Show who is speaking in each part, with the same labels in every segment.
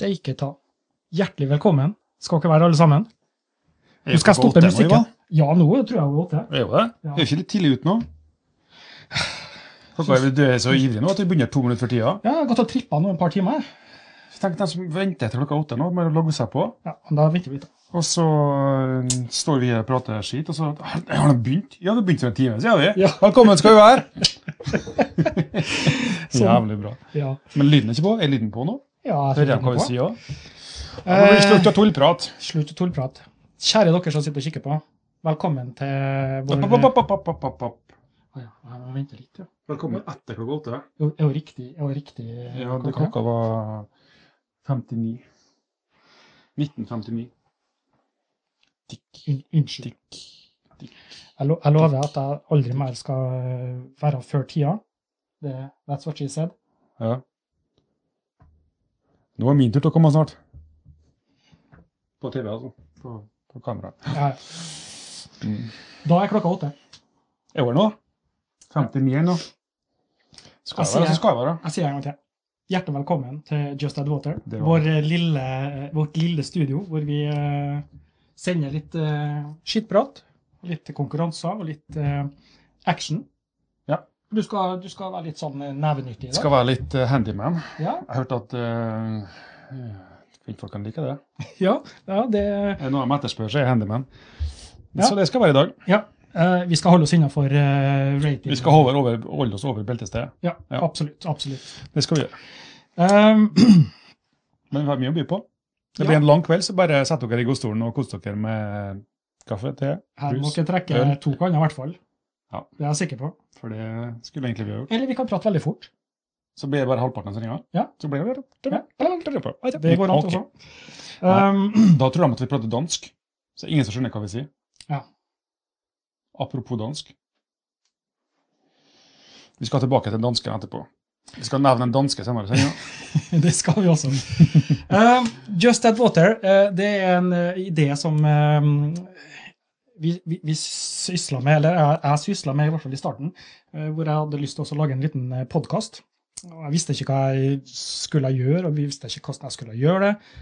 Speaker 1: jeg ikke ta. Hjertelig velkommen skal dere være, alle sammen.
Speaker 2: Er
Speaker 1: Nå skal jeg
Speaker 2: klokka
Speaker 1: stoppe
Speaker 2: åtte nå, Ivan?
Speaker 1: musikken. Ja, nå tror jeg hun er åtte.
Speaker 2: Er jo det?
Speaker 1: Ja.
Speaker 2: Det er jo ikke litt tidlig ut nå? Klokka er, du er så ivrig nå at vi begynner to minutter før tida.
Speaker 1: Ja, jeg har gått og trippa nå en par timer.
Speaker 2: Tenk den som venter til klokka åtte nå med å logge seg på.
Speaker 1: Ja, men da venter vi litt.
Speaker 2: Og så øh, står vi her og prater skit, og så Har har de begynt? Ja, det begynte for en time siden, vi.
Speaker 1: Ja.
Speaker 2: Velkommen skal du være!
Speaker 1: Sånn.
Speaker 2: Jævlig bra.
Speaker 1: Ja,
Speaker 2: Men lyden er ikke på? Er lyden på nå?
Speaker 1: ja jeg
Speaker 2: Hører
Speaker 1: tror
Speaker 2: jeg hva vi
Speaker 1: vi
Speaker 2: sier òg?
Speaker 1: Eh,
Speaker 2: Slutt å tullprat!
Speaker 1: Slutt å tullprat. Kjære dere som sitter og kikker på. Velkommen til vår
Speaker 2: Opp, opp, opp, opp, opp, opp, opp.
Speaker 1: Ah, ja, jeg må vente litt, ja.
Speaker 2: Velkommen etter klokka åtte.
Speaker 1: Jo, Er jo riktig. Er jo riktig eh,
Speaker 2: Ja, det
Speaker 1: klokka?
Speaker 2: klokka var 59. 1959.
Speaker 1: Un- Unnskyld.
Speaker 2: Tikk.
Speaker 1: Jeg, lo jeg lover at jeg aldri mer skal øh, være før tida. Det, that's what she said.
Speaker 2: Ja. Nå er min tur til å komme snart. På TV, altså. På, på kamera.
Speaker 1: Ja.
Speaker 2: Mm.
Speaker 1: Da er klokka åtte.
Speaker 2: Er det nå? 59 er nå. Skal
Speaker 1: Jeg
Speaker 2: jeg være,
Speaker 1: sier-
Speaker 2: så skal jeg være.
Speaker 1: Jeg sier en gang til. Hjertelig velkommen til Just Add Water.
Speaker 2: Det var-
Speaker 1: Vår eh, lille, vårt lille studio hvor vi eh, sender litt eh, skittprat, litt konkurranser og litt eh, action.
Speaker 2: Ja.
Speaker 1: Du skal, du skal være litt sånn eh, nevenyttig i dag.
Speaker 2: Skal være litt eh, handyman.
Speaker 1: Ja,
Speaker 2: Jeg hørte at eh, kvinnfolk kan like det. Eh,
Speaker 1: ja, ja det,
Speaker 2: Er det noe de etterspør, så er jeg handyman.
Speaker 1: Ja.
Speaker 2: Så det skal være i dag.
Speaker 1: ja. eh, vi skal holde oss innafor uh, rating.
Speaker 2: Vi skal holde, over, holde oss over beltestedet.
Speaker 1: Ja,
Speaker 2: Ja.
Speaker 1: absolutt. absolutt.
Speaker 2: Det skal vi gjøre.
Speaker 1: Um,
Speaker 2: Men vi har mye å by på. Det
Speaker 1: Ja.
Speaker 2: blir en lang kveld, så bare sett dere i godstolen og kos dere med kaffe, te,
Speaker 1: her må
Speaker 2: brus.
Speaker 1: dere trekke
Speaker 2: Øl.
Speaker 1: to kanner, i hvert fall.
Speaker 2: Ja.
Speaker 1: Det er jeg sikker på.
Speaker 2: For det skulle egentlig vi ha gjort.
Speaker 1: Eller vi kan prate veldig fort.
Speaker 2: Så blir det bare halvparten som ringer.
Speaker 1: Ja.
Speaker 2: Så blir det
Speaker 1: Ja.
Speaker 2: Det
Speaker 1: Det går an,
Speaker 2: Ok.
Speaker 1: også. Um,
Speaker 2: Da tror de at vi prater dansk. Så ingen som skjønner hva vi sier.
Speaker 1: Ja.
Speaker 2: Apropos dansk. Vi skal tilbake til dansken etterpå. Vi skal nevne en danske senere. i sendingen.
Speaker 1: Det skal vi også. Eh, Just That Water eh, det er en eh, idé som eh, vi, vi, vi sysla med, eller jeg, jeg sysla med i hvert fall i starten, eh, hvor jeg hadde lyst til også å lage en liten podkast. Jeg visste ikke hva jeg skulle gjøre, og vi visste ikke hvordan jeg skulle gjøre det.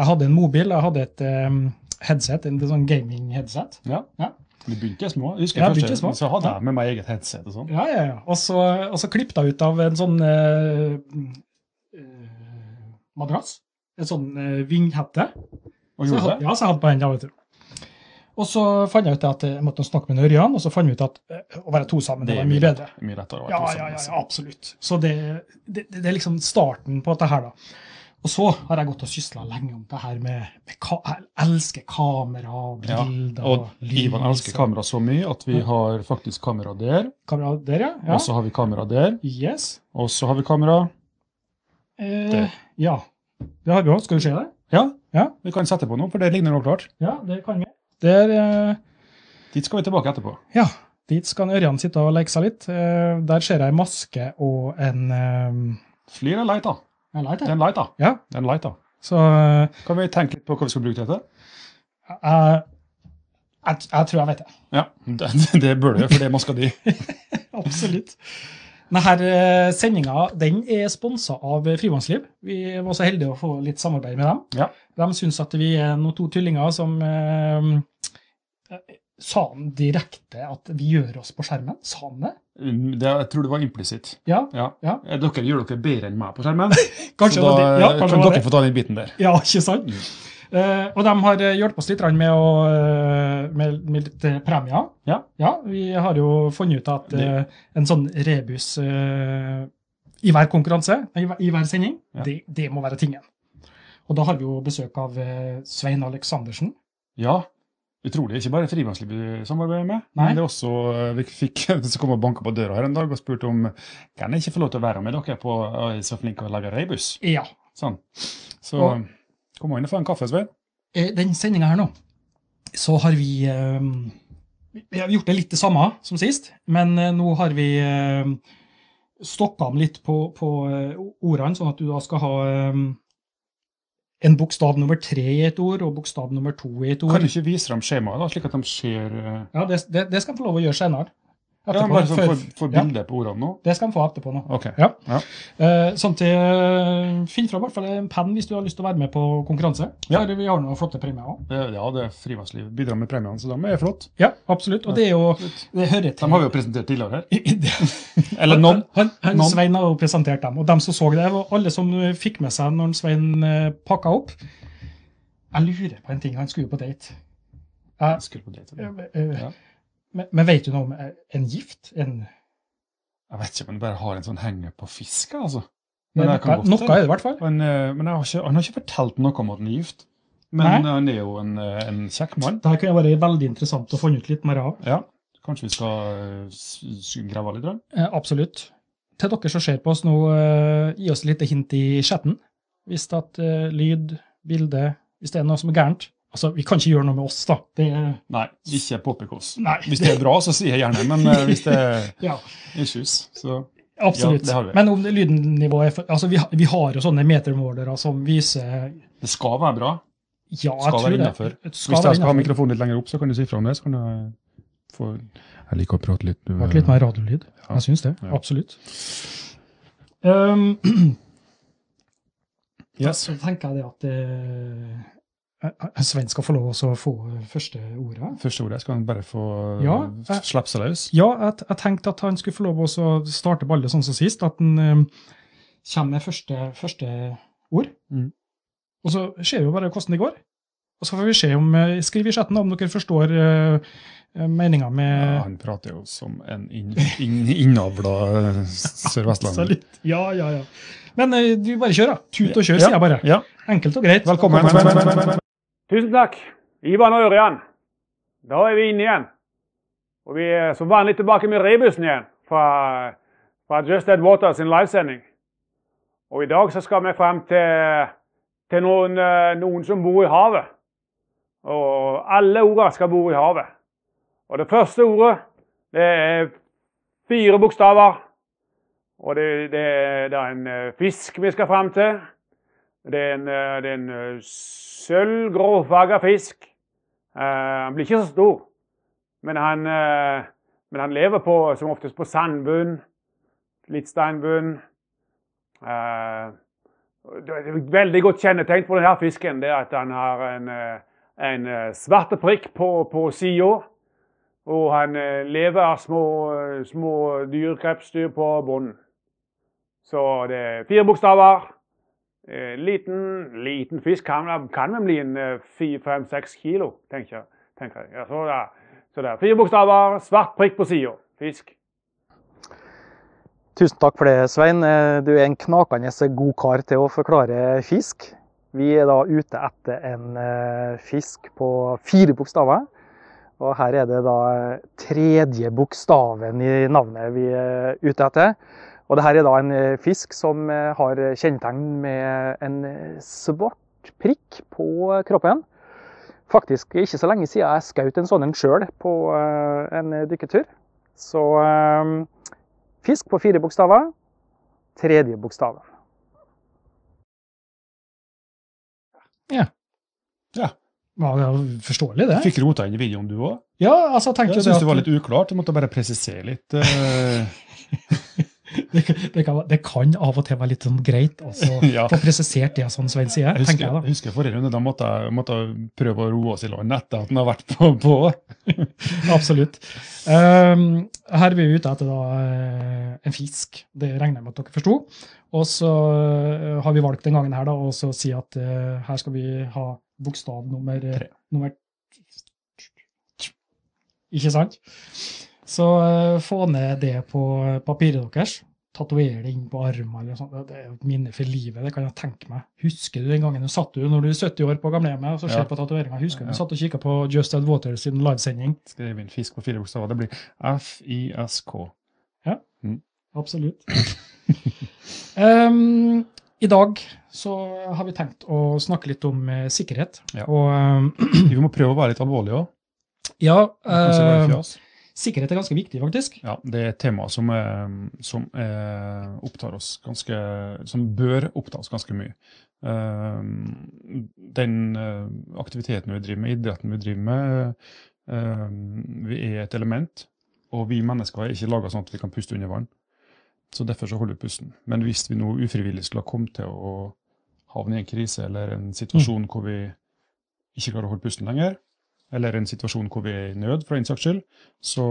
Speaker 1: Jeg hadde en mobil, jeg hadde et eh, headset, en sånn gaming-headset.
Speaker 2: Ja.
Speaker 1: Ja.
Speaker 2: Vi begynte små. Jeg husker
Speaker 1: Ja,
Speaker 2: første,
Speaker 1: begynte små.
Speaker 2: så hadde
Speaker 1: Ja.
Speaker 2: jeg med meg eget headset og sånn.
Speaker 1: Ja, ja, ja. Og så, og så klippet jeg ut av en sånn eh, eh, madrass. En sånn eh, vinghette. Så
Speaker 2: Og
Speaker 1: jeg
Speaker 2: gjorde
Speaker 1: hadde-
Speaker 2: det.
Speaker 1: Ja, så jeg hadde på henda, vet du. Og så fant jeg ut at jeg måtte snakke med Ørjan, og så fant jeg ut at eh, å være to sammen det
Speaker 2: Det er
Speaker 1: var mye
Speaker 2: mye
Speaker 1: bedre.
Speaker 2: Det er Mye lettere å være
Speaker 1: Ja,
Speaker 2: to
Speaker 1: ja, ja,
Speaker 2: sammen, altså.
Speaker 1: ja, absolutt. Så det, det, det er liksom starten på dette her, da. Og så har jeg gått og sysla lenge om det her med, med ka, Jeg elsker kamera og
Speaker 2: Ja,
Speaker 1: bilder
Speaker 2: Og
Speaker 1: lys
Speaker 2: Ivan elsker
Speaker 1: og-
Speaker 2: kamera så mye at vi
Speaker 1: Ja.
Speaker 2: har faktisk kamera der,
Speaker 1: kamera. Der, ja. ja.
Speaker 2: og så har vi kamera der,
Speaker 1: Yes.
Speaker 2: og så har vi kamera Der.
Speaker 1: Eh, ja. Det har vi òg. Skal du se det?
Speaker 2: Ja,
Speaker 1: Ja.
Speaker 2: vi kan sette på noe, for det ligner noe klart.
Speaker 1: Ja, det kan vi. Der, eh,
Speaker 2: Dit skal vi tilbake etterpå.
Speaker 1: ja, dit skal en Ørjan sitte og leke seg litt. Eh, der ser jeg en maske og en eh,
Speaker 2: Flir er light, da.
Speaker 1: En light,
Speaker 2: Det er
Speaker 1: ja.
Speaker 2: en light, da.
Speaker 1: ja.
Speaker 2: Det er en light, da.
Speaker 1: Så eh,
Speaker 2: Kan vi tenke litt på hva vi skal bruke det til?
Speaker 1: jeg, jeg, jeg tror jeg vet det.
Speaker 2: Ja, det, det bør du gjøre, for det er maska di.
Speaker 1: Absolutt. Denne sendinga eh, den er sponsa av Frivannsliv. Vi var så heldige å få litt samarbeid med dem.
Speaker 2: Ja.
Speaker 1: De syns at vi er noen to tullinger som eh, Sa han direkte at vi gjør oss på skjermen? Sa han det?
Speaker 2: Mm, Det, jeg tror det var implisitt.
Speaker 1: Ja,
Speaker 2: Ja.
Speaker 1: Ja.
Speaker 2: Eh, Dere gjør dere bedre enn meg på skjermen.
Speaker 1: kanskje det
Speaker 2: så da
Speaker 1: var det. Ja,
Speaker 2: eh,
Speaker 1: kanskje
Speaker 2: kan
Speaker 1: det var
Speaker 2: dere
Speaker 1: det.
Speaker 2: få ta den biten der.
Speaker 1: Ja, ikke sant? Eh, og de har eh, hjulpet oss litt grann med, å, eh, med, med litt eh, premier.
Speaker 2: Ja.
Speaker 1: Vi har jo funnet ut at eh, en sånn rebus eh, i hver konkurranse, nei, i hver, i hver sending,
Speaker 2: Ja.
Speaker 1: det, det må være tingen. Og da har vi jo besøk av eh, Svein Aleksandersen.
Speaker 2: Ja. Utrolig. Ikke bare frivannsliv vi samarbeider med,
Speaker 1: Nei.
Speaker 2: men det er også eh, Vi fikk en som kom og banka på døra her en dag og spurte om kan jeg ikke få lov til å være med dere på å, jeg er så flink til å lage reibus.
Speaker 1: Ja.
Speaker 2: Sånn. Så
Speaker 1: Og-
Speaker 2: kom han og få en kaffe, Svein.
Speaker 1: Eh, den sendinga her nå, så har vi eh, Vi har gjort det litt det samme som sist, men eh, nå har vi eh, stokka om litt på, på eh, ordene, sånn at du da skal ha eh, en bokstav nummer tre i et ord og bokstav nummer to i et
Speaker 2: Kan
Speaker 1: ord.
Speaker 2: du ikke vise dem skjemaet, da, slik at de ser eh,
Speaker 1: Ja, det, det, det skal jeg få lov å gjøre senere.
Speaker 2: Ja,
Speaker 1: etterpå.
Speaker 2: bare sånn,
Speaker 1: før-
Speaker 2: få, få
Speaker 1: ja.
Speaker 2: bilde på ordene nå.
Speaker 1: Det skal han få etterpå nå.
Speaker 2: Ok.
Speaker 1: Ja.
Speaker 2: Ja.
Speaker 1: Eh, sånn til eh, Finn fram i hvert fall en penn hvis du har lyst til å være med på konkurranse.
Speaker 2: Ja.
Speaker 1: For vi har noen flotte premier òg.
Speaker 2: Eh, Ja, det er frivannsliv. Bidrar med premiene, så da er det flott.
Speaker 1: Ja, absolutt. Og det er jo
Speaker 2: Absolutt.
Speaker 1: det hører til.
Speaker 2: Dem har vi jo presentert tidligere her.
Speaker 1: Det-
Speaker 2: Eller noen.
Speaker 1: Han, han
Speaker 2: Noen.
Speaker 1: Svein har jo presentert dem, og dem som så det, var alle som eh, fikk med seg når han Svein eh, pakka opp. Jeg lurer på en ting. Han skulle jo på date. Jeg-
Speaker 2: Skulle på date.
Speaker 1: eh,
Speaker 2: eller?
Speaker 1: eh,
Speaker 2: Ja.
Speaker 1: men, men vet du noe om eh, en gift? En,
Speaker 2: Jeg vet ikke, men jeg bare har en sånn henger på fisk, altså. Men jeg
Speaker 1: noe,
Speaker 2: kan
Speaker 1: noe
Speaker 2: godt
Speaker 1: er det i hvert fall.
Speaker 2: Men, eh, men jeg har ikke, han har ikke fortalt noe om at han er gift. Men han er jo en, eh, en kjekk mann.
Speaker 1: Det her kunne vært veldig interessant å finne ut litt mer av.
Speaker 2: Ja. Kanskje vi skal eh, s- s- grave litt? da?
Speaker 1: Eh, Absolutt. Til dere som ser på oss nå, eh, gi oss litt hint i chatten. Hvis det at eh, lyd, bilde, hvis det er noe som er gærent. Altså, vi kan ikke gjøre noe med oss, da. Det er,
Speaker 2: Nei, ikke poppekos.
Speaker 1: nei,
Speaker 2: Hvis det er bra, så sier jeg gjerne, men eh, hvis det er
Speaker 1: Ja.
Speaker 2: issues, så Ja,
Speaker 1: absolutt.
Speaker 2: det har vi.
Speaker 1: Men om det lydnivået er for, altså, vi, har- vi har jo sånne metermålere som viser
Speaker 2: Det skal være bra.
Speaker 1: Ja, jeg
Speaker 2: Skal
Speaker 1: tror
Speaker 2: være
Speaker 1: det.
Speaker 2: innenfor.
Speaker 1: Skal
Speaker 2: Hvis
Speaker 1: være
Speaker 2: jeg skal ha
Speaker 1: innenfor.
Speaker 2: mikrofonen litt lenger opp, så kan du si fra om det. så kan jeg få... Jeg liker å prate litt.
Speaker 1: Det ble litt mer radiolyd. Jeg syns det.
Speaker 2: Ja.
Speaker 1: Absolutt. Um,
Speaker 2: Ehm, Yes.
Speaker 1: Så tenker jeg det at eh, Svein skal få lov også å få første ordet.
Speaker 2: Første ordet skal han bare få ja,
Speaker 1: Ja, jeg-
Speaker 2: slippe seg løs.
Speaker 1: Ja, jeg, jeg tenkte at han skulle få lov også å starte ballet sånn som sist, at han eh, kommer med første, første ord.
Speaker 2: Mm.
Speaker 1: Og så ser vi jo bare hvordan det går. Og så får vi se om eh, Skriv i chatten om dere forstår uh, meninga med
Speaker 2: Ja, han prater jo som en inn, inn, innavla eh, sørvestlander.
Speaker 1: Absolutt. Ja, ja, ja. Men eh, du bare kjør, da. Tut og kjør, sier jeg bare.
Speaker 2: Ja.
Speaker 1: Enkelt og greit.
Speaker 2: Velkommen.
Speaker 3: Tusen takk. Ivan og Ørjan. Da er vi inne igjen. Og vi er som vanlig tilbake med rebusen igjen fra, fra Just Dead Water sin livesending. Og i dag så skal vi frem til, til noen, eh, noen som bor i havet. Og alle ordene skal bo i havet. Og det første ordet, det er fire bokstaver. Og det, det, det er en eh, fisk vi skal frem til. Det er en, eh, det er en eh, sølvgråfarga fisk. Eh, han blir ikke så stor, men han, eh, men han lever på, som oftest på sandbunn, litt steinbunn. Eh, det er et veldig godt kjennetegn på denne fisken det er at han har en, eh, en eh, svarte prikk på, på sida. Og han eh, lever av små, små dyr, krepsdyr, på bunnen. Så det er fire bokstaver. Eh, liten, liten fisk kan, kan vel bli en eh, fi- fem, seks kilo, tenker jeg. Tenker jeg. Ja, så, der. så der. Fire bokstaver, svart prikk på sida. Fisk.
Speaker 4: Tusen takk for det, Svein. Eh, Du er en knakende god kar til å forklare fisk. Vi er da ute etter en eh, fisk på fire bokstaver. Og her er det da tredje bokstaven i navnet vi er ute etter. Og det her er da en eh, fisk som eh, har kjennetegn med en eh, svart prikk på kroppen. Faktisk ikke så lenge siden jeg skjøt en sånn en sjøl på eh, en dykketur. Så eh, Fisk på fire bokstaver. Tredje bokstaven.
Speaker 1: Ja, det er jo forståelig, det.
Speaker 2: Fikk rota inn i videoen, du òg?
Speaker 1: Ja, altså, jeg tenkte jo
Speaker 2: Jeg
Speaker 1: det
Speaker 2: syns det var
Speaker 1: at-
Speaker 2: litt uklart. Du måtte bare presisere litt. eh,
Speaker 1: Det, det, kan, det kan av og til være litt sånn greit å så
Speaker 2: ja.
Speaker 1: få presisert det, sånn Svein sier.
Speaker 2: Jeg husker,
Speaker 1: tenker jeg da.
Speaker 2: jeg husker forrige runde, da måtte jeg, måtte jeg prøve å roe oss i land etter at den har vært på. på.
Speaker 1: Absolutt. Ehm, her er vi ute etter da, eh, en fisk. Det regner jeg med at dere forsto. Og så eh, har vi valgt den gangen her da, å så si at eh, her skal vi ha bokstav nummer, eh,
Speaker 2: Tre.
Speaker 1: nummer Ikke sant? Så eh, få ned det på papiret deres. Tatovere det inn på armen. eller noe sånt. Det er jo et minne for livet. det kan jeg tenke meg. Husker du den gangen du satt du, når du er 70 år på gamlehjemmet og så ser
Speaker 2: Ja.
Speaker 1: på tatoveringa? Husker du
Speaker 2: Ja.
Speaker 1: du satt og kikka på Just Dead Water sin livesending?
Speaker 2: Skrev inn fisk på fire bokstaver. Det blir F-I-S-K.
Speaker 1: Absolutt. Ehm, I dag så har vi tenkt å snakke litt om eh, sikkerhet.
Speaker 2: Ja.
Speaker 1: Og ehm,
Speaker 2: Vi må prøve å være litt alvorlige òg.
Speaker 1: ja,
Speaker 2: Kanskje være
Speaker 1: eh,
Speaker 2: fjas.
Speaker 1: sikkerhet er ganske viktig, faktisk.
Speaker 2: Ja, det er et tema som, eh, som eh, opptar oss ganske Som bør oppta oss ganske mye. Eh, den eh, aktiviteten vi driver med, idretten vi driver med, eh, vi er et element. Og vi mennesker er ikke laga sånn at vi kan puste under vann. Så derfor så holder vi pusten. Men hvis vi nå ufrivillig skulle ha kommet til å havne i en krise eller en situasjon hvor vi ikke klarer å holde pusten lenger, eller en situasjon hvor vi er i nød, for den saks skyld, så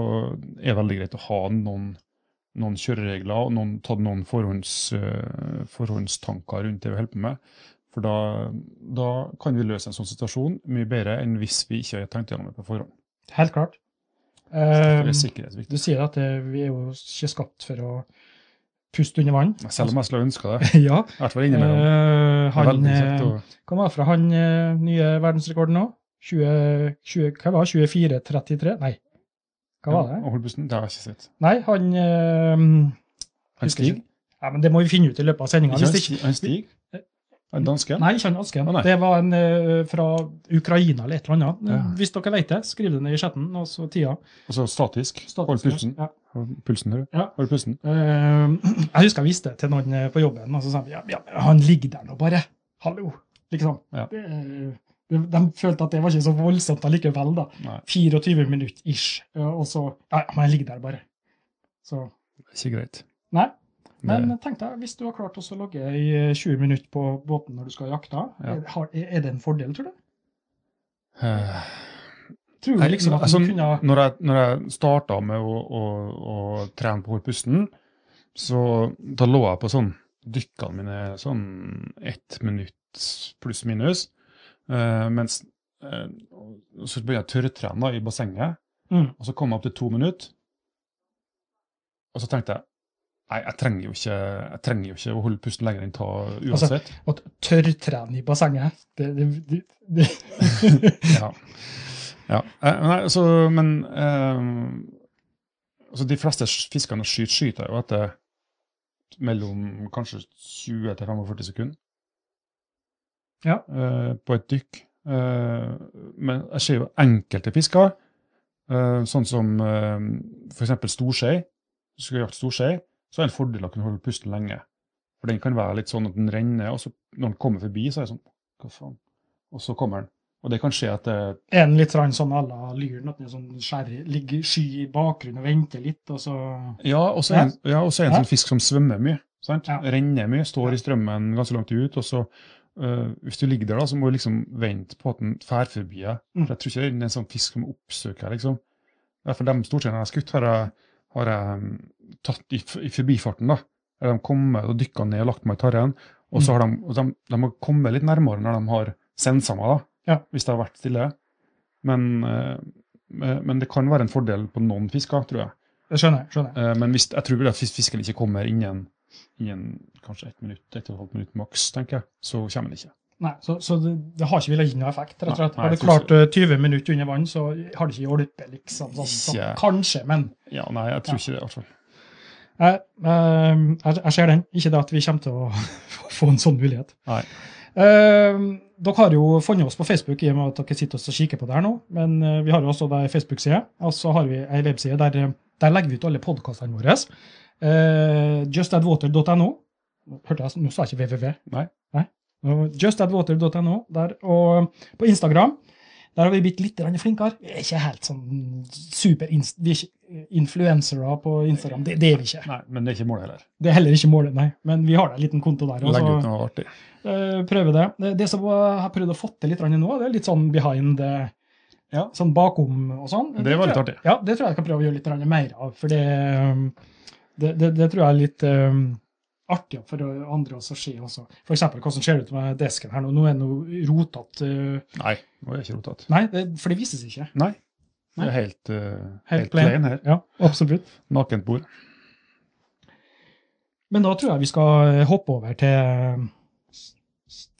Speaker 2: er det veldig greit å ha noen, noen kjøreregler og noen, tatt noen forhånds, eh, forhåndstanker rundt det vi holder på med. For da, da kan vi løse en sånn situasjon mye bedre enn hvis vi ikke har tenkt gjennom det på forhånd.
Speaker 1: Helt klart.
Speaker 2: Så derfor
Speaker 1: Eh,
Speaker 2: er sikkerhet viktig.
Speaker 1: du sier at eh, vi er jo ikke skapt for å puste under vann.
Speaker 2: Selv om jeg skulle ønske det.
Speaker 1: ja.
Speaker 2: I hvert fall innimellom.
Speaker 1: Eh,
Speaker 2: Det er
Speaker 1: han,
Speaker 2: veldig kjekt
Speaker 1: eh,
Speaker 2: å-
Speaker 1: hva var det fra han eh, nye verdensrekorden nå? 20, 20, hva var det? 24,33? Nei. Hva var det?
Speaker 2: Å holde pusten? Det har jeg ikke sett.
Speaker 1: Nei, han eh,
Speaker 2: Han
Speaker 1: Husker ikke.
Speaker 2: Stig?
Speaker 1: Ja, men Det må vi finne ut i løpet av sendinga.
Speaker 2: Ikke han Stig? Han Stig? Han dansken?
Speaker 1: Eh, Nei, ikke han Asken.
Speaker 2: Å, nei.
Speaker 1: Det var en eh, fra Ukraina eller et eller annet.
Speaker 2: Ja.
Speaker 1: Hvis dere vet det, skriv det ned i chatten. Og så tida.
Speaker 2: Altså statisk? Hold pusten?
Speaker 1: Ja.
Speaker 2: Hold Pulsen, hører du?
Speaker 1: Ja.
Speaker 2: Hold pusten?
Speaker 1: Eh, jeg husker jeg viste det til noen eh, på jobben, og så sa de ja, ja, men han ligger der nå bare. Hallo. Liksom.
Speaker 2: Ja.
Speaker 1: Det, eh, de, de følte at det var ikke så voldsomt allikevel, da.
Speaker 2: Nei,
Speaker 1: 24 minutter ish. Eh, Og så Ja, ja, men han ligger der bare. Så
Speaker 2: ikke greit.
Speaker 1: Nei. Men
Speaker 2: Men,
Speaker 1: tenk deg, hvis du har klart også å logge i eh, 20 minutter på båten når du skal jakte,
Speaker 2: Ja.
Speaker 1: er, har- er det en fordel, tror du?
Speaker 2: eh,
Speaker 1: Tror du
Speaker 2: Nei,
Speaker 1: liksom at
Speaker 2: altså,
Speaker 1: du kunne
Speaker 2: når jeg, når jeg starta med å, å, å trene på holdpusten, så da lå jeg på sånn dykkene mine sånn ett minutt pluss minus. eh, mens eh, så begynte jeg å tørrtrene da, i bassenget,
Speaker 1: Mm.
Speaker 2: og så kom jeg opp til to minutter. Og så tenkte jeg nei, jeg trenger jo ikke, jeg trenger jo ikke å holde pusten lenger enn ta
Speaker 1: Altså,
Speaker 2: uansett.
Speaker 1: at tørrtrene i bassenget det, det, det, det.
Speaker 2: ja. ja. Eh, Nei, altså, men eh, altså, De fleste s- fiskene skyter, skyter jo etter mellom kanskje 20 til 45 sekunder.
Speaker 1: Ja.
Speaker 2: Eh, på et dykk. Eh, men jeg ser jo enkelte fisker, eh, sånn som eh, f.eks. storskei. Hvis du skal jakte storskei, så er det en fordel å kunne holde pusten lenge. For den kan være litt sånn at den renner, og så når den kommer forbi, så er det sånn Hva faen? Og så kommer den. Og det kan skje at eh, det
Speaker 1: Er den litt sånn sånn à la lyren, at den er sånn skjær- ligger sky i bakgrunnen og venter litt, og så
Speaker 2: Ja, og så er ja, og så er det en sånn fisk som svømmer mye. Sant?
Speaker 1: Ja.
Speaker 2: Renner mye, står i strømmen ganske langt ut. og så øh, Hvis du ligger der, da, så må du liksom vente på at den fær forbi deg.
Speaker 1: Mm.
Speaker 2: For Jeg tror ikke det er en sånn fisk som oppsøker deg. Liksom. For de stort sett jeg har skutt, har jeg, har jeg mm, tatt i, f- i forbifarten. da. Eller de kommer og dykker ned og lagt meg i tarren. Og så har de, og de, de har kommet litt nærmere når de har sensa meg, da,
Speaker 1: Ja.
Speaker 2: hvis det har vært stille. Men, øh, men men det kan være en fordel på noen fisker, tror jeg.
Speaker 1: Jeg skjønner. skjønner.
Speaker 2: Eh, Men hvis, jeg tror vel at hvis fisken ikke kommer innen, innen kanskje ett minutt, ett og et halvt minutt maks, tenker jeg, så kommer den ikke.
Speaker 1: Nei, Så, så det, det har ikke villet gi noe effekt. rett og slett.
Speaker 2: Nei,
Speaker 1: Har
Speaker 2: jeg
Speaker 1: du
Speaker 2: tror
Speaker 1: klart eh, 20 minutter under vann, så har det ikke hjulpet, liksom. Sånn, sånn,
Speaker 2: Ikke.
Speaker 1: Kanskje, men
Speaker 2: Ja, nei, jeg tror
Speaker 1: Ja.
Speaker 2: ikke det, i hvert fall.
Speaker 1: jeg, eh, jeg, jeg ser den. Ikke det at vi kommer til å få en sånn mulighet.
Speaker 2: Nei.
Speaker 1: Eh, dere har jo funnet oss på Facebook i og med at dere sitter og kikker på det her nå. Men eh, vi har jo også ei Facebook-side, og så har vi ei webside der, eh, der legger vi ut alle podkastene våre. Eh, justadwater.no. Hørte jeg, nå sa jeg ikke www.
Speaker 2: Nei.
Speaker 1: Nå- Justadwater.no. der, Og på Instagram der har vi blitt litt grann flinkere. Vi er ikke helt sånn super Vi er ikke influensere på Instagram. Det, det er vi ikke.
Speaker 2: nei. Men det er ikke målet heller.
Speaker 1: Det er heller ikke målet, nei. Men vi har da en liten konto der. og
Speaker 2: Legg
Speaker 1: så-
Speaker 2: ut noe artig.
Speaker 1: Eh, prøve det. Det- Det som jeg har prøvd å få til litt grann nå, det er litt sånn behind eh,
Speaker 2: Ja.
Speaker 1: Sånn bakom og sånn.
Speaker 2: Det var litt
Speaker 1: tror jeg- Ja, det tror jeg jeg kan prøve å gjøre litt grann mer av. For det, um, det, det, det tror jeg er litt um, artig for andre også å se også. For eksempel hvordan ser det ut med desken her nå? Nå er den jo rotete. eh,
Speaker 2: Nei, nå er det ikke rotet.
Speaker 1: Nei, det, for det vises ikke.
Speaker 2: Nei.
Speaker 1: Nei.
Speaker 2: Det er helt, eh,
Speaker 1: Helt
Speaker 2: helt plain her.
Speaker 1: Ja, absolutt.
Speaker 2: Nakent bord.
Speaker 1: Men da tror jeg vi skal eh, hoppe over til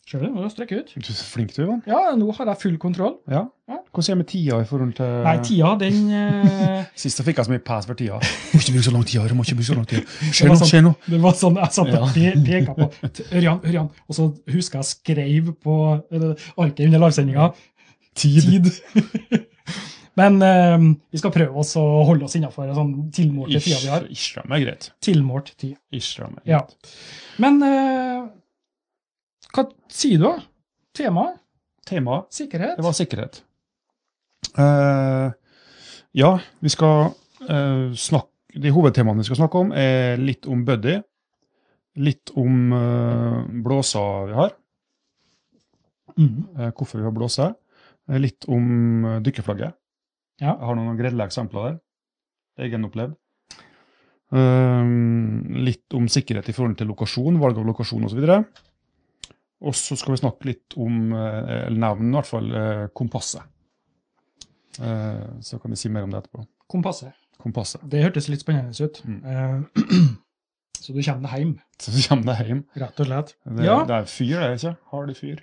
Speaker 1: Ser du, nå strekker jeg ut.
Speaker 2: Du er så flink du, Ivan.
Speaker 1: Ja, nå har jeg full kontroll.
Speaker 2: Ja.
Speaker 1: Ja.
Speaker 2: Hvordan er det med tida i forhold til
Speaker 1: Nei, tida, den eh,
Speaker 2: Sist så fikk jeg så mye pass for tida. Må ikke bruke så lang tid, Are. Må ikke bruke så lang tid. Skjer
Speaker 1: var
Speaker 2: nå,
Speaker 1: sånn-
Speaker 2: skjer nå.
Speaker 1: Det var sånn jeg satt og
Speaker 2: Ja.
Speaker 1: pe- peka på t- Ørjan, Ørjan. Og så husker jeg skrev på eh, arket under livesendinga
Speaker 2: Tid.
Speaker 1: tid. Men eh, vi skal prøve oss å holde oss innafor sånn tilmålt til tida vi har.
Speaker 2: Ish- Ishram er greit.
Speaker 1: Tilmålt tid.
Speaker 2: Ishram er
Speaker 1: Ja.
Speaker 2: greit.
Speaker 1: Men eh, hva sier du, da? Temaet?
Speaker 2: Temaet
Speaker 1: Sikkerhet?
Speaker 2: Det var sikkerhet. Eh, ja, vi skal Eh, snakk, de hovedtemaene vi skal snakke om, er litt om buddy, litt om eh, blåser vi har,
Speaker 1: Mhm.
Speaker 2: eh, hvorfor vi har blåser, eh, litt om eh, dykkerflagget.
Speaker 1: Ja.
Speaker 2: Jeg har noen gredelig eksempler der. Egenopplevd. Eh, litt om sikkerhet i forhold til lokasjon, valg av lokasjon osv. Og så skal vi snakke litt om, eh, eller nevne i hvert fall, eh, kompasset. Eh, så kan vi si mer om det etterpå.
Speaker 1: Kompasset.
Speaker 2: Kompasset.
Speaker 1: Det hørtes litt spennende ut.
Speaker 2: Mm.
Speaker 1: Eh, så du kommer deg hjem,
Speaker 2: Så kommer det hjem.
Speaker 1: rett og slett.
Speaker 2: Det,
Speaker 1: Ja.
Speaker 2: det er fyr, det, ikke? Har de fyr?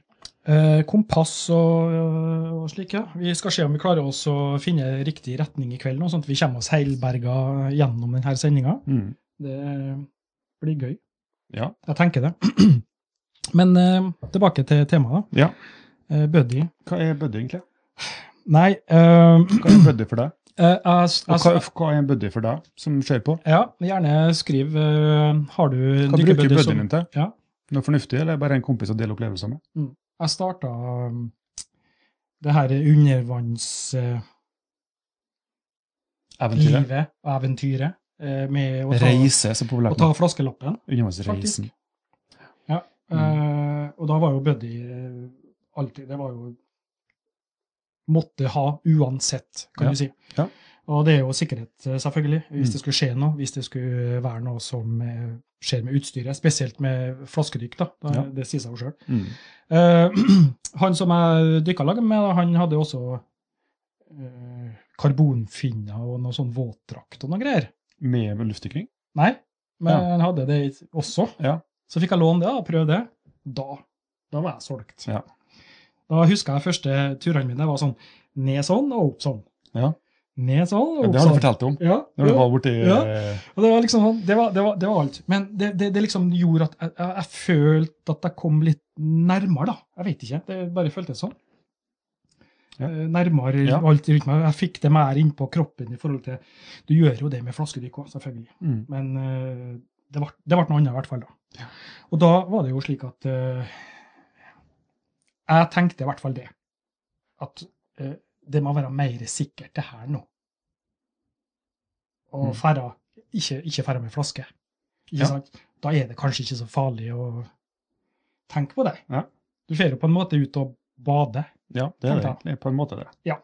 Speaker 1: Eh, kompass og, eh, og slik, ja. Vi skal se om vi klarer oss å finne riktig retning i kveld, nå, sånn at vi kommer oss heilberga gjennom denne sendinga. Det blir gøy.
Speaker 2: Ja.
Speaker 1: Jeg tenker det. Men eh, tilbake til temaet, da.
Speaker 2: Ja.
Speaker 1: Eh, buddy.
Speaker 2: Hva er buddy, egentlig?
Speaker 1: Nei eh,
Speaker 2: Hva er en buddy for deg?
Speaker 1: eh, jeg-
Speaker 2: Og hva,
Speaker 1: jeg-
Speaker 2: hva er en buddy for deg som ser på?
Speaker 1: Ja, gjerne skriv eh, Har du
Speaker 2: Hva bruker
Speaker 1: dykkerbuddy
Speaker 2: buddyen
Speaker 1: som
Speaker 2: din til?
Speaker 1: Ja.
Speaker 2: Noe fornuftig, eller bare en kompis å dele opplevelser med?
Speaker 1: Jeg starta um, det her undervannslivet
Speaker 2: Eventyret?
Speaker 1: og eventyret eh, med å ta,
Speaker 2: Reise, så
Speaker 1: å
Speaker 2: populært
Speaker 1: ta
Speaker 2: nå.
Speaker 1: flaskelappen.
Speaker 2: Undervannsreisen. Mm.
Speaker 1: Eh, og da var jo Buddy eh, alltid Det var jo Måtte ha uansett, kan
Speaker 2: Ja,
Speaker 1: du si.
Speaker 2: ja.
Speaker 1: Og det er jo sikkerhet, eh, selvfølgelig, hvis
Speaker 2: Mm.
Speaker 1: det skulle skje noe. Hvis det skulle være noe som eh, skjer med utstyret, spesielt med flaskedykk. da, da
Speaker 2: Ja.
Speaker 1: Det sier seg jo sjøl.
Speaker 2: Mm.
Speaker 1: Eh, han som jeg dykka lag med, han hadde også eh, karbonfinner og noe sånn våtdrakt og noe greier.
Speaker 2: Med luftdykking?
Speaker 1: Nei, men
Speaker 2: Ja.
Speaker 1: han hadde det også.
Speaker 2: Ja.
Speaker 1: Så fikk jeg låne det og prøve det. Da, da var jeg solgt.
Speaker 2: Ja.
Speaker 1: Da husker jeg første turene mine var sånn ned sånn og opp sånn.
Speaker 2: Ja.
Speaker 1: Ned sånn
Speaker 2: Ja,
Speaker 1: og opp
Speaker 2: det har du
Speaker 1: sånn.
Speaker 2: fortalt om.
Speaker 1: Ja,
Speaker 2: Når du
Speaker 1: ja.
Speaker 2: var borti
Speaker 1: Ja.
Speaker 2: eh,
Speaker 1: Og det var liksom sånn, det var, det var, det var alt. Men det, det, det liksom gjorde at jeg, jeg, jeg følte at jeg kom litt nærmere, da. Jeg vet ikke, det bare føltes sånn.
Speaker 2: Ja.
Speaker 1: Eh, Nærmere
Speaker 2: Ja.
Speaker 1: alt rundt meg. Jeg fikk det mer innpå kroppen i forhold til Du gjør jo det med flaskedykk òg, selvfølgelig.
Speaker 2: mm.
Speaker 1: Men eh, det ble, det ble noe annet i hvert fall da. Og da var det jo slik at eh, Jeg tenkte i hvert fall det. At eh, det må være mer sikkert det her nå. Og
Speaker 2: Mm.
Speaker 1: færre, ikke, ikke færre med flaske. Ikke
Speaker 2: Ja.
Speaker 1: sant? Da er det kanskje ikke så farlig å tenke på det.
Speaker 2: Ja.
Speaker 1: Du ser jo på en måte ut og bade.
Speaker 2: Ja, det er det
Speaker 1: Tenkte
Speaker 2: egentlig. På en måte, det.
Speaker 1: Ja.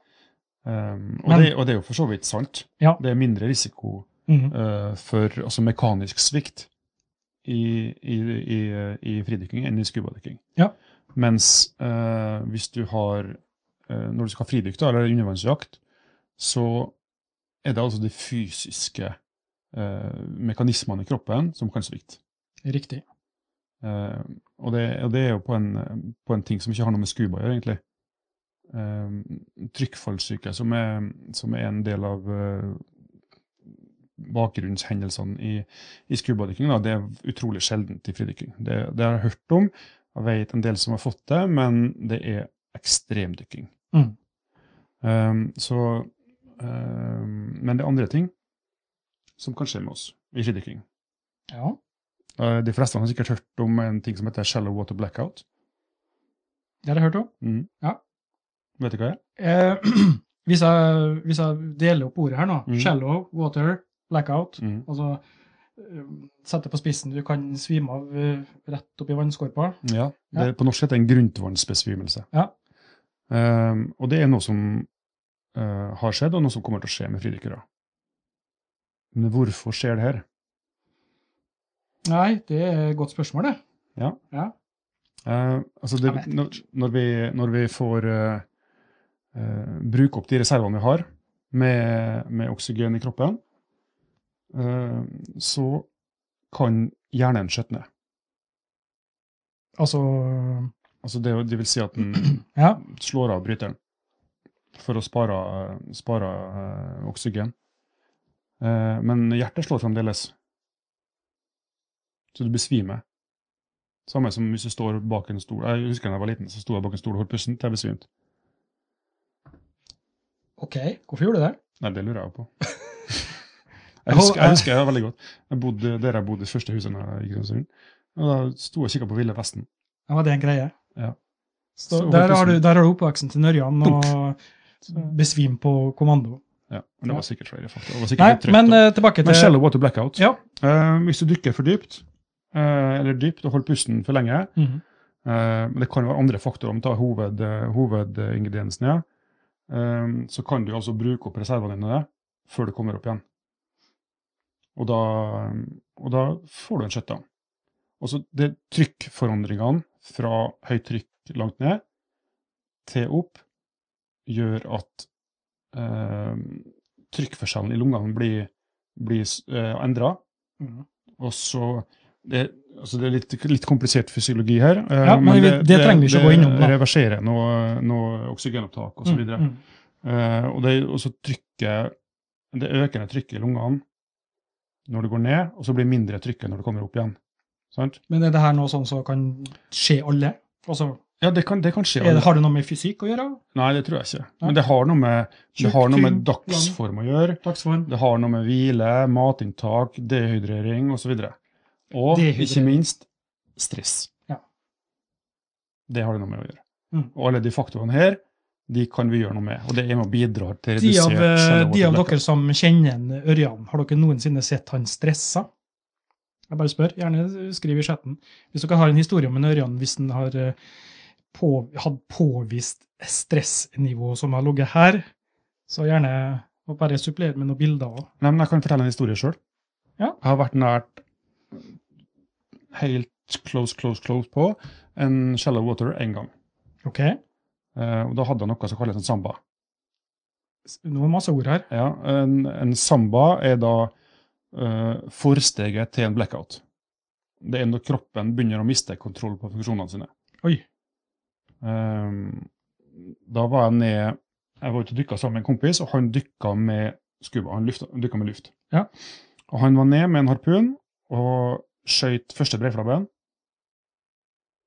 Speaker 2: Um, og,
Speaker 1: Men-
Speaker 2: det, og det er jo for så vidt sant.
Speaker 1: Ja.
Speaker 2: Det er mindre risiko eh, for altså mekanisk svikt i, i, i, i fridykking enn i skubadykking.
Speaker 1: Ja.
Speaker 2: Mens eh, hvis du har eh, Når du skal fridykte eller undervannsjakt, så er det altså de fysiske eh, mekanismene i kroppen som kan svikte.
Speaker 1: Riktig.
Speaker 2: Eh, og, det, og det er jo på en, på en ting som ikke har noe med scuba å gjøre, egentlig. Eh, trykkfallssyke, som er, som er en del av eh, bakgrunnshendelsene i, i skubadykking, da, det er utrolig sjeldent i fridykking. Det, det har jeg hørt om, jeg vet en del som har fått det, men det er ekstremdykking.
Speaker 1: Mm.
Speaker 2: Eh, så, eh, men det er andre ting som kan skje med oss i fridykking.
Speaker 1: Ja.
Speaker 2: Eh, De fleste har sikkert hørt om en ting som heter shallow water blackout.
Speaker 1: Det har jeg hørt om. Ja.
Speaker 2: Vet du hva det er?
Speaker 1: Eh, hvis, jeg, hvis jeg deler opp ordet her nå,
Speaker 2: Mhm.
Speaker 1: shallow, water, blackout,
Speaker 2: Mm.
Speaker 1: altså eh, sette på spissen, du kan svime av eh, rett opp i vannskorpa.
Speaker 2: Ja. Det, på norsk heter det en grunnvannsbesvimelse.
Speaker 1: Ja.
Speaker 2: Ehm, og det er noe som eh, har skjedd, og noe som kommer til å skje med fridykkere. Men hvorfor skjer det her?
Speaker 1: Nei, det er et godt spørsmål, det.
Speaker 2: Eh, altså det,
Speaker 1: Jeg vet
Speaker 2: når, når, vi, når vi får eh, eh, bruke opp de reservene vi har med, med oksygen i kroppen, eh, så kan hjernen skjøtte ned.
Speaker 1: Altså,
Speaker 2: Altså det, det vil si at den
Speaker 1: ja,
Speaker 2: slår av bryteren for å spare, spare eh, oksygen. Eh, men hjertet slår fremdeles. Så du besvimer. Samme som hvis du står bak en stol. Jeg husker da jeg var liten, så sto jeg bak en stol og holdt pusten til jeg besvimte.
Speaker 1: ok, hvorfor gjorde du det?
Speaker 2: Nei, det lurer jeg på.
Speaker 1: Jeg
Speaker 2: Jeg husker,
Speaker 1: hol-
Speaker 2: jeg husker jeg veldig godt. Jeg bodde der jeg bodde i første huset da jeg gikk i Grønnsund. Og da sto jeg og kikka på Ville Vesten.
Speaker 1: Ja, var det en greie?
Speaker 2: Ja.
Speaker 1: Så,
Speaker 2: Så
Speaker 1: der,
Speaker 2: holdt
Speaker 1: har du,
Speaker 2: pusten.
Speaker 1: der har du oppvaksen til Nørjan og besvim på kommando.
Speaker 2: Ja, men det var sikkert flere fakta. Det var sikkert
Speaker 1: Nei,
Speaker 2: litt trøtt,
Speaker 1: men
Speaker 2: da.
Speaker 1: eh, tilbake
Speaker 2: men
Speaker 1: til
Speaker 2: shallow water blackout.
Speaker 1: Ja.
Speaker 2: Eh, hvis du dykker for dypt, eh, eller dypt og holder pusten for lenge,
Speaker 1: Mhm.
Speaker 2: eh, men det kan jo være andre faktorer om å ta hoved, eh, hovedingrediensen, ja, eh, så kan du altså bruke opp reservene dine før du kommer opp igjen. Og da, og da får du en shutdown. Og så det er trykkforandringene fra høyt trykk langt ned til opp gjør at eh, trykkforskjellen i lungene blir, blir eh, endra.
Speaker 1: Mhm.
Speaker 2: Og så det, altså det er litt, litt komplisert fysiologi her. eh,
Speaker 1: Ja, men vi- det trenger vi ikke gå innom, da.
Speaker 2: Det reverserer noe, noe oksygenopptak osv.
Speaker 1: Mm, mm.
Speaker 2: Eh, og det, og så trykket, det økende trykket i lungene når det går ned, og så blir det mindre trykket når det kommer opp igjen. Sant?
Speaker 1: Men er det her noe sånn som kan skje alle? Altså,
Speaker 2: Ja, det kan, det kan skje.
Speaker 1: er det, har det noe med fysikk å gjøre?
Speaker 2: Nei, det tror jeg ikke. Men det har noe med, det har noe med dagsform å gjøre.
Speaker 1: Dagsform?
Speaker 2: Det har noe med hvile, matinntak, dehydrering osv. Og, og
Speaker 1: Dehydrering.
Speaker 2: ikke minst stress.
Speaker 1: Ja.
Speaker 2: Det har det noe med å gjøre.
Speaker 1: Mm.
Speaker 2: Og alle de faktorene her de kan vi gjøre noe med. Og det er med og bidrar til
Speaker 1: De av,
Speaker 2: redusert
Speaker 1: eh,
Speaker 2: cellewater
Speaker 1: de av
Speaker 2: blackout.
Speaker 1: dere som kjenner en Ørjan, har dere noensinne sett han stressa? Jeg bare spør. Gjerne skriv i chatten. Hvis dere har en historie om en Ørjan hvis han har eh, på, hatt påvist stressnivå som har ligget her, så gjerne og bare supplere med noen bilder òg.
Speaker 2: Nei, men jeg kan fortelle en historie sjøl.
Speaker 1: Ja.
Speaker 2: Jeg har vært nært helt close, close, close på en shallow water én gang.
Speaker 1: OK?
Speaker 2: Eh, og da hadde jeg noe som kalles en samba.
Speaker 1: S- Nå er det masse ord her.
Speaker 2: Ja, en, en samba er da eh, forsteget til en blackout. Det er når kroppen begynner å miste kontroll på funksjonene sine.
Speaker 1: Oi.
Speaker 2: Eh, da var jeg ned Jeg var ute og dykka sammen med en kompis, og han dykka med scuba. Han lufta- dykka med luft.
Speaker 1: Ja.
Speaker 2: Og han var ned med en harpun og skøyt første breiflabben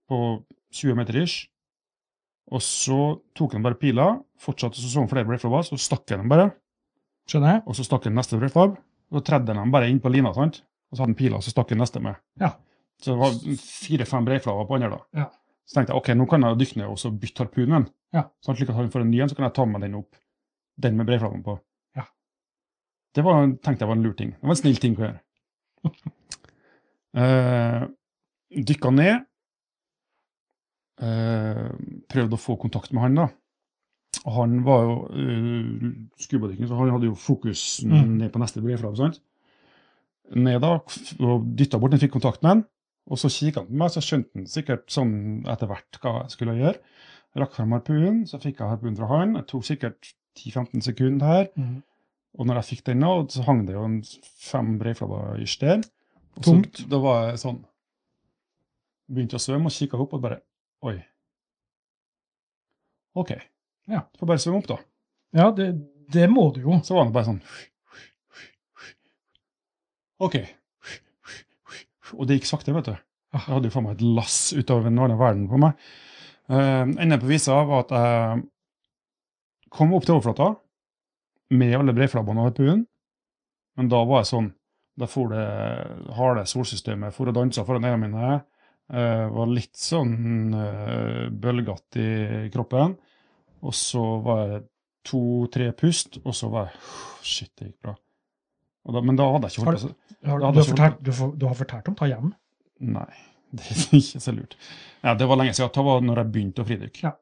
Speaker 2: på 20 meter ish. Og så tok han bare pila, fortsatte å så han flere breiflabber, så stakk han dem bare.
Speaker 1: Skjønner jeg?
Speaker 2: Og så stakk han neste breiflabb, og så tredde han dem bare inn på lina, sant? og så hadde han pila, og så stakk han neste med.
Speaker 1: Ja.
Speaker 2: Så det var fire-fem breiflabber på andre da.
Speaker 1: Ja.
Speaker 2: Så tenkte jeg ok, nå kan jeg dykke ned og så bytte harpunen.
Speaker 1: Ja.
Speaker 2: Sånn, slik at han får en ny en, så kan jeg ta med den opp. Den med breiflabben på.
Speaker 1: Ja.
Speaker 2: Det var, tenkte jeg var en lur ting. Det var en snill ting å gjøre. uh, dykka ned. eh, prøvde å få kontakt med han, da. Og han var jo uh, skubadykking, så han hadde jo fokus
Speaker 1: Mm.
Speaker 2: ned på neste breiflabb. sant? sånn. Ned da, f- og dytta bort, han fikk kontakt med han. Og så kikket han på meg, så skjønte han sikkert sånn etter hvert hva jeg skulle gjøre. Rakk frem harpunen, så fikk jeg harpunen fra han. Det tok sikkert 10-15 sekunder her.
Speaker 1: Mhm.
Speaker 2: Og når jeg fikk den, nå, så hang det jo en fem breiflabber i sted. Og så-
Speaker 1: Tungt.
Speaker 2: Da var jeg sånn Begynte å svømme og kikket opp og bare Oi. OK.
Speaker 1: Ja.
Speaker 2: Får bare svømme opp, da.
Speaker 1: Ja, det, det må du jo.
Speaker 2: Så var han bare sånn OK. Og det gikk sakte, vet du. Jeg hadde jo faen meg et lass utover den annen verden på meg. Eh, Enden på visa var at jeg kom opp til overflata med alle breiflabbene og harpunen, men da var jeg sånn Da for det harde solsystemet for å danse foran øynene mine. eh, var litt sånn uh, bølgete i kroppen. Og så var jeg to-tre pust, og så var jeg Shit, det gikk bra. Og da, men da hadde jeg ikke
Speaker 1: Har
Speaker 2: holdt på
Speaker 1: Har, du,
Speaker 2: så Ja, det
Speaker 1: har
Speaker 2: skjønner
Speaker 1: fortalt, du, får- du har fortalt om ta hjem.
Speaker 2: Nei, det er ikke så lurt. Ja, det var lenge siden. Det var når jeg begynte å fridykke.
Speaker 1: Ja.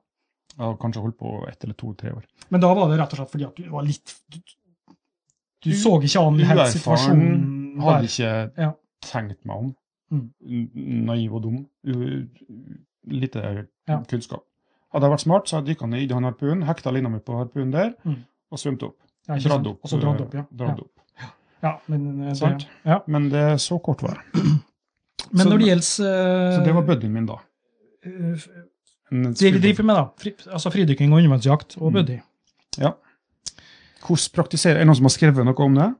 Speaker 2: Jeg har kanskje holdt på ett eller to-tre år.
Speaker 1: Men da var det rett og slett fordi at du var litt Du, du så ikke an hele
Speaker 2: Uerfaren
Speaker 1: situasjonen
Speaker 2: Hadde
Speaker 1: der.
Speaker 2: ikke
Speaker 1: Ja.
Speaker 2: tenkt meg om.
Speaker 1: Mm.
Speaker 2: N- Naiv og dum. U lite
Speaker 1: Ja.
Speaker 2: kunnskap. Hadde jeg vært smart, så hadde jeg dykka ned i den harpunen, hekta lina mi på harpunen der,
Speaker 1: Mm.
Speaker 2: og svømte opp.
Speaker 1: Ja, ikke sant?
Speaker 2: Dratt opp.
Speaker 1: Og så dratt opp, ja.
Speaker 2: eh, dratt opp.
Speaker 1: ja. ja men, eh,
Speaker 2: Sant?
Speaker 1: det, ja.
Speaker 2: Men det er så kort var det.
Speaker 1: men
Speaker 2: Så-
Speaker 1: når det gjelder
Speaker 2: Så det var buddyen min, da.
Speaker 1: eh, f-
Speaker 2: En
Speaker 1: Det vi
Speaker 2: skuddbuddy.
Speaker 1: driver med, da. Fri, altså fridykking og undervannsjakt og
Speaker 2: Mm.
Speaker 1: buddy.
Speaker 2: Hvordan praktiserer Er det noen som har skrevet noe om det?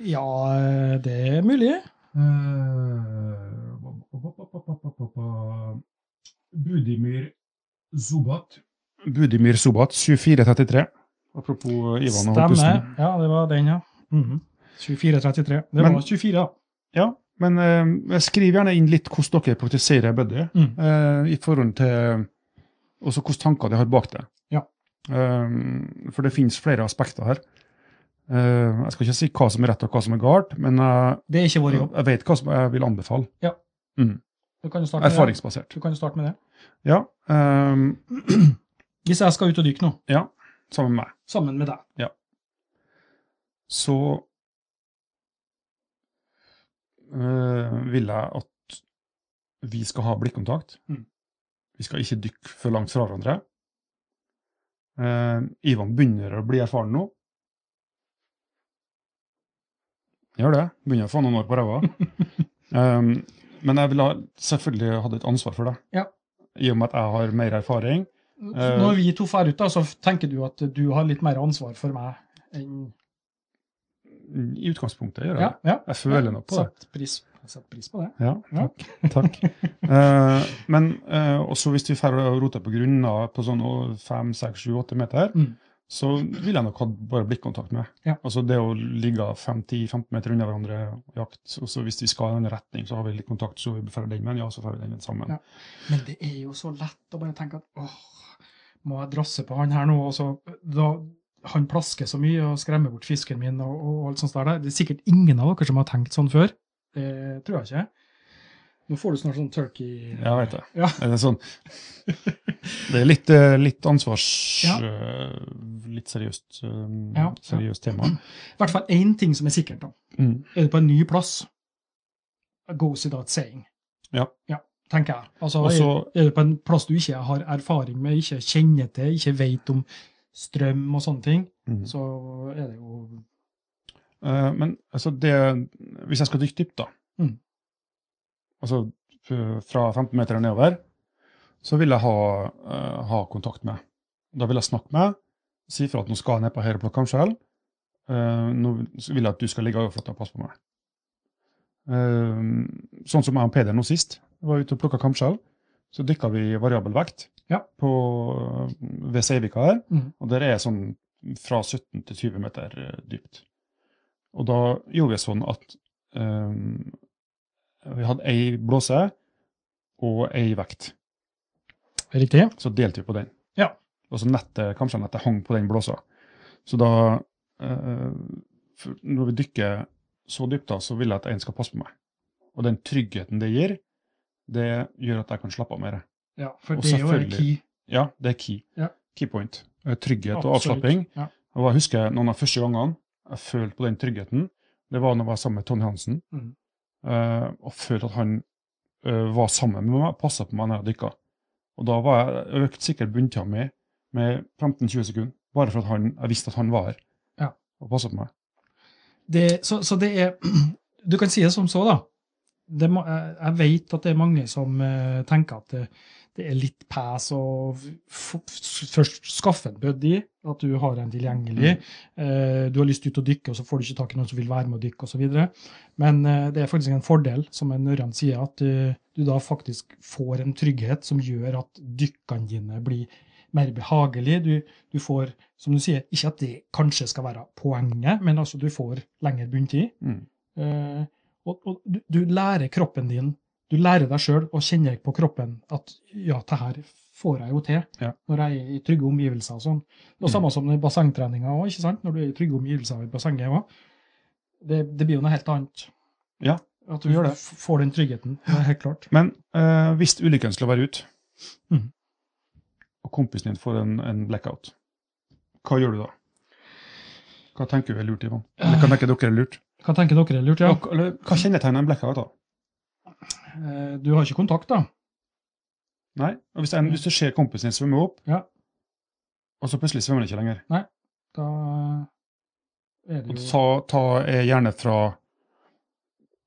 Speaker 1: Ja, eh, det er mulig.
Speaker 2: Eh, Budimir Zobat. Budimir Zobat, 2433. Apropos eh, Ivan og
Speaker 1: Stemmer.
Speaker 2: Holpusten.
Speaker 1: Ja, det var den, ja. Mhm. 2433. Det
Speaker 2: Men-
Speaker 1: var 24, da.
Speaker 2: Ja, men eh, skriv gjerne inn litt hvordan dere praktiserer buddy,
Speaker 1: Mm.
Speaker 2: eh, i forhold til også hvilke tanker de har bak det.
Speaker 1: Ja.
Speaker 2: Eh, for det finnes flere aspekter her. Eh, Jeg skal ikke si hva som er rett og hva som er galt, men jeg,
Speaker 1: Det er ikke vår jobb.
Speaker 2: jeg vet hva som jeg vil anbefale.
Speaker 1: Du kan jo starte med det.
Speaker 2: Erfaringsbasert.
Speaker 1: Du kan jo starte med det.
Speaker 2: Ja, ehm,
Speaker 1: Hvis jeg skal ut og dykke nå,
Speaker 2: sammen med meg.
Speaker 1: sammen med deg,
Speaker 2: så øh, vil jeg at vi skal ha blikkontakt.
Speaker 1: Mm.
Speaker 2: Vi skal ikke dykke for langt fra hverandre. Eh, Ivan begynner å bli erfaren nå. Gjør det. Begynner å få noen år på ræva. Ehm, men jeg vil ha, selvfølgelig ha et ansvar for det.
Speaker 1: Ja.
Speaker 2: I og med at jeg har mer erfaring. Eh.
Speaker 1: Når vi to drar ut, da, så tenker du at du har litt mer ansvar for meg enn
Speaker 2: I utgangspunktet gjør jeg
Speaker 1: Ja.
Speaker 2: det.
Speaker 1: ja.
Speaker 2: Jeg føler noe på det.
Speaker 1: Sett pris, sett pris på det.
Speaker 2: Ja,
Speaker 1: Ja.
Speaker 2: takk. takk. Eh, men eh, også hvis vi drar og roter på grunner på sånn 5, 6, 7, 8 meter,
Speaker 1: Mm.
Speaker 2: så vil jeg nok ha bare blikkontakt med.
Speaker 1: Ja.
Speaker 2: Altså det å ligge 5-10-15 meter unna hverandre og jakt, og så hvis vi skal i en retning, så har vi litt kontakt, så vi får den med en, ja, så får vi den med sammen.
Speaker 1: Ja. Men det er jo så lett å bare tenke at åh, må jeg drasse på han her nå? Og så, da, han plasker så mye og skremmer bort fisken min og, og alt sånt der. Det er sikkert ingen av dere som har tenkt sånn før. Det tror jeg ikke. Nå får du snart sånn turkey
Speaker 2: Jeg vet det.
Speaker 1: Ja.
Speaker 2: Er det sånn? Det er litt, eh, litt ansvars...
Speaker 1: Ja.
Speaker 2: eh, Litt seriøst, eh,
Speaker 1: Ja, ja.
Speaker 2: seriøst tema.
Speaker 1: I hvert fall én ting som er sikkert, da.
Speaker 2: Mm.
Speaker 1: Er du på en ny plass? It Goes without saying.
Speaker 2: Ja.
Speaker 1: tenker jeg. Altså,
Speaker 2: Og så-
Speaker 1: er, er du på en plass du ikke har erfaring med, ikke kjenner til, ikke vet om strøm og sånne ting,
Speaker 2: Mm.
Speaker 1: så er det jo
Speaker 2: Eh, men altså det, hvis jeg skal dykke dypt, da
Speaker 1: Mm.
Speaker 2: Altså f- fra 15 meter og nedover, så vil jeg ha, eh, ha kontakt med. Da vil jeg snakke med, si fra at nå skal jeg ned på her og plukke kamskjell. Eh, nå vil jeg at du skal ligge i overflata og passe på meg. Eh, sånn som jeg og Peder nå sist var ute og plukka kamskjell, så dykka vi variabel vekt
Speaker 1: Ja.
Speaker 2: på, ved Seivika her.
Speaker 1: Mhm.
Speaker 2: Og der er sånn fra 17 til 20 meter eh, dypt. Og da gjorde vi sånn at ehm, vi hadde ei blåse og ei vekt.
Speaker 1: Riktig.
Speaker 2: Så delte vi på den.
Speaker 1: Ja.
Speaker 2: Og så nettet, kanskje nettet hang på den blåsa. Så da eh, for Når vi dykker så dypt, da, så vil jeg at en skal passe på meg. Og den tryggheten det gir, det gjør at jeg kan slappe av mer.
Speaker 1: Ja, for
Speaker 2: Og
Speaker 1: det er jo en
Speaker 2: selvfølgelig-
Speaker 1: key.
Speaker 2: Ja, det er key.
Speaker 1: Ja.
Speaker 2: Key point. Eh, Trygghet og
Speaker 1: Absolutt.
Speaker 2: avslapping.
Speaker 1: Ja.
Speaker 2: Og jeg husker noen av de første gangene jeg følte på den tryggheten, det var når jeg var sammen med Tony Hansen.
Speaker 1: Mhm.
Speaker 2: Eh, og følte at han eh, var sammen med meg, passa på meg når jeg dykka. Og da var jeg, jeg økte sikkert bunntida mi med 15-20 sekunder, bare for at han, jeg visste at han var her
Speaker 1: Ja.
Speaker 2: og passa på meg.
Speaker 1: det, så, så det er Du kan si det som så, da. Det, må- jeg jeg vet at det er mange som eh, tenker at det, det er litt pes å f- f- først skaffe en buddy, at du har en tilgjengelig.
Speaker 2: Mm.
Speaker 1: Eh, du har lyst ut å dykke, og så får du ikke tak i noen som vil være med å dykke osv. Men eh, det er faktisk en fordel, som en Ørjan sier, at eh, du da faktisk får en trygghet som gjør at dykkene dine blir mer behagelige. Du, du får, som du sier, ikke at det kanskje skal være poenget, men altså du får lengre bunntid.
Speaker 2: Mm.
Speaker 1: Eh, og og du, du lærer kroppen din, du lærer deg sjøl å kjenne på kroppen at ja, det her får jeg jo til
Speaker 2: Ja.
Speaker 1: når jeg er i trygge omgivelser og sånn. Det er
Speaker 2: Mm.
Speaker 1: samme som i bassengtreninga òg, ikke sant? Når du er i trygge omgivelser i bassenget òg. Det, det blir jo noe helt annet.
Speaker 2: Ja,
Speaker 1: At du
Speaker 2: du gjør det.
Speaker 1: f- får den tryggheten. Det er helt klart.
Speaker 2: Men eh, hvis ulykken skulle være ute,
Speaker 1: Mhm.
Speaker 2: og kompisen din får en, en blackout, hva gjør du da? Hva tenker du er lurt, Ivan? Eller hva tenker dere er lurt?
Speaker 1: Hva tenker dere er lurt? Ja?
Speaker 2: Og k- Eller, hva kjennetegner en blackout? da?
Speaker 1: Eh, Du har ikke kontakt, da?
Speaker 2: Nei, og Hvis, en, hvis du ser kompisen din svømme opp,
Speaker 1: Ja.
Speaker 2: og så plutselig svømmer han ikke lenger
Speaker 1: Da er
Speaker 2: Og
Speaker 1: det jo
Speaker 2: ta, ta er gjerne fra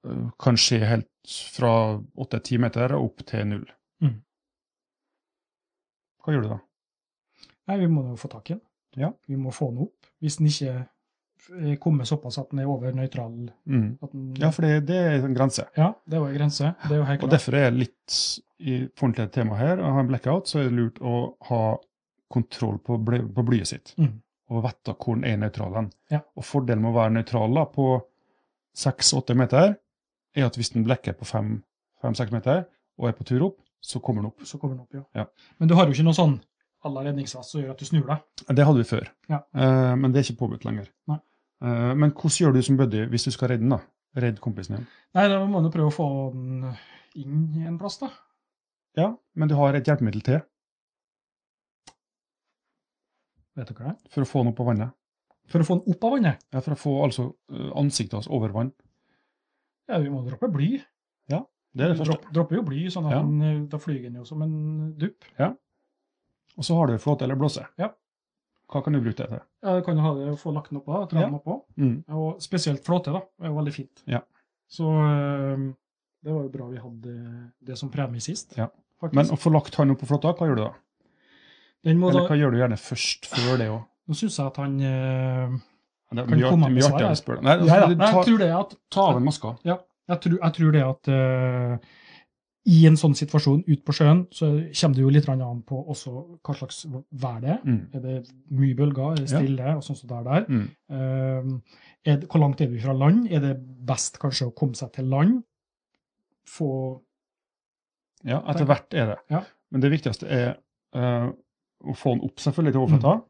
Speaker 2: øh, kan skje helt fra 8-10 meter og opp til null.
Speaker 1: Mhm.
Speaker 2: Hva gjør du da?
Speaker 1: Nei, vi må jo få tak i den.
Speaker 2: Ja.
Speaker 1: Vi må få den opp. Hvis den ikke er kommet såpass at den er over nøytral
Speaker 2: Mhm.
Speaker 1: at den,
Speaker 2: Ja, for det, det er en grense.
Speaker 1: Ja, det var en grense. Det er jo helt
Speaker 2: Og
Speaker 1: klart.
Speaker 2: derfor er jeg litt i forhold til temaet her, å ha en blackout, så er det lurt å ha kontroll på, bly, på blyet sitt.
Speaker 1: Mhm.
Speaker 2: Og vite hvor den er nøytral. hen.
Speaker 1: Ja.
Speaker 2: Og fordelen med å være nøytral da, på 6-8 meter, er at hvis den blekker på 5-6 meter, og er på tur opp, så kommer den opp.
Speaker 1: Så kommer den opp, ja.
Speaker 2: Ja.
Speaker 1: Men du har jo ikke noe sånn à la redningsvest som gjør at du snur deg.
Speaker 2: Det hadde vi før,
Speaker 1: Ja.
Speaker 2: eh, men det er ikke påbudt lenger.
Speaker 1: Nei.
Speaker 2: Eh, Men hvordan gjør du som buddy hvis du skal redde den? da? Redde kompisen din?
Speaker 1: Nei, da må du prøve å få den inn en plass, da.
Speaker 2: Ja, men du har et hjelpemiddel til
Speaker 1: Vet dere det?
Speaker 2: for å få den opp på vannet.
Speaker 1: For å få den opp av vannet.
Speaker 2: Ja, for å få altså, eh, ansiktet hans over vann.
Speaker 1: Ja, vi må droppe bly.
Speaker 2: Det er det
Speaker 1: Vi
Speaker 2: første.
Speaker 1: dropp- dropper jo bly, sånn at
Speaker 2: Ja.
Speaker 1: den, eh, da flyger den jo som en dupp.
Speaker 2: Og så har du flåte eller blåse.
Speaker 1: Ja.
Speaker 2: Hva kan du bruke det til?
Speaker 1: Ja, du kan jo ha det, få lagt den oppå, da, dra den oppå.
Speaker 2: Mm.
Speaker 1: Og spesielt flåte, da. Det er jo veldig fint.
Speaker 2: Ja.
Speaker 1: Så eh, det var jo bra vi hadde det som premie sist.
Speaker 2: Ja.
Speaker 1: Faktisk.
Speaker 2: Men å få lagt han opp på flåtta, hva gjør du da?
Speaker 1: den må
Speaker 2: Eller
Speaker 1: da,
Speaker 2: hva gjør du gjerne først før det òg?
Speaker 1: nå syns jeg at han eh,
Speaker 2: Det er
Speaker 1: Kan
Speaker 2: mye
Speaker 1: komme
Speaker 2: artig-
Speaker 1: med
Speaker 2: mye
Speaker 1: svar,
Speaker 2: artigere
Speaker 1: jeg.
Speaker 2: å spørre. Nei,
Speaker 1: Nei da,
Speaker 2: altså, du
Speaker 1: nei, jeg
Speaker 2: tar-
Speaker 1: tror det at
Speaker 2: ta av den maska.
Speaker 1: Jeg tror, jeg tror det at eh, i en sånn situasjon ute på sjøen, så kommer det jo litt grann an på også hva slags vær det er.
Speaker 2: Mm.
Speaker 1: Er det mye bølger, er det stille, og sånn som det er der?
Speaker 2: Mm.
Speaker 1: Eh, er det, hvor langt er vi fra land? Er det best kanskje å komme seg til land? Få
Speaker 2: Ja, etter hvert er det.
Speaker 1: Ja.
Speaker 2: Men det viktigste er eh, å få den opp selvfølgelig til overflata,
Speaker 1: Mm.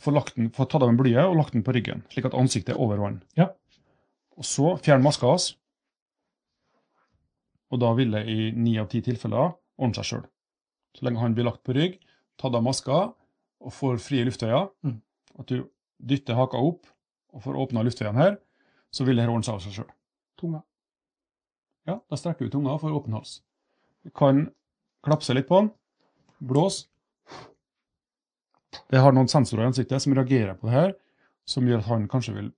Speaker 2: få, lagt den, få tatt av en blyet og lagt den på ryggen, slik at ansiktet er over vann.
Speaker 1: Ja.
Speaker 2: Og så fjern maska hans, og da vil det i ni av ti tilfeller ordne seg sjøl. Så lenge han blir lagt på rygg, tatt av maska og får frie luftveier,
Speaker 1: Mm.
Speaker 2: at du dytter haka opp og får åpna luftveiene her, så vil det her ordne seg av seg sjøl.
Speaker 1: tunga?
Speaker 2: Ja, da strekker du tunga og får åpen hals. Du kan klapse litt på den, blås. Det har noen sensorer i ansiktet som reagerer på det her, som gjør at han kanskje vil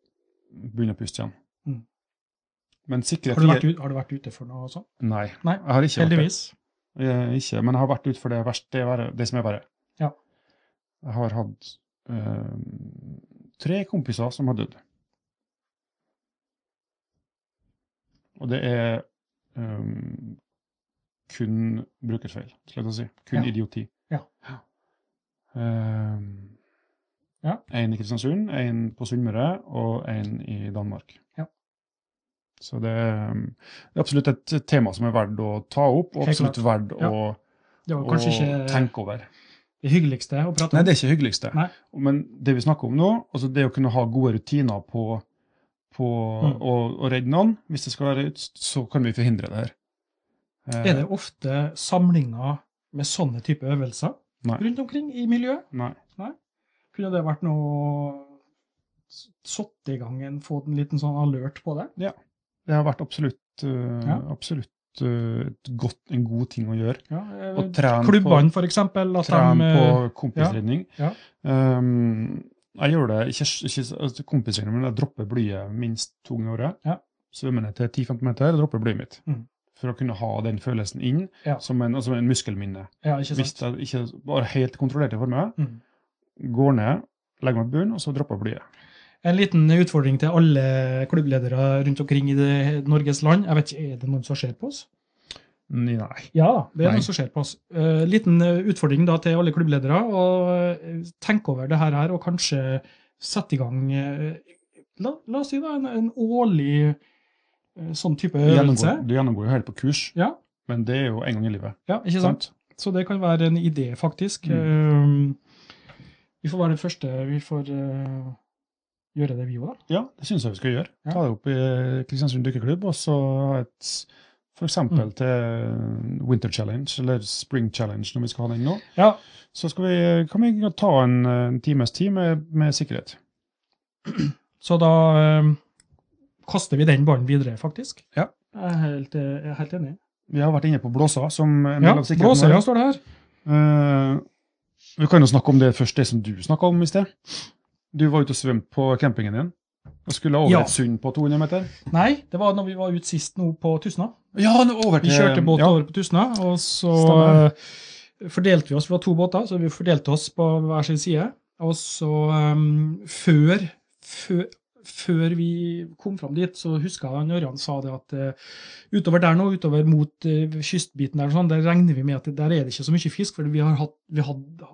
Speaker 2: begynne å puste igjen.
Speaker 1: Mm.
Speaker 2: Men sikre
Speaker 1: Har du, vært, ut- har du vært ute for noe sånt?
Speaker 2: Nei,
Speaker 1: Nei,
Speaker 2: jeg har ikke vært det.
Speaker 1: Heldigvis.
Speaker 2: Eh, ikke, men jeg har vært ute for det, verste, det, verre, det som er verre.
Speaker 1: Ja.
Speaker 2: Jeg har hatt eh, tre kompiser som har dødd. Og det er eh, kun brukerfeil, skal jeg si. Kun
Speaker 1: Ja.
Speaker 2: idioti.
Speaker 1: Ja.
Speaker 2: Eh,
Speaker 1: Ja.
Speaker 2: En i Kristiansund, en på Sunnmøre og en i Danmark.
Speaker 1: Ja.
Speaker 2: Så det er, det er absolutt et tema som er verdt å ta opp, og
Speaker 1: Helt
Speaker 2: absolutt verdt
Speaker 1: Ja.
Speaker 2: å
Speaker 1: Det var
Speaker 2: og
Speaker 1: kanskje ikke
Speaker 2: tenke over.
Speaker 1: det hyggeligste å prate om.
Speaker 2: Nei, det er ikke det hyggeligste.
Speaker 1: Nei.
Speaker 2: Men det vi snakker om nå, altså det å kunne ha gode rutiner på, på
Speaker 1: Mm.
Speaker 2: å, å redde noen, hvis det skal være ut, så kan vi forhindre det her. Eh,
Speaker 1: Er det ofte samlinger med sånne type øvelser
Speaker 2: Nei.
Speaker 1: rundt omkring i miljøet?
Speaker 2: Eh, Nei.
Speaker 1: Kunne det vært noe s- Satt i gang en, fått en liten sånn alert på det?
Speaker 2: Det har vært absolutt, eh,
Speaker 1: Ja.
Speaker 2: absolutt eh, et godt, en god ting å gjøre.
Speaker 1: Ja, eh,
Speaker 2: Å trene på,
Speaker 1: Klubbene, for eksempel. At de,
Speaker 2: trene
Speaker 1: eh,
Speaker 2: på kompisredning.
Speaker 1: ja,
Speaker 2: Um, jeg gjør det ikke, ikke altså, kompisregning, men jeg dropper blyet minst to ganger i året.
Speaker 1: Ja.
Speaker 2: Svømmer ned til 10-15 meter, jeg dropper blyet mitt.
Speaker 1: Mhm.
Speaker 2: For å kunne ha den følelsen inn
Speaker 1: Ja.
Speaker 2: som en, altså en muskelminne.
Speaker 1: ja, ikke
Speaker 2: Hvis
Speaker 1: sant?
Speaker 2: jeg ikke bare helt kontrollerte for meg,
Speaker 1: Mm.
Speaker 2: går ned, legger meg på bunnen, og så dropper blyet.
Speaker 1: En liten utfordring til alle klubbledere rundt omkring i det, Norges land. Jeg vet ikke, Er det noen som ser på oss?
Speaker 2: Nei, nei.
Speaker 1: Ja da, det er
Speaker 2: Nei.
Speaker 1: noe som skjer på oss. Eh, liten eh, utfordring da til alle klubbledere. å eh, tenke over det her, her, og kanskje sette i gang eh, la, la oss si da, en, en årlig eh, sånn type
Speaker 2: Du
Speaker 1: øvelse.
Speaker 2: gjennomgår, du gjennomgår jo helt på kurs,
Speaker 1: Ja.
Speaker 2: men det er jo en gang i livet.
Speaker 1: Ja, ikke sant?
Speaker 2: Sant?
Speaker 1: Så det kan være en idé, faktisk.
Speaker 2: Mm.
Speaker 1: Eh, vi får være det første. Vi får eh, gjøre det, vi òg, da.
Speaker 2: Ja, det syns jeg vi skal gjøre.
Speaker 1: Ja.
Speaker 2: Ta det opp i eh, Kristiansund dykkeklubb, og så ha et f.eks.
Speaker 1: Mm.
Speaker 2: til Winter Challenge eller Spring Challenge når vi skal ha den nå.
Speaker 1: Ja,
Speaker 2: Så skal vi, eh, kan vi ta en, eh, en times tid med, med sikkerhet.
Speaker 1: Så da eh, kaster vi den ballen videre, faktisk.
Speaker 2: Ja.
Speaker 1: Jeg er helt, eh, jeg er helt enig.
Speaker 2: Vi har vært inne på blåsa som en
Speaker 1: Ja,
Speaker 2: del av sikkerheten.
Speaker 1: Blåsøya
Speaker 2: vår.
Speaker 1: står det her.
Speaker 2: Eh, vi kan jo snakke om det først, det som du snakka om i sted. Du var ute og svømte på campingen din og skulle over
Speaker 1: Ja.
Speaker 2: et sund på 200 meter.
Speaker 1: Nei, det var når vi var ute sist nå på Tysna.
Speaker 2: Ja, over
Speaker 1: Vi kjørte båt
Speaker 2: eh, ja.
Speaker 1: over på Tysna, og så
Speaker 2: Stemmer.
Speaker 1: eh, fordelte vi oss. Vi var to båter, så vi fordelte oss på hver sin side. Og så eh, før, før før vi kom fram dit, så huska jeg han Ørjan sa det at eh, utover der nå, utover mot eh, kystbiten der, og sånn, der regner vi med at der er det ikke så mye fisk, for vi har hatt vi hadde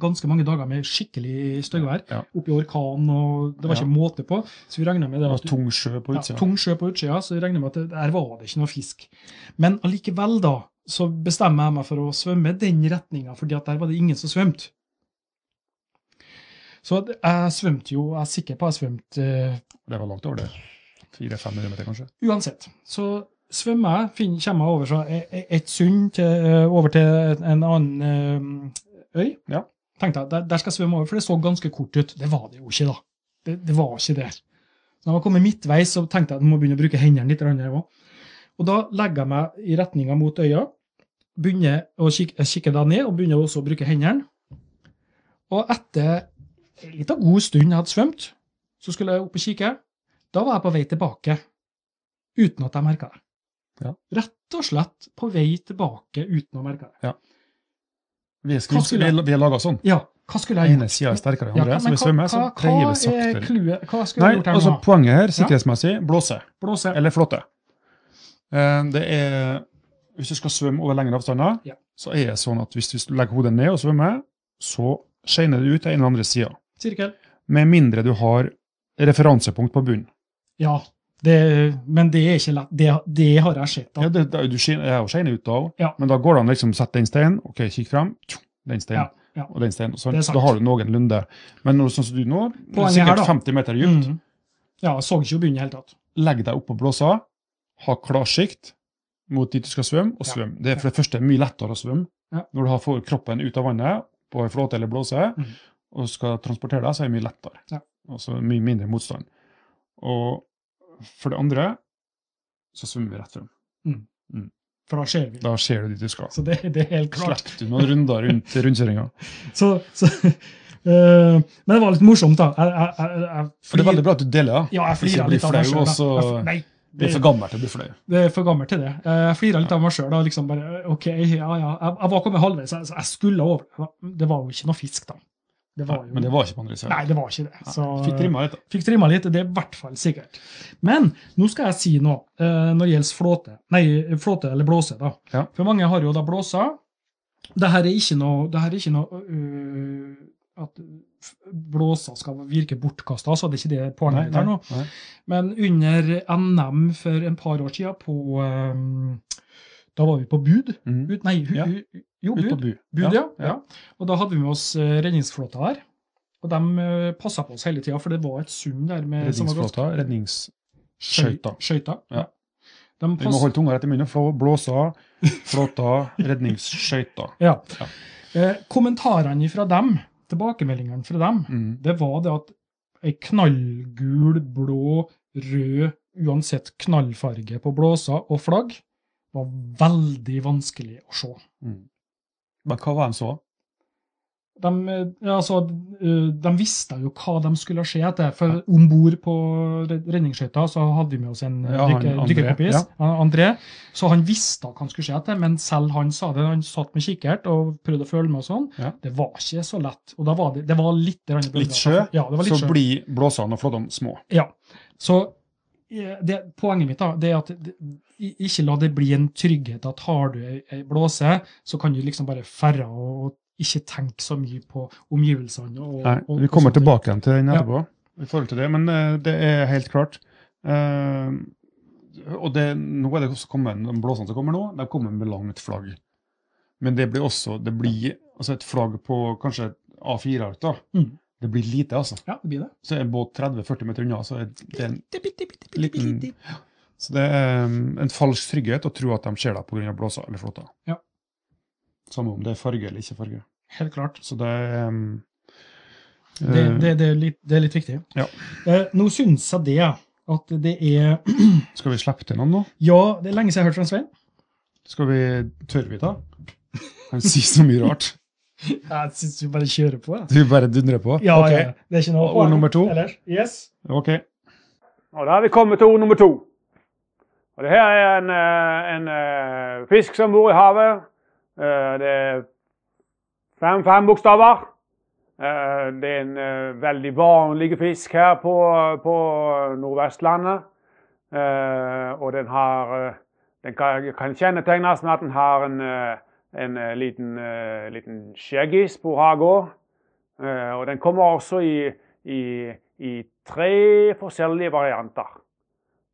Speaker 1: ganske mange dager med skikkelig støyvær.
Speaker 2: Ja.
Speaker 1: Oppi orkan, og det var ikke
Speaker 2: Ja.
Speaker 1: måte på. Så vi regna med det.
Speaker 2: Det
Speaker 1: at-
Speaker 2: var tung sjø på
Speaker 1: ja,
Speaker 2: utsida.
Speaker 1: tung sjø på utsida, så jeg regner med at det, der var det ikke noe fisk. Men allikevel, da, så bestemmer jeg meg for å svømme den retninga, fordi at der var det ingen som svømte. Så det- jeg svømte jo, jeg er sikker på jeg svømte eh,
Speaker 2: Det var langt over det. 400-500 meter, kanskje.
Speaker 1: Uansett. Så svømmer jeg, finner, kommer jeg over så e- e- et sund til, eh, over til en annen eh, øy.
Speaker 2: Ja.
Speaker 1: Tenkte jeg, der, der skal jeg svømme over, for det så ganske kort ut. Det var det jo ikke, da. Det, det var ikke det. Så når jeg var kommet midtveis, så tenkte jeg at jeg må begynne å bruke hendene litt. grann her også. Og da legger jeg meg i retninga mot øya, begynner å kikke, jeg kikker da ned, og begynner også å bruke hendene. Og etter en liten god stund jeg hadde svømt, så skulle jeg opp og kikke. Da var jeg på vei tilbake uten at jeg merka det.
Speaker 2: Ja.
Speaker 1: Rett og slett på vei tilbake uten å merke det.
Speaker 2: Vi er,
Speaker 1: Hva
Speaker 2: skutt,
Speaker 1: skulle
Speaker 2: vi,
Speaker 1: jeg-
Speaker 2: er- vi er laga sånn.
Speaker 1: Ja, hva skulle jeg
Speaker 2: ene
Speaker 1: gjort?
Speaker 2: sida er sterkere enn
Speaker 1: Ja,
Speaker 2: andre, så
Speaker 1: men
Speaker 2: vi svømmer, så dreier vi
Speaker 1: hva er
Speaker 2: saktere.
Speaker 1: clouet? Hva skulle
Speaker 2: Nei,
Speaker 1: jeg gjort her
Speaker 2: altså
Speaker 1: nå?
Speaker 2: Poenget her, sikkerhetsmessig, blåse.
Speaker 1: Blåse?
Speaker 2: Eller flåtte. Eh, Det er Hvis du skal svømme over lengre avstander,
Speaker 1: Ja.
Speaker 2: så er det sånn at hvis du legger hodet ned og svømmer, så skeiner det ut til en eller andre sida.
Speaker 1: Sirkel?
Speaker 2: Med mindre du har referansepunkt på bunnen.
Speaker 1: Ja. Det, men det er ikke lett. Det, det har jeg sett.
Speaker 2: Ja,
Speaker 1: Da.
Speaker 2: det, det, du skeiner, jeg er jo skeiner ut da òg,
Speaker 1: Ja.
Speaker 2: men da går det an å liksom, sette den steinen, ok, kikk frem, tjo, den steinen.
Speaker 1: Ja, ja.
Speaker 2: Og den steinen, sånn.
Speaker 1: Det er sant.
Speaker 2: Da har du noenlunde. Men når, sånn som du nå, det er
Speaker 1: Poenget her,
Speaker 2: sikkert
Speaker 1: da.
Speaker 2: 50 meter dypt,
Speaker 1: Mhm. Ja, jeg så ikke bunnen i det hele tatt.
Speaker 2: legg deg opp på blåsa, ha klarsikt mot dit du skal svømme, og
Speaker 1: Ja.
Speaker 2: svøm. Det er for det første mye lettere å svømme
Speaker 1: Ja.
Speaker 2: når du har får kroppen ut av vannet på en flåte eller blåse,
Speaker 1: Mhm.
Speaker 2: og skal transportere deg, så er det mye lettere.
Speaker 1: Ja.
Speaker 2: Altså mye mindre motstand. Og for det andre, så svømmer vi rett frem.
Speaker 1: For da ser vi.
Speaker 2: Da ser du dit du skal.
Speaker 1: Så det, det er helt klart.
Speaker 2: Slipper du noen runder rundt rundkjøringa.
Speaker 1: Så, så, øh, men det var litt morsomt, da. Jeg, jeg, jeg, jeg
Speaker 2: For det er
Speaker 1: flir-
Speaker 2: veldig bra at du deler. da.
Speaker 1: ja, jeg
Speaker 2: Hvis du
Speaker 1: flirer
Speaker 2: blir
Speaker 1: litt av meg selv,
Speaker 2: flau,
Speaker 1: da.
Speaker 2: og så-
Speaker 1: Jeg- Nei,
Speaker 2: Du er for gammel til å bli flau.
Speaker 1: Det er for gammel til det. Eh, Jeg flira litt av meg sjøl. Liksom bare, OK, ja, ja. Jeg, jeg var kommet halvveis, jeg, jeg skulle over. Det var jo ikke noe fisk, da. Det var jo,
Speaker 2: Men det var ikke på andre sida.
Speaker 1: Nei, det var ikke det. Så,
Speaker 2: Fikk trimma litt, da.
Speaker 1: Fikk trimma litt, det er i hvert fall sikkert. Men nå skal jeg si noe eh, når det gjelder flåte. Nei, flåte eller blåse, da.
Speaker 2: Ja.
Speaker 1: For mange har jo da blåsa. Det her er ikke noe, det her er ikke noe øh, At f- blåsa skal virke bortkasta, altså. Det er ikke det poenget mitt her nå.
Speaker 2: nei.
Speaker 1: Men under NM for en par år siden på eh, Da var vi på Bud.
Speaker 2: Mhm.
Speaker 1: Bud nei, hu-
Speaker 2: Ja.
Speaker 1: hu- jo,
Speaker 2: Ut på
Speaker 1: Bud.
Speaker 2: bu.
Speaker 1: Bud, ja. ja. Og da hadde vi med oss eh, redningsflåta der. Og de eh, passa på oss hele tida, for det var et sund der med som var gått-
Speaker 2: Redningsflåta, rednings...
Speaker 1: Skøy-
Speaker 2: Skøyta.
Speaker 1: Skøyta.
Speaker 2: Ja.
Speaker 1: De
Speaker 2: Vi må
Speaker 1: pass-
Speaker 2: holde tunga rett i munnen. flå- Blåsa, flåta, redningsskøyta.
Speaker 1: ja.
Speaker 2: Ja.
Speaker 1: Eh, kommentarene fra dem, tilbakemeldingene fra dem,
Speaker 2: Mm.
Speaker 1: det var det at ei knallgul, blå, rød, uansett knallfarge på blåser og flagg, var veldig vanskelig å se.
Speaker 2: Mm. Men hva var det de så?
Speaker 1: De, eh, ja, altså, eh, de visste jo hva de skulle se etter. For om bord på red- redningsskøyta så hadde vi med oss en eh,
Speaker 2: Ja, han
Speaker 1: dykke-
Speaker 2: André,
Speaker 1: dykkerkompis,
Speaker 2: ja.
Speaker 1: han André. Så han visste hva han skulle se etter, men selv han sa det. Han satt med kikkert og prøvde å følge med og sånn.
Speaker 2: Ja.
Speaker 1: Det var ikke så lett. Og da var det, det var litt grann bølger.
Speaker 2: Litt sjø,
Speaker 1: Ja, det var litt
Speaker 2: Så
Speaker 1: sjø.
Speaker 2: blir blåsene og flåtene små.
Speaker 1: Ja. Så eh, det, poenget mitt da, det er at det, i- ikke la det bli en trygghet at har du ei ei blåse, så kan du liksom bare færre og, og ikke tenke så mye på omgivelsene. Og,
Speaker 2: Nei,
Speaker 1: og,
Speaker 2: vi kommer
Speaker 1: og sånt.
Speaker 2: tilbake igjen til den
Speaker 1: Ja.
Speaker 2: etterpå. i forhold til det, Men eh, det er helt klart. Eh, og det, nå er det også kommet, de blåsene som kommer nå, de kommer med langt flagg. Men det blir også det blir, altså et flagg på kanskje et A4-ark. da,
Speaker 1: Mm.
Speaker 2: Det blir lite, altså.
Speaker 1: Ja, det blir det.
Speaker 2: Så er en båt 30-40 meter unna, så er det en
Speaker 1: Bitte, bitte, bitte, bitte,
Speaker 2: Liten-
Speaker 1: bitte.
Speaker 2: Mm. Så det er um, en falsk trygghet å tro at de ser deg pga. blåsa eller flåta.
Speaker 1: Ja.
Speaker 2: Samme om det er farge eller ikke farge.
Speaker 1: Helt klart.
Speaker 2: Så det er um,
Speaker 1: Det,
Speaker 2: eh,
Speaker 1: det, det, er, litt, det er litt viktig.
Speaker 2: Ja.
Speaker 1: Eh, nå syns jeg det at det er
Speaker 2: Skal vi slippe til noen nå?
Speaker 1: Ja, det er lenge siden jeg har hørt fra Svein.
Speaker 2: Skal vi Tør vi da? Han sier så mye rart.
Speaker 1: Jeg syns vi bare kjører på. jeg.
Speaker 2: Du bare dundrer på?
Speaker 1: Ja,
Speaker 2: Ok.
Speaker 1: ja, Det er ikke noe
Speaker 2: Ord nummer to.
Speaker 1: Ellers. Yes.
Speaker 2: Ok.
Speaker 3: Og da har vi kommet til ord nummer to. Og det her er en, eh, en eh, fisk som bor i havet. Eh, Det er fem, fem bokstaver. Eh, Det er en eh, veldig vanlig fisk her på, på Nordvestlandet. Eh, Og den har eh, Den kan, kan kjennetegnes med at den har en, eh, en eh, liten, eh, liten skjeggis på hagen. Eh, og den kommer også i, i, i tre forskjellige varianter.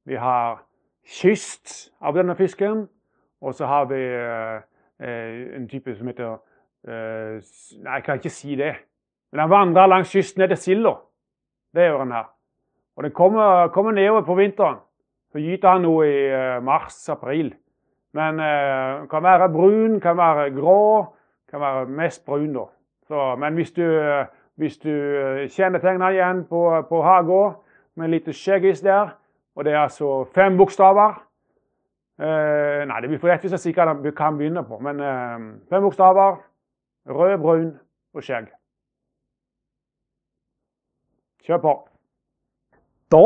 Speaker 3: Vi har kyst av denne fisken, og så har vi eh, eh, en type som heter eh, s- Nei, jeg kan ikke si det. Men den vandrer langs kysten ned til silda. Det gjør den her. Og den kommer, kommer nedover på vinteren. Så gyter han nå i mars-april. Men eh, kan være brun, kan være grå, kan være mest brun, da. Så, men hvis du, eh, hvis du eh, kjennetegner igjen på, på haga med lite skjeggis der, og det er altså fem bokstaver eh, Nei, det blir for lett hvis jeg sier hva den kan begynne på, men eh, fem bokstaver. Rød, brun og skjegg. Kjør på.
Speaker 4: Da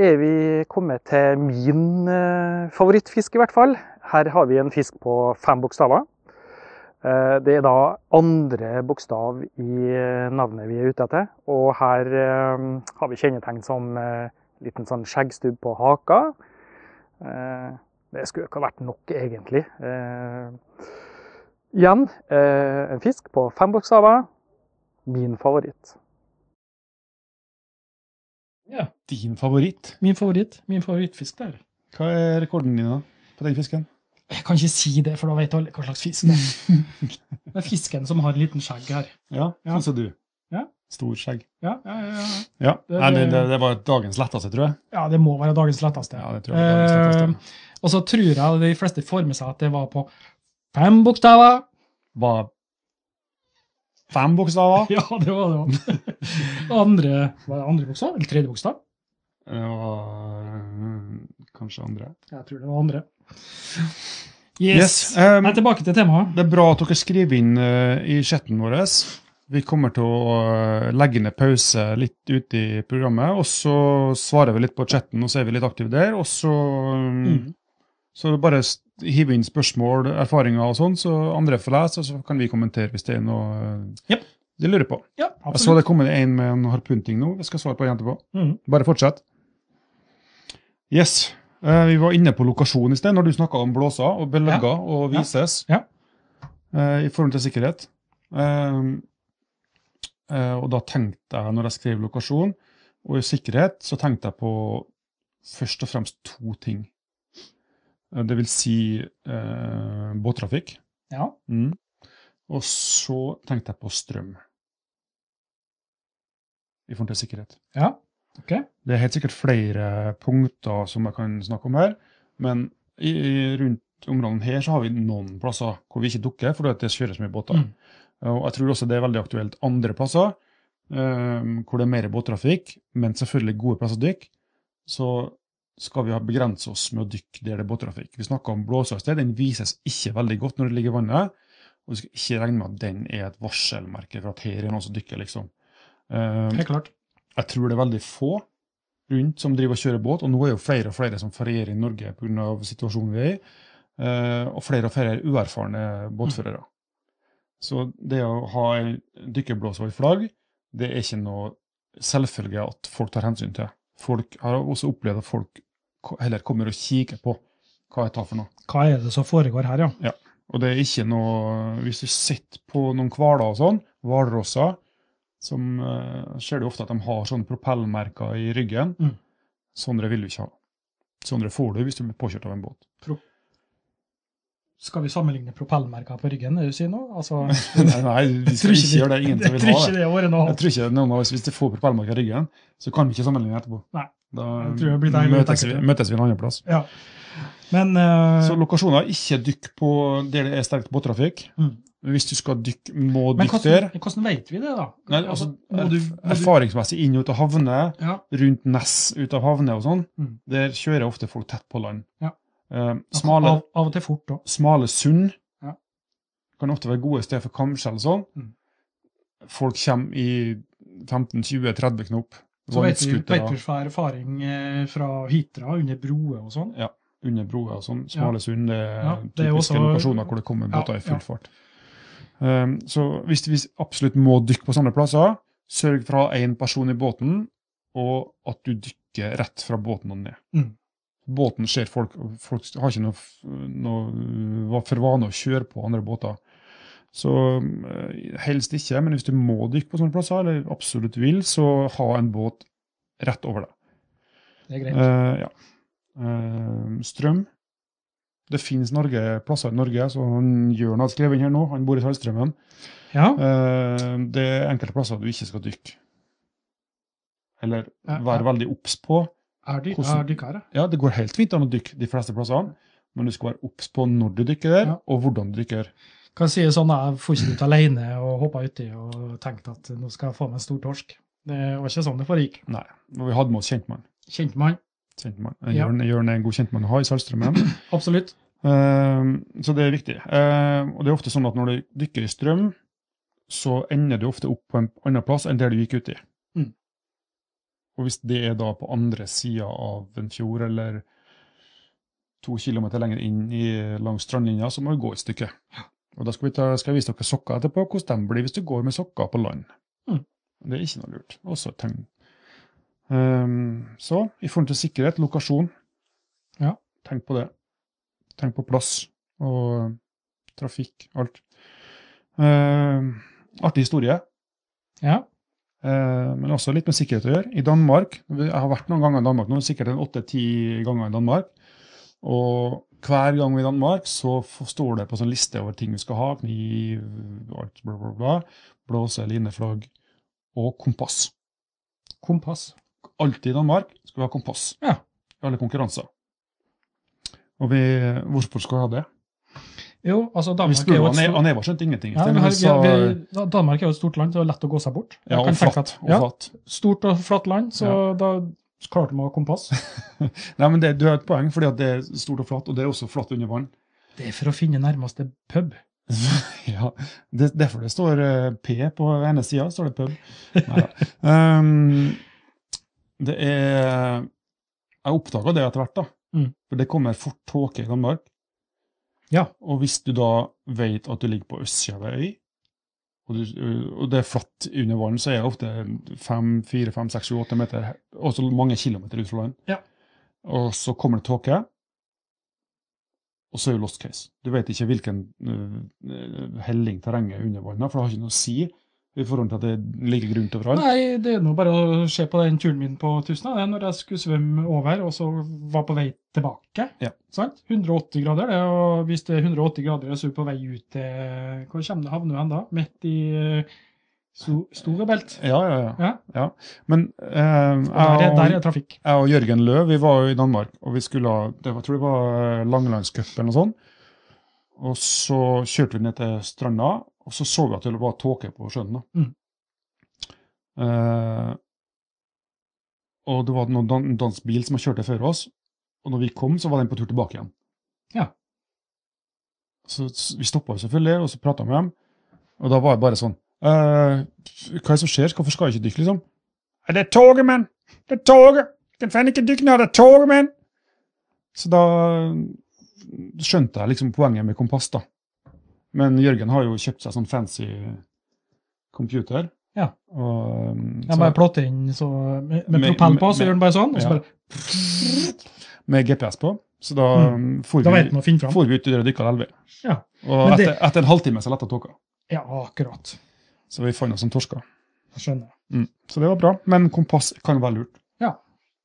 Speaker 4: er vi kommet til min eh, favorittfisk, i hvert fall. Her har vi en fisk på fem bokstaver. Eh, Det er da andre bokstav i eh, navnet vi er ute etter. Og her eh, har vi kjennetegn som eh, liten sånn skjeggstubb på haka. Eh, Det skulle ikke ha vært nok, egentlig. Eh, Igjen eh, en fisk på fem bokstaver. Min favoritt.
Speaker 2: Din favoritt?
Speaker 1: Min favoritt, min favorittfisk der.
Speaker 2: Hva er rekorden din da, på den fisken?
Speaker 1: Jeg kan ikke si det, for da vet alle hva slags fisk det er.
Speaker 2: Mm.
Speaker 1: Det er fisken som har en liten skjegg her.
Speaker 2: Ja,
Speaker 1: Ja.
Speaker 2: sånn som du.
Speaker 1: Ja.
Speaker 2: Stor skjegg.
Speaker 1: Ja, ja, ja, ja.
Speaker 2: Ja,
Speaker 1: Det-
Speaker 2: Nei, det, det, det var dagens letteste, tror jeg.
Speaker 1: ja det må være dagens letteste.
Speaker 2: Ja, det tror jeg var dagens letteste.
Speaker 1: Og så tror jeg de fleste får med seg at det var på fem bokstaver.
Speaker 2: Var fem bokstaver.
Speaker 1: Ja, det var det. Andre, var det andre bokstav? Eller tredje bokstav?
Speaker 2: Det var mm, Eh, kanskje andre.
Speaker 1: Jeg tror det var andre. Yes.
Speaker 2: um,
Speaker 1: Men tilbake til temaet.
Speaker 2: Det er bra at dere skriver inn eh, i chatten vår. Vi kommer til å eh, legge ned pause litt ute i programmet, og så svarer vi litt på chatten, og så er vi litt aktive der. Og så, mm. så bare s- hive inn spørsmål, erfaringer og sånn, så andre får lese, og så kan vi kommentere hvis det er noe eh,
Speaker 1: Jep.
Speaker 2: de lurer på.
Speaker 1: Ja,
Speaker 2: Jeg så
Speaker 1: absolutt.
Speaker 2: det kom en med en harpunting nå. Vi skal svare på den etterpå.
Speaker 1: Mm.
Speaker 2: Bare fortsett. Yes. Eh, vi var inne på lokasjon i sted, når du snakka om blåser og belegger og
Speaker 1: Ja.
Speaker 2: vises
Speaker 1: Ja.
Speaker 2: eh, i forhold til sikkerhet. Eh, eh, og da tenkte jeg, når jeg skrev lokasjon og sikkerhet, så tenkte jeg på først og fremst to ting. Eh, Det vil si eh, båttrafikk.
Speaker 1: Ja.
Speaker 2: Mm. Og så tenkte jeg på strøm. I forhold til sikkerhet.
Speaker 1: ja. Ok.
Speaker 2: Det er helt sikkert flere punkter som jeg kan snakke om her, men i, i, rundt områdene her så har vi noen plasser hvor vi ikke dukker, fordi at det kjøres mye båter.
Speaker 1: Mm.
Speaker 2: Og jeg tror også det er veldig aktuelt andre plasser, ehm, hvor det er mer båttrafikk, men selvfølgelig gode plasser å dykke, så skal vi ha- begrense oss med å dykke der det er båttrafikk. Vi snakka om blåsa i sted, den vises ikke veldig godt når det ligger i vannet, og vi skal ikke regne med at den er et varselmerke for at her er noen som dykker, liksom. Ehm,
Speaker 1: Helt klart.
Speaker 2: jeg tror det er veldig få rundt som driver og kjører båt, og nå er jo flere og flere som ferierer i Norge pga. situasjonen vi er i, eh, og flere og flere uerfarne båtførere. Så det å ha en dykkerblåse og et flagg, det er ikke noe selvfølge at folk tar hensyn til. Folk har også opplevd at folk ko- heller kommer og kikker på hva jeg tar for noe.
Speaker 1: Hva er det som foregår her, ja?
Speaker 2: Og det er ikke noe Hvis du sitter på noen hvaler og sånn, hvalrosser, som eh, ser du ofte at de har sånne propellmerker i ryggen.
Speaker 1: Mm.
Speaker 2: Sånne vil du ikke ha. Sånne får du hvis du blir påkjørt av en båt.
Speaker 1: Skal vi sammenligne propellmerker på ryggen, er det du sier nå? Altså,
Speaker 2: Nei, nei vi skal ikke gjøre det. Ingen som
Speaker 1: jeg
Speaker 2: vil
Speaker 1: tror
Speaker 2: ha
Speaker 1: ikke
Speaker 2: det.
Speaker 1: det har vært noe
Speaker 2: Jeg tror ikke noen av oss, Hvis du får propellmerker i ryggen, så kan vi ikke sammenligne etterpå.
Speaker 1: Nei.
Speaker 2: Da
Speaker 1: Jeg tror jeg blir deilig å
Speaker 2: møtes
Speaker 1: tenke
Speaker 2: vi,
Speaker 1: på.
Speaker 2: møtes vi en annen plass.
Speaker 1: Ja. Men eh,
Speaker 2: Så lokasjoner, ikke dykk på der det er sterkt båttrafikk.
Speaker 1: Mm.
Speaker 2: Hvis du skal dykke, må
Speaker 1: men
Speaker 2: dykke der.
Speaker 1: hvordan, hvordan vet vi det, da?
Speaker 2: Nei, altså,
Speaker 1: må du, må du,
Speaker 2: Erfaringsmessig inn og ut av havner,
Speaker 1: ja.
Speaker 2: rundt Ness ut av havne og sånn,
Speaker 1: Mm.
Speaker 2: der kjører ofte folk tett på land.
Speaker 1: Ja. Altså,
Speaker 2: Eh,
Speaker 1: av,
Speaker 2: smale,
Speaker 1: av og til fort òg.
Speaker 2: smale sund
Speaker 1: Ja.
Speaker 2: kan ofte være gode steder for kamskjell og sånn.
Speaker 1: Mm.
Speaker 2: Folk kommer i 15-20-30 knop.
Speaker 1: Så vet vi,
Speaker 2: vannskutere
Speaker 1: vet vi fra erfaring eh, fra Hitra, under broer og sånn.
Speaker 2: under broer og sånn. Smale sund det er
Speaker 1: Ja, det er
Speaker 2: typiske
Speaker 1: også-
Speaker 2: lokasjoner hvor det kommer
Speaker 1: Ja,
Speaker 2: båter i
Speaker 1: ja.
Speaker 2: full fart. Eh, så hvis vi absolutt må dykke på sånne plasser, sørg for å ha én person i båten, og at du dykker rett fra båten og ned.
Speaker 1: Mm.
Speaker 2: båten ser folk, og folk har ikke noe, f- noe var for vane å kjøre på andre båter. Så eh, helst ikke, men hvis du må dykke på sånne plasser, eller absolutt vil, så ha en båt rett over deg.
Speaker 1: Det er greit.
Speaker 2: Eh, ja. Eh, strøm. Det finnes Norge, plasser i Norge, så han Jørn har skrevet inn her nå. Han bor i Saltstraumen.
Speaker 1: Ja.
Speaker 2: Eh, det er enkelte plasser du ikke skal dykke. Eller
Speaker 1: Ja, ja.
Speaker 2: være veldig obs på.
Speaker 1: Er dy-
Speaker 2: Hvordan-
Speaker 1: er dykkere?
Speaker 2: Ja, det går helt fint an å dykke de fleste plassene, men du skal være obs på når du dykker der,
Speaker 1: Ja.
Speaker 2: og hvordan du dykker.
Speaker 1: Kan si det sånn, jeg får ikke ut alene og hoppa uti og tenkte at nå skal jeg få meg en stor torsk. Det var ikke sånn det foregikk.
Speaker 2: Nei. Og vi hadde med oss kjentmann.
Speaker 1: Kjente man.
Speaker 2: kjentmann.
Speaker 1: Ja.
Speaker 2: Jørn, Jørn er en god kjentmann å ha i Saltstraumen.
Speaker 1: Absolutt.
Speaker 2: Eh, så det er viktig. Eh, og det er ofte sånn at når du dykker i strøm, så ender du ofte opp på en annen plass enn der du gikk uti.
Speaker 1: Mm.
Speaker 2: Og hvis det er da på andre sida av en fjord, eller to kilometer lenger inn i, langs strandlinja, så må du gå et stykke. Og da skal, vi ta, skal jeg vise dere sokker etterpå, hvordan de blir hvis du går med sokker på land.
Speaker 1: Mm.
Speaker 2: Det er ikke noe lurt. Også et tegn. Eh, så i forhold til sikkerhet, lokasjon,
Speaker 1: Ja.
Speaker 2: tenk på det. Tenk på plass og trafikk, alt. Eh, artig historie,
Speaker 1: Ja.
Speaker 2: eh, men også litt med sikkerhet å gjøre. I Danmark, Jeg har vært noen ganger i Danmark nå, sikkert en åtte-ti ganger i Danmark. Og hver gang i Danmark så f- står det på sånn liste over ting vi skal ha. Kniv, alt, bla, bla, bla. Blåse, lineflagg og kompass.
Speaker 1: Kompass.
Speaker 2: Alltid i Danmark skal vi ha kompass.
Speaker 1: Ja.
Speaker 2: I alle konkurranser. Og vi, hvorfor skal vi ha det?
Speaker 1: Jo, altså
Speaker 2: Vi
Speaker 1: Danmark er
Speaker 2: spurte
Speaker 1: jo et
Speaker 2: han, er-
Speaker 1: stort,
Speaker 2: han Eva skjønte ingenting.
Speaker 1: ja,
Speaker 2: Stein,
Speaker 1: vi
Speaker 2: men
Speaker 1: har,
Speaker 2: vi sa,
Speaker 1: vi har, vi, Danmark er jo et stort land, så det er lett å gå seg bort.
Speaker 2: ja,
Speaker 1: Jeg
Speaker 2: og
Speaker 1: kan tenke
Speaker 2: flatt.
Speaker 1: at-
Speaker 2: Og
Speaker 1: ja,
Speaker 2: flatt.
Speaker 1: stort og flatt land, så da klarte man å ha kompass.
Speaker 2: Nei, men det, Du har et poeng, fordi at det er stort og flatt, og det er også flatt under vann.
Speaker 1: Det er for å finne nærmeste pub.
Speaker 2: ja, det, Derfor det står eh, P på ene sida, står det pub. Neida. Um, det er Jeg oppdaga det etter hvert, da.
Speaker 1: Mm.
Speaker 2: For det kommer fort tåke i Danmark.
Speaker 1: Ja.
Speaker 2: Og hvis du da vet at du ligger på østsida av ei øy, og, du, og det er flatt under vann, så er det ofte 4-5-6-7-8 meter, også mange kilometer ut fra land.
Speaker 1: Ja.
Speaker 2: Og så kommer det tåke, og så er det lost case. Du vet ikke hvilken øh, helling terrenget er under vann, for det har ikke noe å si i forhold til at det ligger grunt overalt.
Speaker 1: Nei, det er nå bare å se på den turen min på Tustna. Det er når jeg skulle svømme over, og så var på vei tilbake.
Speaker 2: Ja.
Speaker 1: Sant? 180 grader, det, og hvis det er 180 grader, så er du på vei ut til Hvor kommer det havner du hen da? Midt i eh, Sto- Storebelt?
Speaker 2: Ja, ja, ja.
Speaker 1: Ja.
Speaker 2: Men eh,
Speaker 1: Og Der,
Speaker 2: jeg,
Speaker 1: er- der
Speaker 2: og,
Speaker 1: er trafikk.
Speaker 2: jeg og Jørgen Løv vi var jo i Danmark, og vi skulle ha det var, jeg tror det var Langelandscup eller noe sånt. Og så kjørte vi ned til stranda, og så så vi at det var tåke på sjøen. da.
Speaker 1: Mm.
Speaker 2: Eh, og det var noen dan dansk bil som kjørte før oss, og når vi kom, så var den på tur tilbake igjen.
Speaker 1: Ja.
Speaker 2: Så s- vi stoppa selvfølgelig, og så prata med dem. Og da var det bare sånn eh, Hva er det som skjer? Hvorfor skal jeg ikke dykke, liksom? «Nei, Det er toget, mann! Det er toget! Kan faen ikke dykke nå, det er toget, mann! Så da skjønte jeg liksom poenget med kompass, da. Men Jørgen har jo kjøpt seg sånn fancy computer.
Speaker 1: Ja.
Speaker 2: Og, mm,
Speaker 1: Jeg
Speaker 2: så-
Speaker 1: bare plotter inn så, med, med
Speaker 2: Med-
Speaker 1: propell på, så
Speaker 2: med-
Speaker 1: gjør den bare sånn. Og så
Speaker 2: ja.
Speaker 1: bare,
Speaker 2: med GPS på. Så da um, for,
Speaker 1: Mm. da vet
Speaker 2: vi,
Speaker 1: man å finne fram.
Speaker 2: for vi ut i det dykka elva.
Speaker 1: Ja.
Speaker 2: Og
Speaker 1: Men det-
Speaker 2: etter, etter en halvtime så letta tåka.
Speaker 1: Ja, akkurat.
Speaker 2: Så vi fant oss som torsker.
Speaker 1: Jeg skjønner.
Speaker 2: Mm. Så det var bra. Men kompass kan være lurt.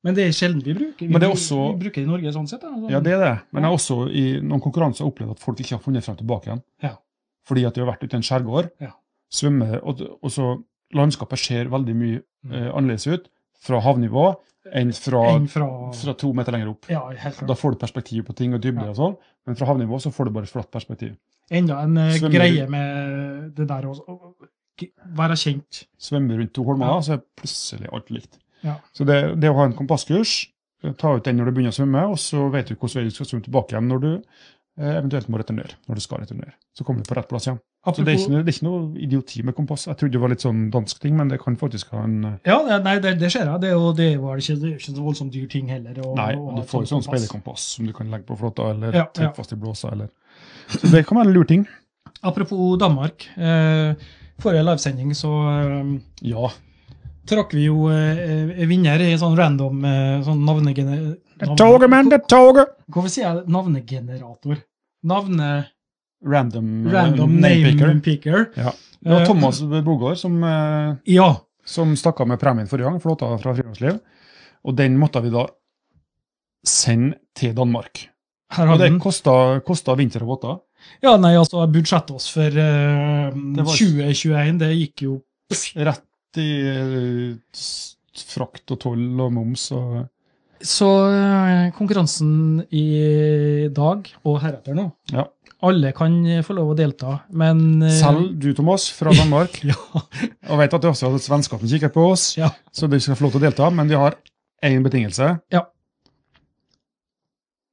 Speaker 1: Men det er sjelden vi bruker. Vi,
Speaker 2: Men det
Speaker 1: bru-
Speaker 2: er også-
Speaker 1: vi bruker det i Norge sånn sett. Da.
Speaker 2: Ja, det er det. Men jeg har også i noen konkurranser opplevd at folk ikke har funnet frem tilbake igjen.
Speaker 1: Ja.
Speaker 2: Fordi at de har vært ute i en skjærgård,
Speaker 1: Ja.
Speaker 2: svømmer, og, og så landskapet ser veldig mye
Speaker 1: Mm.
Speaker 2: eh, annerledes ut fra havnivå enn fra,
Speaker 1: Enn fra,
Speaker 2: fra to meter lenger opp.
Speaker 1: Ja, helt klart.
Speaker 2: Da får du perspektiv på ting og dybde
Speaker 1: Ja.
Speaker 2: og sånn, men fra havnivå så får du bare et flatt perspektiv.
Speaker 1: Enda en eh,
Speaker 2: Svømmer-
Speaker 1: greie med det der å å- g- være kjent.
Speaker 2: svømmer rundt to holmer,
Speaker 1: Ja.
Speaker 2: så er plutselig alt likt.
Speaker 1: Ja.
Speaker 2: Så det, det å ha en kompasskurs, eh, ta ut den når du begynner å svømme, og så vet du hvilken vei du skal svømme tilbake igjen når du eh, eventuelt må returnere. når du skal returnere. Så kommer du på rett plass igjen. Så det er,
Speaker 1: Apropos,
Speaker 2: ikke, noe- det er ikke noe idioti med kompass. Jeg trodde det var litt sånn dansk ting, men det kan faktisk ha en eh,
Speaker 1: ja, det- nei, det, det skjer. ja. Det er jo det er jo ikke, det er jo ikke så voldsomt dyr ting heller. å-
Speaker 2: Nei,
Speaker 1: å ha
Speaker 2: men du
Speaker 1: et
Speaker 2: får jo sånn
Speaker 1: kompass.
Speaker 2: speiderkompass som du kan legge på flåtta, eller
Speaker 1: Ja, ja.
Speaker 2: trekke fast i blåsa, eller Så det kan være en lur ting.
Speaker 1: Apropos Danmark. Eh, forrige livesending så eh,
Speaker 2: Ja.
Speaker 1: trakk vi jo eh, eh, vinner i sånn random eh, sånn navnegene...
Speaker 2: Det er toget, men det er toget!
Speaker 1: Hvorfor sier jeg navnegenerator? Navne...
Speaker 2: Random, eh,
Speaker 1: Random name picker.
Speaker 2: picker. Ja. Det var
Speaker 1: Eh,
Speaker 2: Thomas Bogård som eh,
Speaker 1: Ja.
Speaker 2: som stakk av med premien forrige gang, flåta fra friluftsliv. Og den måtte vi da sende til Danmark.
Speaker 1: Her
Speaker 2: Og
Speaker 1: har vi
Speaker 2: det
Speaker 1: den.
Speaker 2: kosta, kosta vinterbåter.
Speaker 1: Ja, nei, altså, budsjettet oss for eh, 2021, det gikk jo
Speaker 2: Rett i eh, s- frakt og toll og moms og
Speaker 1: Så eh, konkurransen i dag, og heretter nå,
Speaker 2: Ja.
Speaker 1: alle kan eh, få lov å delta, men eh,
Speaker 2: Selv du, Thomas, fra Danmark,
Speaker 1: Ja,
Speaker 2: og vet at det også er svenskene som kikker på oss,
Speaker 1: Ja.
Speaker 2: så du skal få lov til å delta, men de har én betingelse.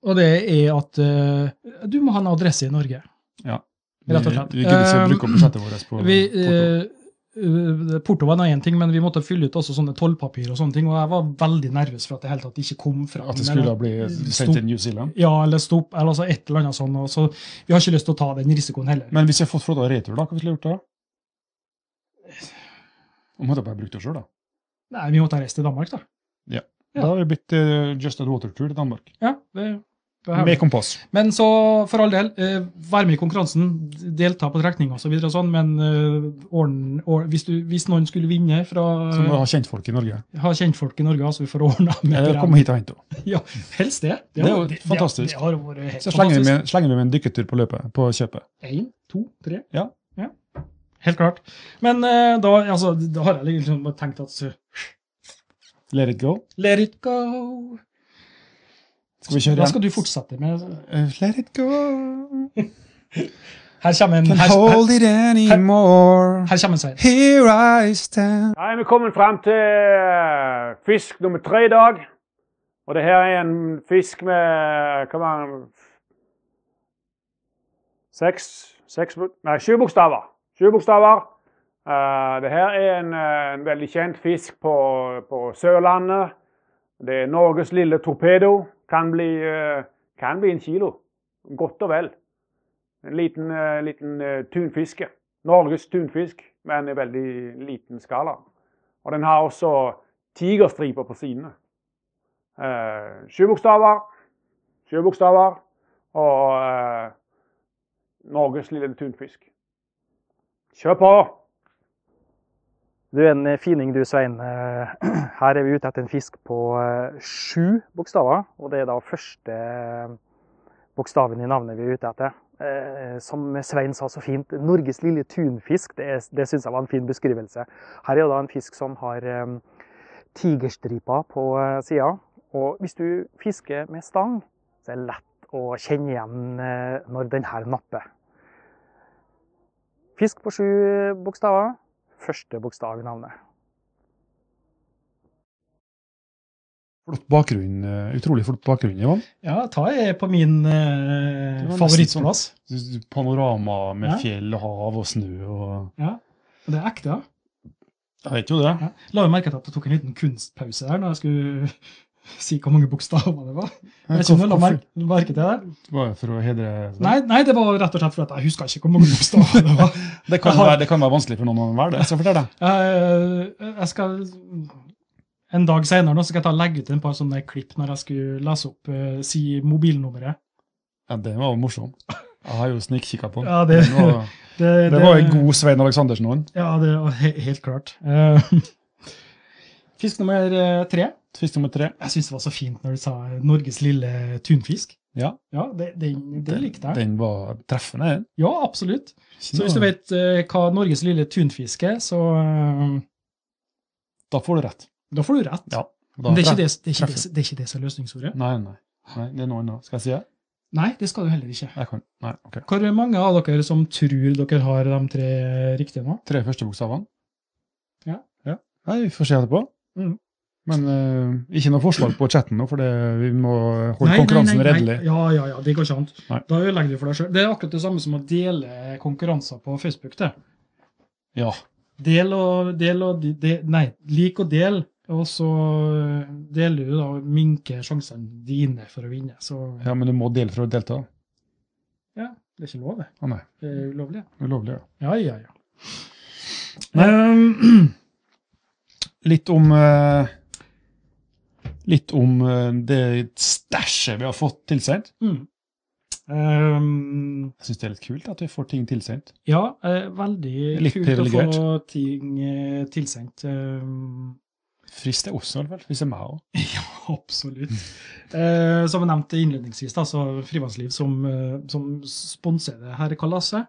Speaker 1: og det er at eh, du må ha en adresse i Norge.
Speaker 2: Vi,
Speaker 1: Rett og slett.
Speaker 2: vi gidder ikke
Speaker 1: Um,
Speaker 2: å bruke opp budsjettet vårt på
Speaker 1: Vi,
Speaker 2: porto.
Speaker 1: eh, eh, porto var nå én ting, men vi måtte fylle ut også sånne tollpapir og sånne ting, og jeg var veldig nervøs for at det hele tatt ikke kom fram.
Speaker 2: At det
Speaker 1: men- eh,
Speaker 2: skulle bli sendt til New Zealand.
Speaker 1: Ja, eller stopp, eller altså et eller annet sånt, og så vi har ikke lyst til å ta den risikoen heller.
Speaker 2: Men hvis jeg hadde fått flåta retur, da, hva skulle jeg gjort da? Og måtte jeg bare brukt det sjøl, da.
Speaker 1: Nei, vi måtte reise til Danmark, da. Ja.
Speaker 2: Da har vi blitt eh, Just Ad Water-tur til Danmark.
Speaker 1: Ja, det... det er
Speaker 2: Med kompass.
Speaker 1: Men så, for all del, eh, vær med i konkurransen, delta på trekning og så videre og sånn, men eh, ordn, or, hvis, du, hvis noen skulle vinne fra eh,
Speaker 2: Så må du ha kjentfolk i Norge.
Speaker 1: Ha kjentfolk i Norge, altså vi får ordna Mm. med
Speaker 2: Eller
Speaker 1: program.
Speaker 2: komme hit og hente henne.
Speaker 1: Ja, helst det.
Speaker 2: Det er jo
Speaker 1: har-
Speaker 2: fantastisk.
Speaker 1: Det, har vært helt
Speaker 2: Så slenger vi
Speaker 1: fantastisk.
Speaker 2: med, slenger vi med en dykketur på løpet, på kjøpet.
Speaker 1: Én, to, tre.
Speaker 2: Ja.
Speaker 1: Helt klart. Men eh, da, altså, da har jeg liksom bare tenkt at så,
Speaker 2: Let it go.
Speaker 1: Let it go.
Speaker 2: Skal vi kjøre
Speaker 1: Hva
Speaker 2: igjen?
Speaker 1: skal du fortsette med?
Speaker 2: Eh, Let it go.
Speaker 1: Her kommer en,
Speaker 2: Can't
Speaker 1: her, her,
Speaker 2: hold it anymore.
Speaker 1: her kommer en Svein.
Speaker 2: Here I stand.
Speaker 3: Nei, vi kommer frem til eh, fisk nummer tre i dag. Og det her er en fisk med eh, Hva var den? Seks, seks bok- Nei, sju bokstaver. Sju bokstaver. Eh, det her er en, eh, en veldig kjent fisk på, på Sørlandet. Det er Norges lille torpedo. Kan bli, eh, kan bli en kilo. Godt og vel. En liten, eh, liten eh, tunfiske. Norges tunfisk, men i veldig liten skala. Og den har også tigerstriper på sidene. Eh, sju bokstaver. Sju bokstaver. Og eh, Norges lille tunfisk. Kjør på!
Speaker 4: Du er en fining du, Svein. Eh, Her er vi ute etter en fisk på eh, sju bokstaver, og det er da første eh, bokstaven i navnet vi er ute etter. Eh, Som Svein sa så fint, Norges lille tunfisk, det, er- det syns jeg var en fin beskrivelse. Her er jo da en fisk som har eh, tigerstriper på sida, og hvis du fisker med stang, så er det lett å kjenne igjen eh, når den her napper. Fisk på sju eh, bokstaver første bokstav i navnet.
Speaker 2: Flott bakgrunn. eh, Utrolig flott bakgrunn, Ivan.
Speaker 1: Ja, ta jeg på min eh,
Speaker 2: Det var nesten
Speaker 1: favorittplass.
Speaker 2: Panorama med
Speaker 1: Ja.
Speaker 2: fjell og hav og snø og
Speaker 1: Det er ekte, ja.
Speaker 2: Jeg vet jo det.
Speaker 1: Ja. La jo merke til at jeg tok en liten kunstpause der når jeg skulle si hvor mange bokstaver det var. Jeg vet ikke om du la
Speaker 2: Hvorfor-
Speaker 1: merke, merke til det?
Speaker 2: Bare for å hedre
Speaker 1: Nei, nei, det var rett og slett fordi at jeg huska ikke hvor mange bokstaver det var.
Speaker 2: Det kan,
Speaker 1: Jeg har-
Speaker 2: være, det kan være vanskelig for noen å være det. Jeg skal fortelle deg.
Speaker 1: Jeg, eh, jeg skal en dag senere nå så skal jeg ta og legge ut en par sånne klipp når jeg skulle lese opp eh, si mobilnummeret.
Speaker 2: Ja, den var jo morsom. Jeg har jo snikkikka på den.
Speaker 1: Ja, det-
Speaker 2: Den var,
Speaker 1: Det,
Speaker 2: det var en god Svein Aleksandersen-ånd.
Speaker 1: Ja, det var he helt klart. Eh, Fisk nummer eh, tre.
Speaker 2: Fisk nummer tre.
Speaker 1: Jeg syns det var så fint når du sa 'Norges lille tunfisk'.
Speaker 2: Ja.
Speaker 1: Ja, det, det, det likte jeg.
Speaker 2: Den var treffende, den.
Speaker 1: Ja, absolutt. Så hvis du
Speaker 2: Ja.
Speaker 1: vet eh, hva Norges lille tunfisk er, så eh,
Speaker 2: Da får du rett.
Speaker 1: da får du rett.
Speaker 2: Ja. Da
Speaker 1: Men det er, ikke
Speaker 2: treff-
Speaker 1: det, det, er ikke det, det er ikke det som er løsningsordet.
Speaker 2: Nei, nei. nei. Det er noe annet. Skal jeg si det?
Speaker 1: Nei, det skal du heller ikke.
Speaker 2: Jeg kan. Nei, ok.
Speaker 1: Hvor mange av dere som tror dere har de tre riktige nå?
Speaker 2: Tre første bokstavene.
Speaker 1: Ja.
Speaker 2: Nei, vi får se etterpå.
Speaker 1: Mm.
Speaker 2: Men eh, ikke noe forslag på chatten nå, for det, vi må holde
Speaker 1: Nei, nei,
Speaker 2: konkurransen
Speaker 1: nei, nei.
Speaker 2: redelig.
Speaker 1: Ja, ja, ja, det går ikke an.
Speaker 2: Nei.
Speaker 1: Da ødelegger du for deg sjøl. Det er akkurat det samme som å dele konkurranser på Facebook. det.
Speaker 2: Ja.
Speaker 1: Del og del og de, de, Nei, lik og del. Og så eh, deler du da og minker sjansene dine for å vinne. Så
Speaker 2: ja, men du må dele for å delta.
Speaker 1: ja, det er ikke lov, det.
Speaker 2: Å nei,
Speaker 1: Det er ulovlig. ja.
Speaker 2: ulovlig. Ja.
Speaker 1: Ja, ja, ja. Ehm,
Speaker 2: Litt om eh, Litt om eh, det stæsjet vi har fått tilsendt.
Speaker 1: mm. Ehm,
Speaker 2: Jeg syns det er litt kult at vi får ting tilsendt.
Speaker 1: ja, eh, veldig
Speaker 2: Litt
Speaker 1: kult å få ting eh, tilsendt. Ehm,
Speaker 2: Frist er også, i hvert fall. Frist er meg òg.
Speaker 1: Absolutt. Eh, som jeg nevnte innledningsvis, da, så Frivannsliv som, eh, som sponser det her kalaset,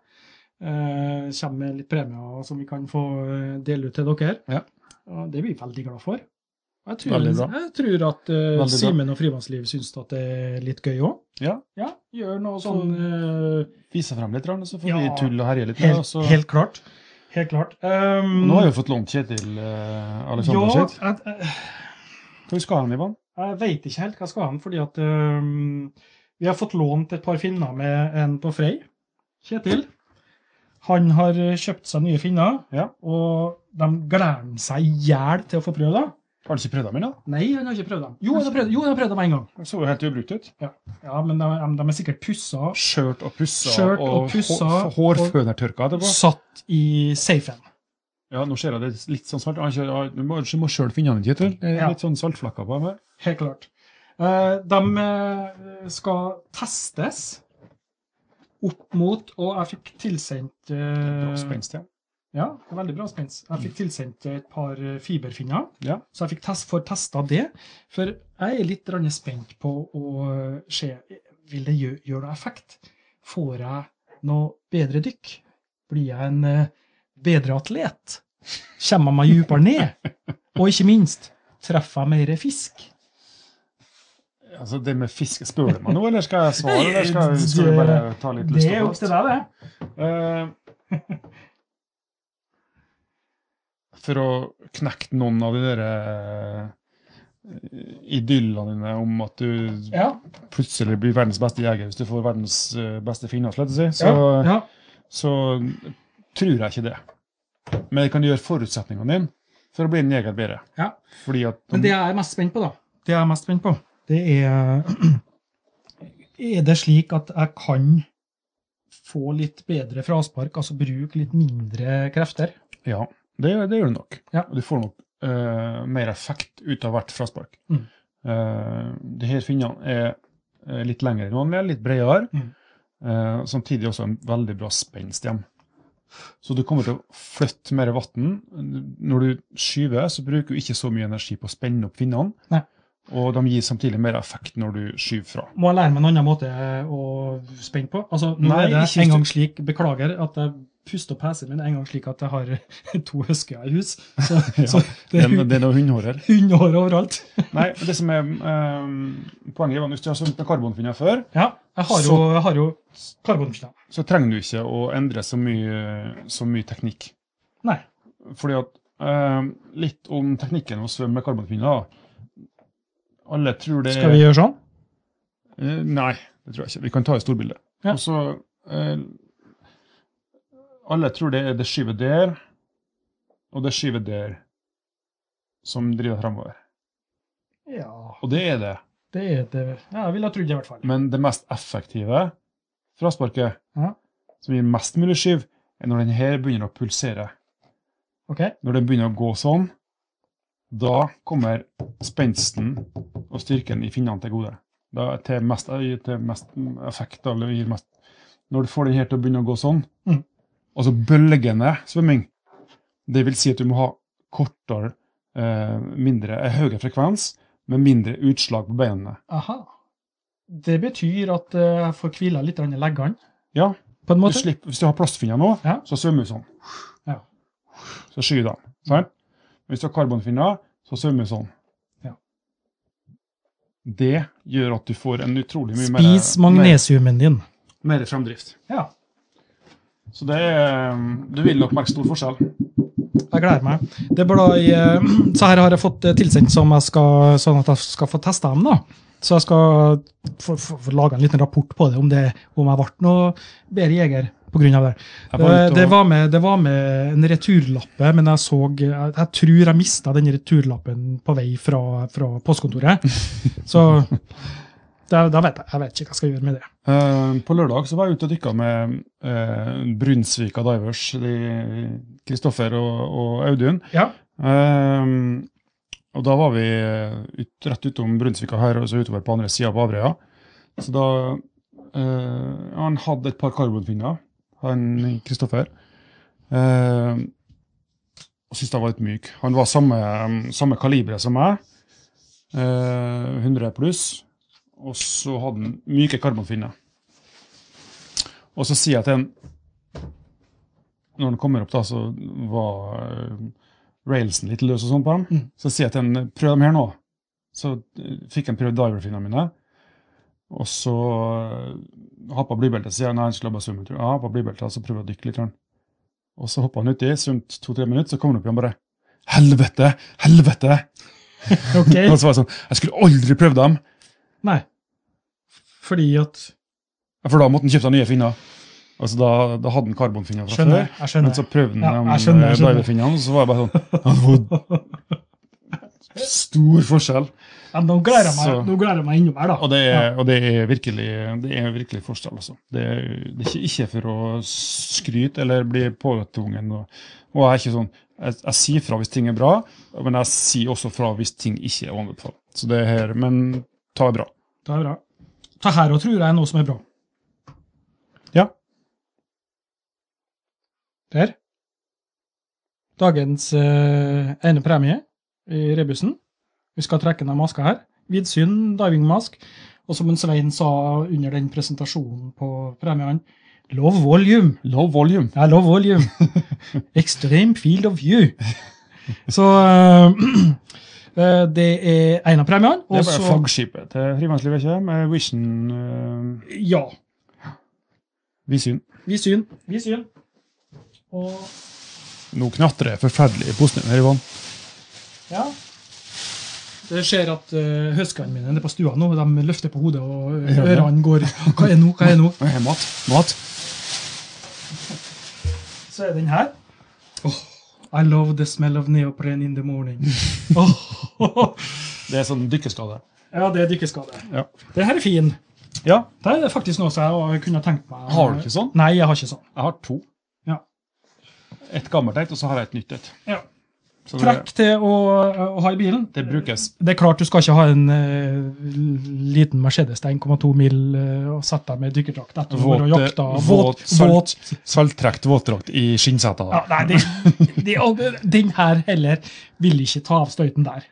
Speaker 1: eh, kommer med litt premier som vi kan få eh, dele ut til dere.
Speaker 2: Ja.
Speaker 1: Og det er vi veldig glad for. Og Jeg
Speaker 2: Veldig
Speaker 1: tror,
Speaker 2: bra.
Speaker 1: jeg tror at eh,
Speaker 2: bra.
Speaker 1: Simen og Frivannsliv syns at det er litt gøy òg.
Speaker 2: Ja.
Speaker 1: Ja, gjør noe sånn eh,
Speaker 2: Vise frem litt, og så får
Speaker 1: Ja.
Speaker 2: vi tulle og herje litt. med, og
Speaker 1: helt,
Speaker 2: så-
Speaker 1: helt klart. Helt klart. Um,
Speaker 2: Nå har vi fått lånt Kjetil eh, Aleksander
Speaker 1: ja,
Speaker 2: sitt.
Speaker 1: jeg, jeg,
Speaker 2: Hvor skal han, Ivan?
Speaker 1: Jeg veit ikke helt hva skal han, fordi at øhm, vi har fått lånt et par finner med en på Frei. Kjetil. Han har øh, kjøpt seg nye finner,
Speaker 2: Ja.
Speaker 1: og de gleder seg i hjel til å få prøve dem.
Speaker 2: Har du ikke prøvd dem ennå?
Speaker 1: Nei, han har ikke prøvd dem. Jo, han har prøvd, jo, han har prøvd dem en gang.
Speaker 2: De så jo helt ubrukt ut.
Speaker 1: Ja, Men de, de er sikkert pussa,
Speaker 2: Skjørt og pussa
Speaker 1: Skjørt og pussa,
Speaker 2: hår, hårfønertørka etterpå.
Speaker 1: satt i safen.
Speaker 2: Ja, nå ser jeg det er litt sånn svart. Han kjører- ja, Du må, du må sjøl finne den, Kjetil. Det er
Speaker 1: Ja.
Speaker 2: Litt sånn saltflekker på dem her.
Speaker 1: Helt klart. Eh, de eh, skal testes opp mot, og jeg fikk tilsendt eh,
Speaker 2: Bra spenst, ja.
Speaker 1: Ja, veldig bra spens. Jeg fikk tilsendt et par eh, fiberfinner,
Speaker 2: Ja.
Speaker 1: så jeg fikk test, får testa det. For jeg er litt grann spent på å eh, se Vil det gjø- gjøre noe effekt? Får jeg noe bedre dykk? Blir jeg en eh, bedre atlet? Kommer jeg meg dypere ned? Og ikke minst, treffer jeg mer fisk?
Speaker 2: Altså, det med fiske Spør du meg nå, eller skal jeg svare?
Speaker 1: Nei,
Speaker 2: Eller skal, skal vi bare ta litt
Speaker 1: Det
Speaker 2: lyst
Speaker 1: er jo
Speaker 2: og
Speaker 1: opp
Speaker 2: fast?
Speaker 1: til deg, det.
Speaker 2: Eh, for å knekke noen av de der eh, idyllene dine om at du
Speaker 1: Ja,
Speaker 2: plutselig blir verdens beste jeger hvis du får verdens eh, beste finne, slett å si, så,
Speaker 1: ja, ja.
Speaker 2: så tror jeg ikke det. Men det kan gjøre forutsetningene dine for å bli en jeger bedre.
Speaker 1: Ja.
Speaker 2: Fordi at
Speaker 1: Men det jeg er mest spent på, da, det jeg er mest spent på, det er Er det slik at jeg kan få litt bedre fraspark, altså bruke litt mindre krefter?
Speaker 2: Ja, det, det gjør du nok.
Speaker 1: Ja.
Speaker 2: Og du får nok eh, mer effekt ut av hvert fraspark.
Speaker 1: Mm.
Speaker 2: Eh, de her finnene er eh, litt lengre enn vanlig, litt bredere.
Speaker 1: Mm.
Speaker 2: eh, samtidig også en veldig bra spenst hjem. Så du kommer til å flytte mer vann. Når du skyver, så bruker du ikke så mye energi på å spenne opp finnene.
Speaker 1: Nei.
Speaker 2: Og de gir samtidig mer effekt når du skyver fra.
Speaker 1: Må jeg lære meg en annen måte å spenne på? Altså, nå
Speaker 2: Nei,
Speaker 1: er det
Speaker 2: ikke hvis
Speaker 1: en
Speaker 2: du-
Speaker 1: gang slik, beklager at jeg puster opp hesen min en gang slik at jeg har to husker i hus. Så, så det
Speaker 2: Det,
Speaker 1: er
Speaker 2: er- det er noe hundehår her.
Speaker 1: hundehår overalt.
Speaker 2: Nei, det som er eh, poenget, Ivan, hvis du har sånt med karbonfinner før,
Speaker 1: Ja, jeg har jo, jeg har jo karbonfinner.
Speaker 2: så trenger du ikke å endre så mye, så mye teknikk.
Speaker 1: Nei.
Speaker 2: Fordi at eh, Litt om teknikken å svømme med karbonfinner. da. Alle tror det
Speaker 1: Skal vi gjøre sånn?
Speaker 2: Eh, Nei, det tror jeg ikke. Vi kan ta et storbilde.
Speaker 1: Ja.
Speaker 2: Og så eh, Alle tror det er det skyvet der og det skyvet der som driver framover.
Speaker 1: Ja,
Speaker 2: Og det er det.
Speaker 1: det er det. Ja, jeg ville ha trodd det, i hvert fall.
Speaker 2: Men det mest effektive frasparket,
Speaker 1: Ja.
Speaker 2: som gir mest mulig skyv, er når den her begynner å pulsere.
Speaker 1: Ok?
Speaker 2: Når den begynner å gå sånn, da kommer spensten og styrken i finnene til gode. Da til mest, til mest effekt, eller gir mest Når du får den her til å begynne å gå sånn,
Speaker 1: Mhm.
Speaker 2: altså bølgende svømming, det vil si at du må ha kortere, eh, mindre, eh, høyere frekvens, med mindre utslag på beina.
Speaker 1: Aha. Det betyr at eh, jeg får hvile litt i leggene,
Speaker 2: Ja,
Speaker 1: på en
Speaker 2: du
Speaker 1: måte?
Speaker 2: slipper, hvis du har plastfinner nå,
Speaker 1: Ja.
Speaker 2: så svømmer du sånn.
Speaker 1: Ja.
Speaker 2: Så skyr du dem. Sant? Hvis du har karbonfinner, så svømmer du sånn.
Speaker 1: Ja.
Speaker 2: Det gjør at du får en utrolig mye mer- eh,
Speaker 1: Spis magnesiumen din.
Speaker 2: mer, mer fremdrift.
Speaker 1: Ja,
Speaker 2: Så det er, um, du vil nok merke stor forskjell.
Speaker 1: jeg gleder meg. Det blir da i, eh, så her har jeg fått eh, tilsendt som jeg skal, sånn at jeg skal få testa dem. da. Så jeg skal få, få, få lage en liten rapport på det, om, det, om jeg ble noe bedre jeger pga. det. Det,
Speaker 2: Jeg var ute og-
Speaker 1: Eh, det, var med, det var med en returlappe, men jeg så Jeg, jeg tror jeg mista den returlappen på vei fra, fra postkontoret. Så da, da vet jeg, jeg vet ikke hva jeg skal gjøre med det.
Speaker 2: Eh, på lørdag så var jeg ute og dykka med uh, Brunsvika Divers, de- Kristoffer og, og Audun.
Speaker 1: Ja.
Speaker 2: Eh, og da var vi eh, ut, rett utom Brunsvika her, og så utover på andre sida på Averøya. Så da eh, Han hadde et par karbonfinner, han Kristoffer. Eh, og syntes jeg var litt myk. Han var samme, samme kalibre som meg. eh, 100 pluss, og så hadde han myke karbonfinner. Og så sier jeg til han Når han kommer opp, da, så var eh, railsen litt løs og sånn på dem.
Speaker 1: Mm.
Speaker 2: Så sier jeg til han prøv dem her nå. Så eh, fikk han prøvd diverfinnene mine. Og så eh, ha på blybeltet, sier han. Nei, han skulle bare svømme en tur. Ja, ha på blybeltet, så prøv å dykke litt. grann. Og så hoppa han uti, svømte to-tre minutter, så kom han opp igjen bare Helvete! Helvete!
Speaker 1: Ok.
Speaker 2: Og så var jeg sånn Jeg skulle aldri prøvd dem!
Speaker 1: Nei. Fordi at
Speaker 2: For da måtte han kjøpt seg nye finner. Altså da, da hadde han karbonfinner fra
Speaker 1: Skjønner.
Speaker 2: før.
Speaker 1: Jeg
Speaker 2: Men så
Speaker 1: skjønner.
Speaker 2: prøvde han
Speaker 1: Ja,
Speaker 2: dem,
Speaker 1: jeg skjønner, jeg
Speaker 2: eh,
Speaker 1: skjønner.
Speaker 2: divefinnene, og så var jeg bare sånn «Ja, det var Stor forskjell.
Speaker 1: Ja, nå gleder jeg meg,
Speaker 2: Så-
Speaker 1: nå gleder jeg meg innom her, da.
Speaker 2: Og det er, og det er, virkelig, det er virkelig forskjell, altså. Det er, det er ikke, ikke for å skryte eller bli påtvungen. Og, og jeg er ikke sånn jeg, jeg sier fra hvis ting er bra, men jeg sier også fra hvis ting ikke er å anbefale. Så det er her, men ta det bra.
Speaker 1: Det er bra. Ta her og tror jeg er noe som er bra.
Speaker 2: Ja.
Speaker 1: Der. Dagens eh, ene premie i rebusen. Vi skal trekke ned maska her. Vidsyn, divingmask. Og som en Svein sa under den presentasjonen på premiene, love volume.
Speaker 2: Low volume.
Speaker 1: I love volume. Extreme field of view. Så eh, eh, det er en av premiene.
Speaker 2: Det
Speaker 1: og
Speaker 2: er bare
Speaker 1: så-
Speaker 2: flaggskipet til frivannslivet, ikke Med Vision eh,
Speaker 1: Ja.
Speaker 2: Visyn.
Speaker 1: Vi syn. Vi syn. Og
Speaker 2: Nå knatrer det forferdelig i posen her i vann.
Speaker 1: ja. Det skjer at uh, høskene mine er på stua nå. De løfter på hodet, og eh,
Speaker 2: Ja, ja.
Speaker 1: ørene går Hva er nå? Hva er nå?
Speaker 2: Nei, her er Mat. Mat.
Speaker 1: Så er den her. I love the smell of neoprene in the morning. Åh.
Speaker 2: Det er sånn dykkerskade.
Speaker 1: Ja, det er dykkerskade.
Speaker 2: Ja.
Speaker 1: Det her er fin.
Speaker 2: Ja.
Speaker 1: Det er faktisk noe som jeg kunne tenkt meg.
Speaker 2: Har du ikke sånn?
Speaker 1: Nei, jeg har ikke sånn.
Speaker 2: Jeg har to.
Speaker 1: Ja.
Speaker 2: Et gammelt et, og så har jeg et nytt et.
Speaker 1: Ja.
Speaker 2: Så det,
Speaker 1: Trekk til å, eh, å ha i bilen.
Speaker 2: det brukes.
Speaker 1: Det er klart du skal ikke ha en eh, liten Mercedes til 1,2 mil eh, og sette deg med dykkerdrakt etter å være og
Speaker 2: Våte-
Speaker 1: jakte.
Speaker 2: våt,
Speaker 1: Våt, våt.
Speaker 2: salt, salttrekt våtdrakt i skinnseta.
Speaker 1: Ja, nei, det, det, og den her heller vil ikke ta av støyten der.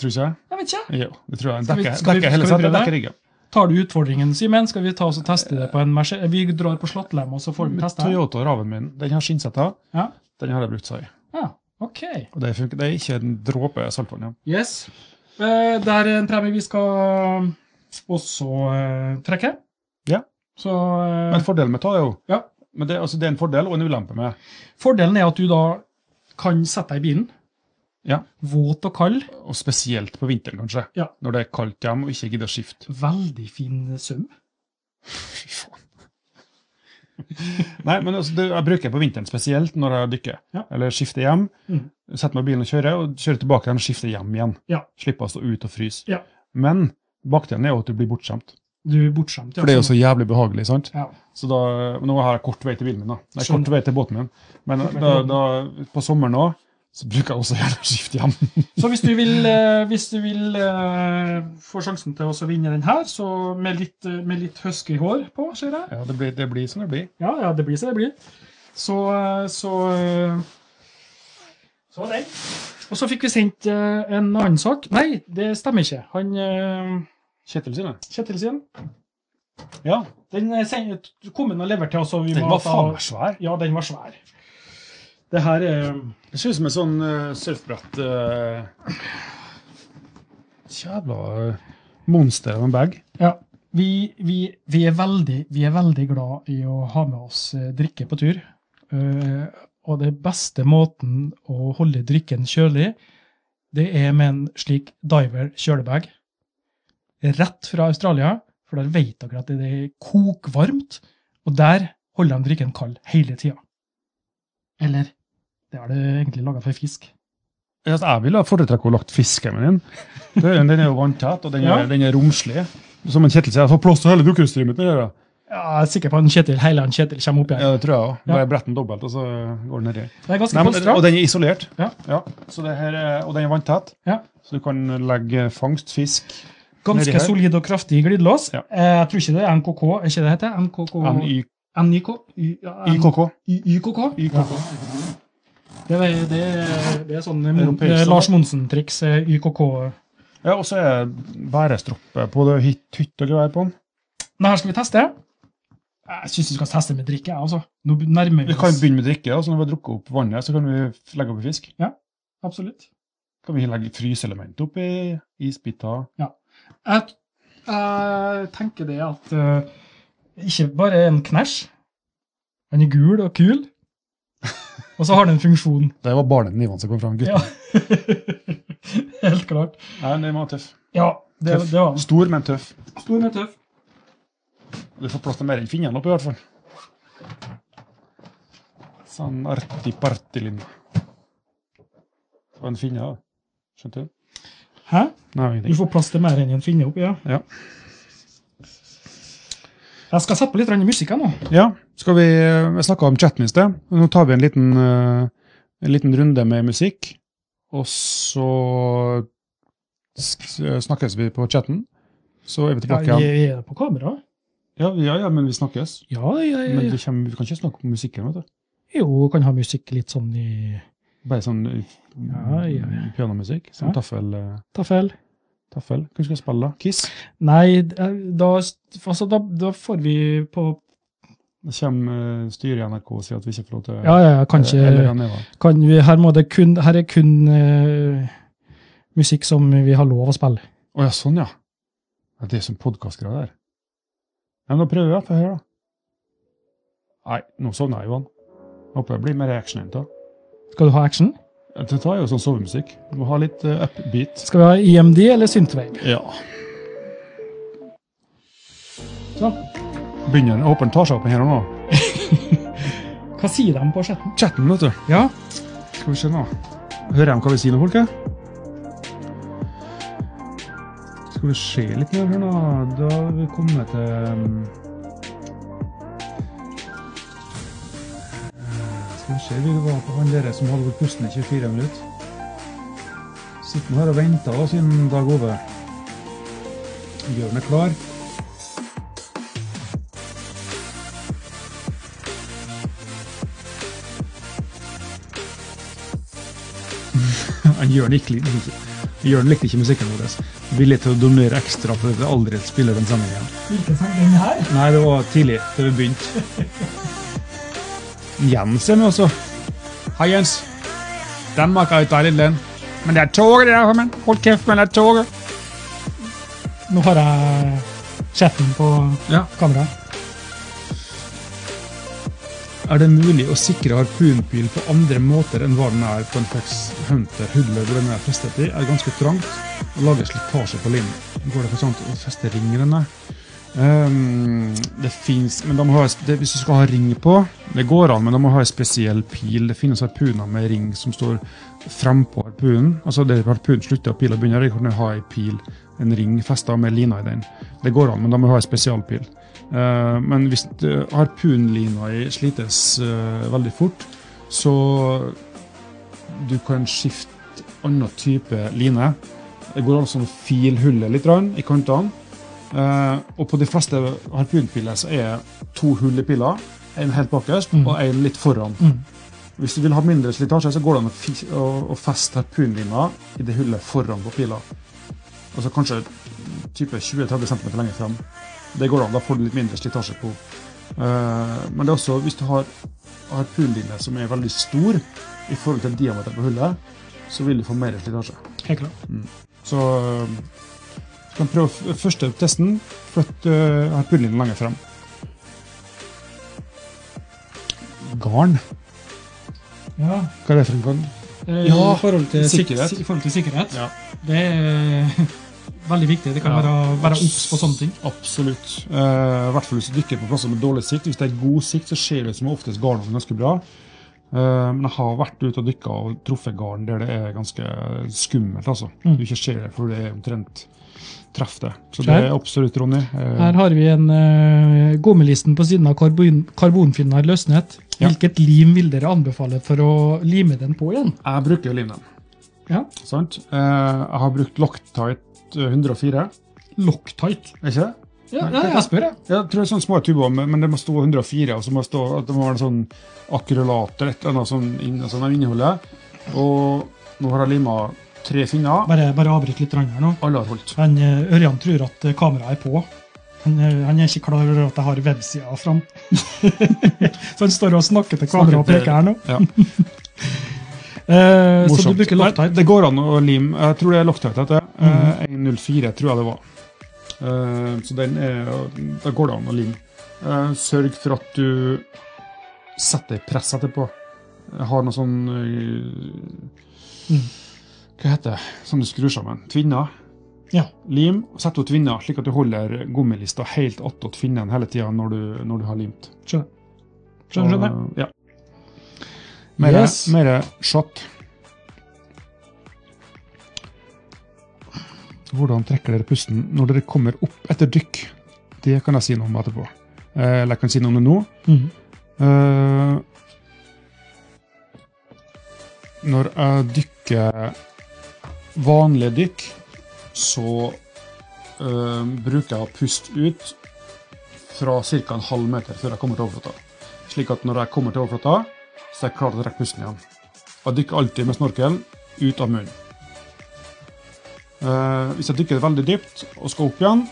Speaker 2: Tror ikke jeg?
Speaker 1: Jeg vet ikke.
Speaker 2: Jo, det tror jeg.
Speaker 1: Skal vi-
Speaker 2: Dekker,
Speaker 1: skal vi-
Speaker 2: dekker
Speaker 1: skal
Speaker 2: hele
Speaker 1: vi
Speaker 2: setet,
Speaker 1: prøve
Speaker 2: dekker riggen.
Speaker 1: Tar du utfordringen, Simen, skal vi ta oss og teste det på en Mercedes? Vi drar på Slottlem, og så får vi teste det.
Speaker 2: Toyota Raven min, den har skinnseta.
Speaker 1: Ja.
Speaker 2: Den har jeg brukt seg i.
Speaker 1: Ja, ok.
Speaker 2: Og det, funker, det er ikke en dråpe saltvann. Ja.
Speaker 1: Yes. Eh, Det er en premie vi skal eh, også eh, trekke.
Speaker 2: Ja.
Speaker 1: Så eh,
Speaker 2: Men fordelen med ta er jo
Speaker 1: Ja.
Speaker 2: men det, altså, det er en fordel og en ulempe med
Speaker 1: fordelen er at du da kan sette deg i bilen.
Speaker 2: Ja.
Speaker 1: Våt og kald.
Speaker 2: Og spesielt på vinteren, kanskje.
Speaker 1: Ja.
Speaker 2: Når det er kaldt hjemme og ikke gidder å skifte.
Speaker 1: Veldig fin søm.
Speaker 2: Fy faen. Nei, men altså, det, jeg bruker det på vinteren spesielt når jeg dykker.
Speaker 1: Ja.
Speaker 2: Eller skifter hjem.
Speaker 1: Mhm.
Speaker 2: Setter meg i bilen og kjører, og kjører tilbake igjen og skifter hjem igjen.
Speaker 1: Ja.
Speaker 2: Slipper å stå ute og fryse.
Speaker 1: Ja.
Speaker 2: Men bakdelen er jo at du blir bortskjemt.
Speaker 1: Du er bortskjemt. ja.
Speaker 2: For det er jo så jævlig behagelig. sant?
Speaker 1: Ja.
Speaker 2: Så da, Nå har jeg kort vei til bilen min. da. Nei,
Speaker 1: Skjønner.
Speaker 2: kort vei til båten min. Men
Speaker 1: Kort vei til
Speaker 2: da, da, på sommeren òg så bruker jeg også gjerne å skifte hjem.
Speaker 1: Så hvis du vil, eh, hvis du vil eh, få sjansen til å vinne den her, så med litt, eh, med litt husky hår på, ser jeg.
Speaker 2: Ja, Det blir, det blir som det blir.
Speaker 1: Ja, ja, det blir så det blir. Så eh, Så, eh, så var den. Og så fikk vi sendt eh, en annen sak. Nei, det stemmer ikke. Han eh,
Speaker 2: Kjetil sine.
Speaker 1: Kjetil sin,
Speaker 2: Ja,
Speaker 1: den eh, send- kom han og leverte til oss. og vi
Speaker 2: den
Speaker 1: må
Speaker 2: var
Speaker 1: ta-
Speaker 2: faen meg svær.
Speaker 1: Ja, den var svær. Det her er
Speaker 2: Det ser ut som et sånn eh, surfbrett uh, Jævla eh, monster av en bag.
Speaker 1: Ja. Vi, vi, vi, er veldig, vi er veldig glad i å ha med oss eh, drikke på tur. Eh, og den beste måten å holde drikken kjølig, det er med en slik diver kjølebag. Rett fra Australia, for der vet dere at det er kokvarmt. Og der holder de drikken kald hele tida. Eller det er det egentlig laga for fisk.
Speaker 2: Ja, altså, Jeg ville ha foretrekket å lagt fisken min inn. Det er- Den er jo vanntett, og den er,
Speaker 1: Ja.
Speaker 2: den er romslig. Som en Kjetil sier, jeg får plass til hele dukkehuset mitt. nedi der.
Speaker 1: Ja, jeg er sikker på at en Kjetil, hele han Kjetil kommer opp igjen.
Speaker 2: Ja, det tror jeg òg.
Speaker 1: Ja.
Speaker 2: Bare brett den dobbelt, og så går den nedi.
Speaker 1: Det er
Speaker 2: Nei,
Speaker 1: ganske
Speaker 2: men-
Speaker 1: konstant.
Speaker 2: Og den er isolert.
Speaker 1: Ja.
Speaker 2: så det her, er- og den er vanntett.
Speaker 1: Ja.
Speaker 2: Så du kan legge fangst, fisk, Nedi
Speaker 1: Ganske
Speaker 2: her.
Speaker 1: solid og kraftig glidelås.
Speaker 2: Ja.
Speaker 1: Eh, Jeg tror ikke det er NKK, er ikke det det heter? NKK?
Speaker 2: NY-
Speaker 1: NIK? Y- ja, N-
Speaker 2: IKK.
Speaker 1: Y- YKK?
Speaker 2: YKK.
Speaker 1: Det, er, det, er, det er sånn eh, Mon-
Speaker 2: Europeisk,
Speaker 1: eh, Lars Monsen-triks. eh, YKK.
Speaker 2: Ja, og så er det bærestroppe på det hytt, hytt og gevær på den.
Speaker 1: Men her skal vi teste. Jeg syns vi skal teste med drikke. jeg, Altså. Nå nærmer
Speaker 2: Vi
Speaker 1: vi
Speaker 2: kan
Speaker 1: oss.
Speaker 2: begynne med drikke, og så når vi har drukket opp vannet, så kan vi f- legge oppi fisk.
Speaker 1: Absolutt.
Speaker 2: Kan vi legge fryselement oppi isbiter.
Speaker 1: Jeg, jeg tenker det at eh, ikke bare er en knæsj. Den er gul og kul. Og så har den en funksjon.
Speaker 2: Det var barnenivåene som kom fram, gutten.
Speaker 1: Ja. Helt klart.
Speaker 2: Nei, den var tøff.
Speaker 1: Ja, det,
Speaker 2: Tøff.
Speaker 1: det var den.
Speaker 2: Stor, men tøff.
Speaker 1: Stor, men tøff.
Speaker 2: Du får plass til mer enn fingeren opp, i hvert fall. Sånn artig-partilin. Det var en finne, da. Skjønte du?
Speaker 1: Hæ?
Speaker 2: Nei,
Speaker 1: Du
Speaker 2: ingenting.
Speaker 1: får plass til mer enn en finne oppi, ja.
Speaker 2: Ja.
Speaker 1: Jeg skal sette på litt grann musikk her nå.
Speaker 2: Ja, skal vi eh, Jeg snakka om chatten i sted. Nå tar vi en liten, eh, en liten runde med musikk. Og så sk- eh, snakkes vi på chatten. Så er vi
Speaker 1: Ja,
Speaker 2: tilbake
Speaker 1: vi,
Speaker 2: igjen.
Speaker 1: vi er på kamera.
Speaker 2: Ja, ja, ja, men vi snakkes.
Speaker 1: Ja, ja, ja.
Speaker 2: Men vi, kommer, vi kan ikke snakke om musikken, vet du.
Speaker 1: Jo, kan ha musikk litt sånn i
Speaker 2: Bare sånn eh,
Speaker 1: Ja, ja, ja.
Speaker 2: pianomusikk. Sånn
Speaker 1: Ja.
Speaker 2: taffel... eh,
Speaker 1: Ta feil.
Speaker 2: Taffel. Hva skal vi spille? da? Kiss?
Speaker 1: Nei, d- eh, da, altså, da, da får vi på
Speaker 2: Det kommer eh, styret i NRK og sier at vi ikke får lov til
Speaker 1: Ja, ja, ja,
Speaker 2: Eh, Eller
Speaker 1: kanskje
Speaker 2: Janeva.
Speaker 1: kan vi, her, må det kun, her er kun eh, musikk som vi har lov å spille.
Speaker 2: Å ja, sånn, ja. ja det er som podkastgreier der. Ja, men da prøver jeg. Få høre, da. Nei, nå sovna jeg, Johan. Håper jeg blir mer actionhentet.
Speaker 1: Skal du ha action?
Speaker 2: Dette er jo sånn sovemusikk. Du må ha litt eh, upbeat.
Speaker 1: Skal vi ha IMD eller Synthwave?
Speaker 2: Ja.
Speaker 1: Sånn.
Speaker 2: Begynner den. Jeg håper den tar seg opp her og nå.
Speaker 1: Hva sier de på chatten?
Speaker 2: Chatten, vet du.
Speaker 1: Ja,
Speaker 2: Skal vi se nå. Hører de hva vi sier nå, folket? Skal vi se litt mer her nå. Da har vi kommet til um, eh, Skal vi se, vi var på han dere som hadde vært pusten i 24 minutter. Sitter nå her og venter da, siden Dag Ove. Gjør meg klar. Han Jørn likte ikke, Jørn likte ikke musikken vår. altså. Villig til å donere ekstra for at vi aldri spiller den sangen igjen.
Speaker 1: hvilken sang den her?
Speaker 2: Nei, det var tidlig, da vi begynte. Jens er med også. Hei, Jens. Danmark er et deilig land. Men det er toget, det der, men. Hold kjeft, men det er toget.
Speaker 1: Nå har jeg chatten på
Speaker 2: Ja.
Speaker 1: kamera.
Speaker 2: Er det mulig å sikre harpunpil på andre måter enn hva den er på en Fex Hunter Hudler hvor den er festet i? Er ganske trangt og lager slitasje på linden. Går det for sånn sånt å feste ring i denne? Ehm, det fins Men da må ha, det, hvis du skal ha ring på Det går an, men da må du ha en spesiell pil. Det finnes harpuner med ring som står frempå harpunen. Altså der harpunen slutter og pila begynner, der kan du ha en pil, en ring festa med lina i den. Det går an, men da må du ha en spesialpil. Eh, men hvis eh, harpunlina i slites eh, veldig fort, så du kan skifte annen type line. Det går an å sånn file hullet litt grann, i kantene. Eh, og på de fleste harpunpiler så er to hull i pila. En helt bakerst
Speaker 1: Mm.
Speaker 2: og en litt foran.
Speaker 1: Mm.
Speaker 2: Hvis du vil ha mindre slitasje, så går det an å, fi- å, å feste harpunlina i det hullet foran på pila. Altså kanskje type 20-30 cm lenger frem. Det går an, da får du litt mindre slitasje på. Eh, men det er også, hvis du har harpunline som er veldig stor i forhold til diameteren på hullet, så vil du få mer slitasje.
Speaker 1: Helt klart.
Speaker 2: Så eh, du kan prøve f- første testen. Flytt eh, harpunlinen lenger frem. Garn?
Speaker 1: Ja.
Speaker 2: Hva er det for en garn?
Speaker 1: eh,
Speaker 2: Ja,
Speaker 1: I forhold til sik-
Speaker 2: sikkerhet.
Speaker 1: si- I forhold til sikkerhet.
Speaker 2: Ja.
Speaker 1: Det er eh, veldig viktig. Det kan
Speaker 2: Ja.
Speaker 1: være, være obs på sånne ting.
Speaker 2: Absolutt. Eh, I hvert fall hvis du dykker på plasser med dårlig sikt. Hvis det er god sikt, så ser det ut som oftest garnene ganske bra. Eh, men jeg har vært ute og dykka og truffet garn der det er ganske skummelt. altså.
Speaker 1: Mm.
Speaker 2: Du ikke ser det, for det er omtrent treff det. Så det
Speaker 1: Skjær.
Speaker 2: er absolutt, Ronny. eh,
Speaker 1: Her har vi en uh, gommelisten på siden av karbon, karbonfinner løsnet.
Speaker 2: Ja.
Speaker 1: Hvilket lim vil dere anbefale for å lime den på igjen?
Speaker 2: Jeg bruker jo limnen.
Speaker 1: Ja.
Speaker 2: Sant? Eh, jeg har brukt Loctite eh, 104.
Speaker 1: Loctite.
Speaker 2: Er ikke det?
Speaker 1: Ja,
Speaker 2: Nei,
Speaker 1: ja, jeg spør, jeg.
Speaker 2: Jeg tror det er sånne små tuber, men men det må stå 104, og så må det stå at det må være en sånn akrylat eller et eller annet sånn inn, sånn av innholdet. Og nå har jeg lima Tre finner.
Speaker 1: Bare, bare avbryt litt grann her nå.
Speaker 2: Alle har holdt.
Speaker 1: Han, eh, Ørjan tror at eh, kameraet er på. Han, eh, han er ikke klar over at jeg har websida fram. så han står og snakker til kameraet og
Speaker 2: Snakker til-
Speaker 1: peker her nå.
Speaker 2: Ja,
Speaker 1: Eh, så du
Speaker 2: morsomt.
Speaker 1: bruker
Speaker 2: Nei,
Speaker 1: Loctite.
Speaker 2: Det går an å lime. Jeg tror det er Loctite dette. Eh,
Speaker 1: Mhm.
Speaker 2: 104 tror jeg det var. Eh, så den er, da går det an å lime. Eh, sørg for at du setter press etterpå. Jeg har noe sånn eh,
Speaker 1: Mhm.
Speaker 2: Hva heter det? Som du skrur sammen. Tvinner.
Speaker 1: Ja.
Speaker 2: Lim. Sett ut tvinner, slik at du holder gummilista helt attåt finnen hele tida når, du- når du har limt.
Speaker 1: Skjønner. Skjønner, skjønner.
Speaker 2: Og, Ja. Mere,
Speaker 1: Yes.
Speaker 2: mere shot. Hvordan trekker dere pusten når dere kommer opp etter dykk? Det kan jeg si noe om etterpå. Eh, Eller jeg kan si noe om det nå.
Speaker 1: Mhm.
Speaker 2: Eh, når jeg dykker vanlige dykk, så eh, bruker jeg å puste ut fra ca. en halv meter før jeg kommer til overflata. Slik at når jeg kommer til overflata, så er jeg klar til å trekke pusten igjen. Jeg dykker alltid med snorkelen ut av munnen. Eh, hvis jeg dykker veldig dypt og skal opp igjen,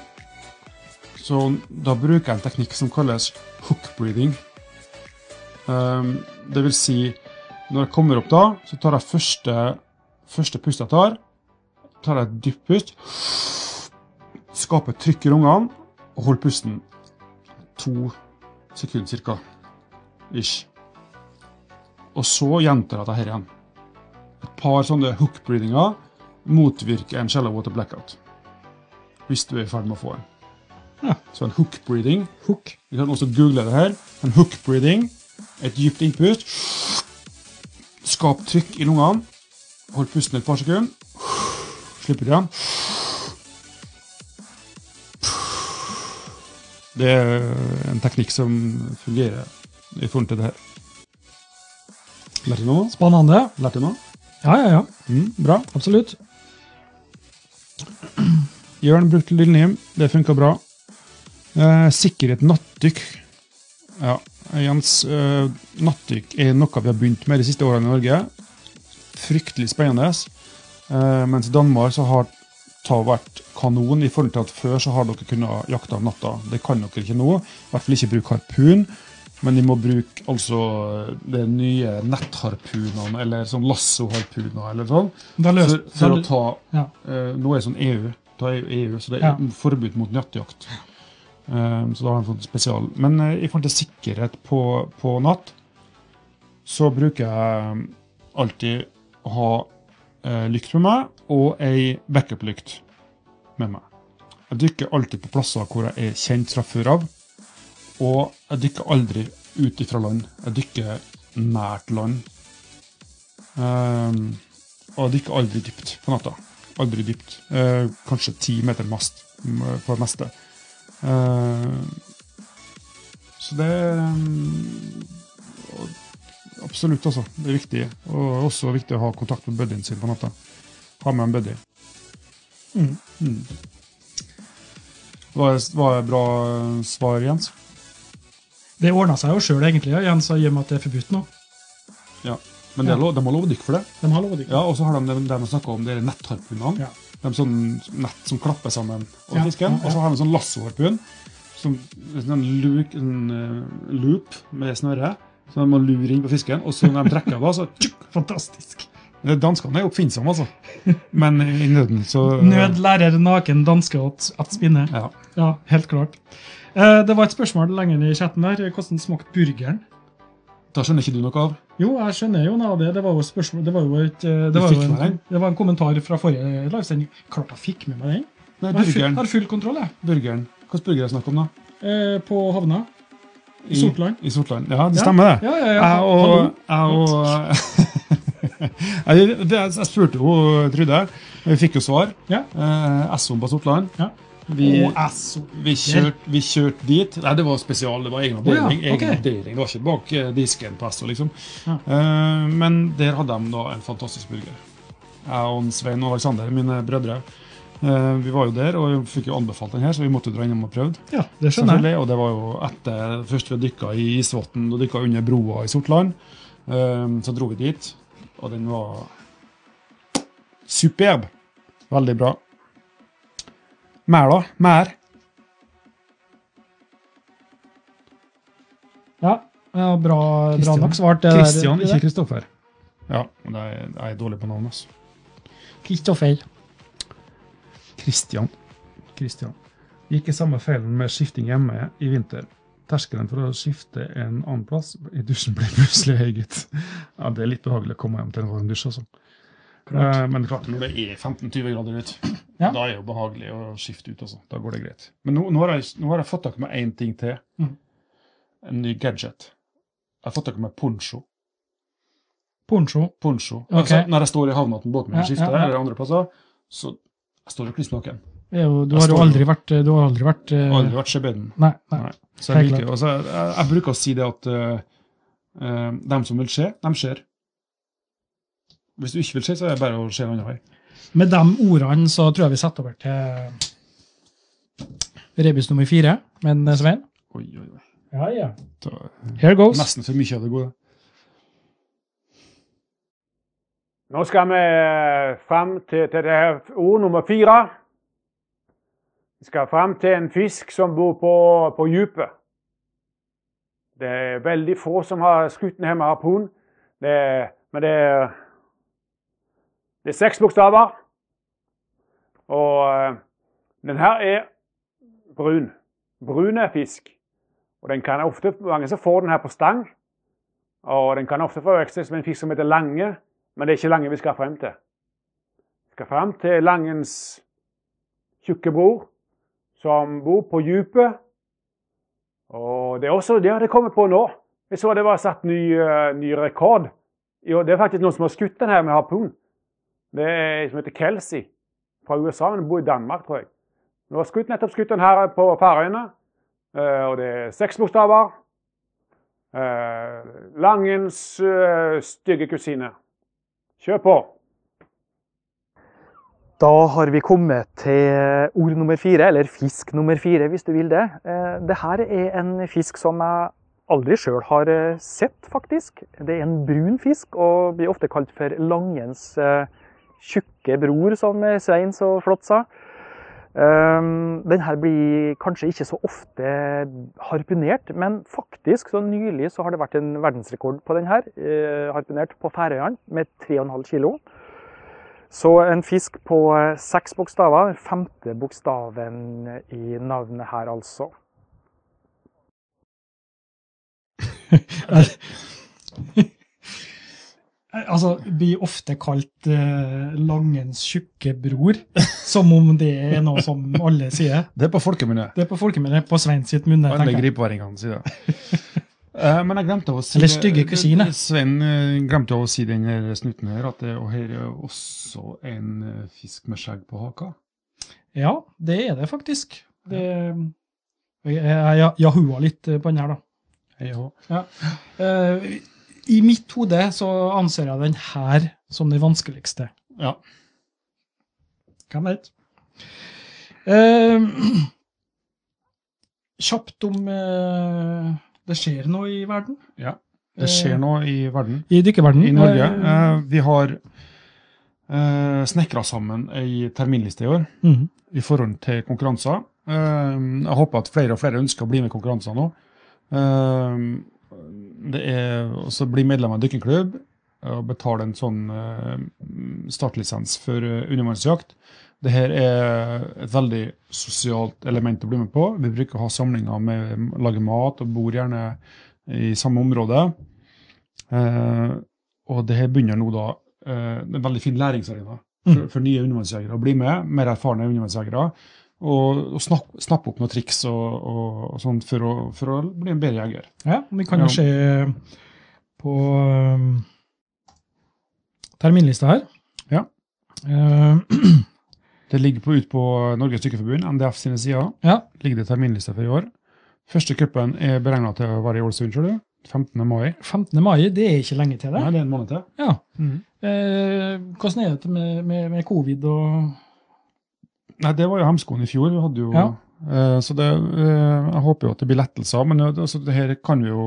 Speaker 2: så da bruker jeg en teknikk som kalles hook breathing. Um, det vil si, når jeg kommer opp da, så tar jeg første, første pust jeg tar, tar jeg et dypt pust, skaper trykk i lungene, og holder pusten to sekunder cirka, ish. Og så gjentar jeg dette her igjen. Et par sånne hook-breathinger motvirker en shallow water blackout, hvis du er i ferd med å få en.
Speaker 1: Ja.
Speaker 2: Så en hook-breathing
Speaker 1: Hook.
Speaker 2: vi kan også google det her. En hook breathing. Et dypt innpust. Skap trykk i lungene. Hold pusten et par sekunder. Slipp ut igjen. Det er en teknikk som fungerer i forhold til det her. Lærte du noe?
Speaker 1: Spennende.
Speaker 2: Lærte du noe?
Speaker 1: Ja, ja, ja.
Speaker 2: Mm, bra.
Speaker 1: Absolutt.
Speaker 2: Jørn brukte lillehjem. Det funka bra. Eh, sikkerhet nattdykk. Ja, Jens. Eh, nattdykk er noe vi har begynt med de siste årene i Norge. Fryktelig spennende. Eh, mens i Danmark så har ta vært kanon i forhold til at før så har dere kunnet jakte om natta. Det kan dere ikke nå. I hvert fall ikke bruke harpun. Men de må bruke altså de nye nettharpunene, eller sånn lassoharpuner, eller sånn.
Speaker 1: Da
Speaker 2: For,
Speaker 1: løser
Speaker 2: for å
Speaker 1: da-
Speaker 2: ta
Speaker 1: ja.
Speaker 2: Eh, nå er det sånn EU, da er jo EU, så det er
Speaker 1: Ja.
Speaker 2: forbud mot nattjakt. Eh, så da har han fått spesial. Men eh, i forhold til sikkerhet på, på natt, så bruker jeg eh, alltid å ha eh, lykt med meg og ei backup-lykt med meg. Jeg dykker alltid på plasser hvor jeg er kjent fra før av, og jeg dykker aldri ut ifra land. Jeg dykker nært land. Eh, og jeg dykker aldri dypt på natta. Aldri dypt. Eh, kanskje ti meter mast m- på det meste. Eh, så det er mm, og- Absolutt, altså. Det er viktig. Og også viktig å ha kontakt med buddyen sin på natta. Ha med en buddy.
Speaker 1: Mm.
Speaker 2: Mm. Var, det- var det bra eh, svar, Jens?
Speaker 1: Det ordna seg jo sjøl, egentlig, igjen, så i og med at det er forbudt nå.
Speaker 2: Ja. Men det er
Speaker 1: Ja.
Speaker 2: lov, de har lov å dykke for det.
Speaker 1: De har lov å dykke.
Speaker 2: Ja, Og så har de de, de snakka om de nettharpunene.
Speaker 1: Ja.
Speaker 2: De er sånn nett som klapper sammen over
Speaker 1: Ja,
Speaker 2: fisken.
Speaker 1: ja, ja.
Speaker 2: Og så har de en sånn lassoharpun. Som en sånn luk, en eh, loop med snøre. Så de må lure inn på fisken. Og så når de trekker av, da, så tjuk!
Speaker 1: Fantastisk.
Speaker 2: Eh, Danskene er oppfinnsomme, altså. Men i nøden, så eh,
Speaker 1: Nød lærer naken danske at, at spinne.
Speaker 2: Ja.
Speaker 1: Ja, helt klart. Eh, det var et spørsmål lenger i chatten der. Hvordan smakte burgeren?
Speaker 2: Da skjønner ikke du noe av.
Speaker 1: Jo, jeg skjønner jo noe av det. Det var jo spørsmål, det var jo et, eh,
Speaker 2: Du
Speaker 1: det var jo
Speaker 2: fikk med
Speaker 1: en,
Speaker 2: deg?
Speaker 1: det var en kommentar fra forrige livesending. Klart jeg fikk med meg den.
Speaker 2: Nei,
Speaker 1: Jeg har full,
Speaker 2: burgeren.
Speaker 1: har full kontroll, jeg.
Speaker 2: burgeren. Hvilken burger er det snakk om, da?
Speaker 1: Eh, på havna. I Sortland.
Speaker 2: I Sortland. Ja, det
Speaker 1: Ja.
Speaker 2: stemmer, det.
Speaker 1: Ja, ja, ja.
Speaker 2: Jeg
Speaker 1: Hallo.
Speaker 2: og, jeg, og jeg, det, jeg spurte jo Trude, og vi fikk jo svar.
Speaker 1: Ja.
Speaker 2: Eh, SO på Sortland.
Speaker 1: Ja.
Speaker 2: Vi,
Speaker 1: Og jeg så-
Speaker 2: vi, kjørte, vi kjørte dit. Nei, det var spesial. Det var egen
Speaker 1: ja,
Speaker 2: avdeling. egen
Speaker 1: ok.
Speaker 2: avdeling. Det var ikke bak eh, disken på SO, liksom.
Speaker 1: Ja.
Speaker 2: Eh, men der hadde de da en fantastisk burger. Jeg og Svein og Alexander, mine brødre, eh, vi var jo der og vi fikk jo anbefalt den her, så vi måtte jo dra innom og prøve.
Speaker 1: Ja, det skjønner jeg.
Speaker 2: Selvfølgelig, og det var jo etter først vi dykka i Isvatn og dykka under broa i Sortland. ehm, så dro vi dit, og den var Superb. Veldig bra. Mer, da? Mer?
Speaker 1: Ja, ja bra, bra
Speaker 2: Christian.
Speaker 1: nok svart. det der-
Speaker 2: Christian,
Speaker 1: det
Speaker 2: ikke
Speaker 1: der.
Speaker 2: Kristoffer. Ja, men jeg er, jeg er dårlig på navn, altså.
Speaker 1: Kristoffer.
Speaker 2: Christian.
Speaker 5: Christian. Gikk i samme feilen med skifting hjemme i vinter. Terskelen for å skifte en annen plass i dusjen ble plutselig høy, gitt. Ja, det er litt behagelig å komme hjem til en varm dusj, altså. Eh, men klart,
Speaker 2: Når det er 15-20 grader ute,
Speaker 1: Ja.
Speaker 2: da er det jo behagelig å skifte ut. altså. Da går det greit. Men nå, nå, har, jeg, nå har jeg fått tak med én ting til.
Speaker 5: Mm.
Speaker 1: Mhm.
Speaker 2: En ny gadget. Jeg har fått tak med poncho.
Speaker 1: Poncho.
Speaker 2: poncho.
Speaker 1: Ok.
Speaker 2: Altså, når jeg står i havna til båten min
Speaker 1: Ja,
Speaker 2: og skifter,
Speaker 1: ja, ja.
Speaker 2: eller andre plasser, så jeg står jo kliss naken.
Speaker 1: Det er jo, du
Speaker 2: Jeg
Speaker 1: har jo
Speaker 2: står-
Speaker 1: aldri vært Du har aldri vært eh,
Speaker 2: Jeg har Aldri vært skjebnen.
Speaker 1: Nei. nei.
Speaker 2: Nei. Så jeg
Speaker 1: Helt
Speaker 2: liker jo altså, jeg, jeg bruker å si det at eh, eh, dem som vil se, dem ser. Hvis du ikke vil se, så er det bare å se en annen vei.
Speaker 1: Med de ordene så tror jeg vi setter over til rebus nummer fire. Men eh, Svein?
Speaker 2: Oi, oi, oi.
Speaker 1: Ja, ja.
Speaker 2: Det
Speaker 1: Here
Speaker 2: var
Speaker 1: goes.
Speaker 2: nesten for mye av det gode.
Speaker 3: Nå skal vi eh, fram til, til det her ord nummer fire. Vi skal fram til en fisk som bor på, på djupet. Det er veldig få som har skutt den her med harpun. Det er, men det er, det er seks bokstaver. Og eh, den her er brun. Brune fisk. Og den kan ofte, mange som får den her på stang. Og den kan ofte forveksles med en fisk som heter lange. Men det er ikke Lange vi skal frem til. Vi skal frem til Langens tjukke bror, som bor på dypet. Og det er også det det kommer på nå. Jeg så det var satt ny, eh, ny rekord. Jo, det er faktisk noen som har skutt den her med harpun. Det er en som heter Kelsey fra USA, men bor i Danmark, tror jeg. Nå har skutt nettopp skutt den her på Færøyene. Eh, Og det er seks bokstaver. Eh, Langens eh, stygge kusine. Kjør på.
Speaker 4: Da har vi kommet til ord nummer fire, eller fisk nummer fire, hvis du vil det. Eh, Det her er en fisk som jeg aldri sjøl har eh, sett, faktisk. Det er en brun fisk, og blir ofte kalt for langens eh, tjukke bror, som eh, Svein så flott sa. Um, Den her blir kanskje ikke så ofte harpunert, men faktisk så nylig så har det vært en verdensrekord på den her, eh, harpunert på Færøyene med 3,5 kilo. Så en fisk på eh, seks bokstaver. Den femte bokstaven i navnet her, altså.
Speaker 1: Altså, blir ofte kalt eh, Langens tjukke bror, som om det er noe som alle sier.
Speaker 2: Det er på folkemunne.
Speaker 1: Det er på folkemunne, på Svein sitt munne.
Speaker 2: Alle
Speaker 1: tenker jeg.
Speaker 2: gripeværingene sier det. Eh, men jeg glemte å si
Speaker 1: Eller stygge kusine.
Speaker 2: Svein eh, glemte å si den her snutten her, at det, og her er også en eh, fisk med skjegg på haka.
Speaker 1: Ja, det er det faktisk. Det, jeg jeg- jeg yahua litt eh, på den her, da.
Speaker 2: Hei og hå.
Speaker 1: Eh, I mitt hode så anser jeg den her som den vanskeligste.
Speaker 2: Ja.
Speaker 1: Hvem vet? Eh, kjapt om eh, det skjer noe i verden.
Speaker 2: Ja, Eh. Det skjer noe i verden.
Speaker 1: I dykkerverdenen.
Speaker 2: I Norge.
Speaker 1: Eh,
Speaker 2: Eh, vi har uh, snekra sammen ei terminliste i år
Speaker 1: mhm.
Speaker 2: i forhold til konkurranser. Eh, Jeg håper at flere og flere ønsker å bli med i konkurranser nå. Eh, Det er også bli medlem av en dykkerklubb og betale en sånn eh, startlisens for eh, undervannsjakt. Det her er et veldig sosialt element å bli med på. Vi bruker å ha samlinger med lage mat og bor gjerne i samme område. Eh, Og det her begynner nå da eh, det er en veldig fin læringsarena for, for nye undervannsjegere å bli med, mer erfarne undervannsjegere, og, og snak, snappe opp noen triks og, og, og sånt for å, for å bli en bedre jeger.
Speaker 1: Ja, vi kan jo
Speaker 2: Ja.
Speaker 1: se eh, på um, terminlista her.
Speaker 2: Ja.
Speaker 1: Eh,
Speaker 2: Det ligger på, ut på Norges Dykkerforbund, NDF sine sider.
Speaker 1: ja.
Speaker 2: Ligger det terminliste for i år. Første cupen er beregna til å være i Ålesund, tror du. 15. mai.
Speaker 1: 15. mai, det er ikke lenge til det.
Speaker 2: Nei, Mm. det er en måned til.
Speaker 1: Ja. Eh, hvordan er det med, med, med covid og
Speaker 2: Nei, det var jo hemskoen i fjor. Vi hadde jo,
Speaker 1: Ja.
Speaker 2: Eh, så det, eh, jeg håper jo at det blir lettelser. Men eh, altså, det her kan vi jo,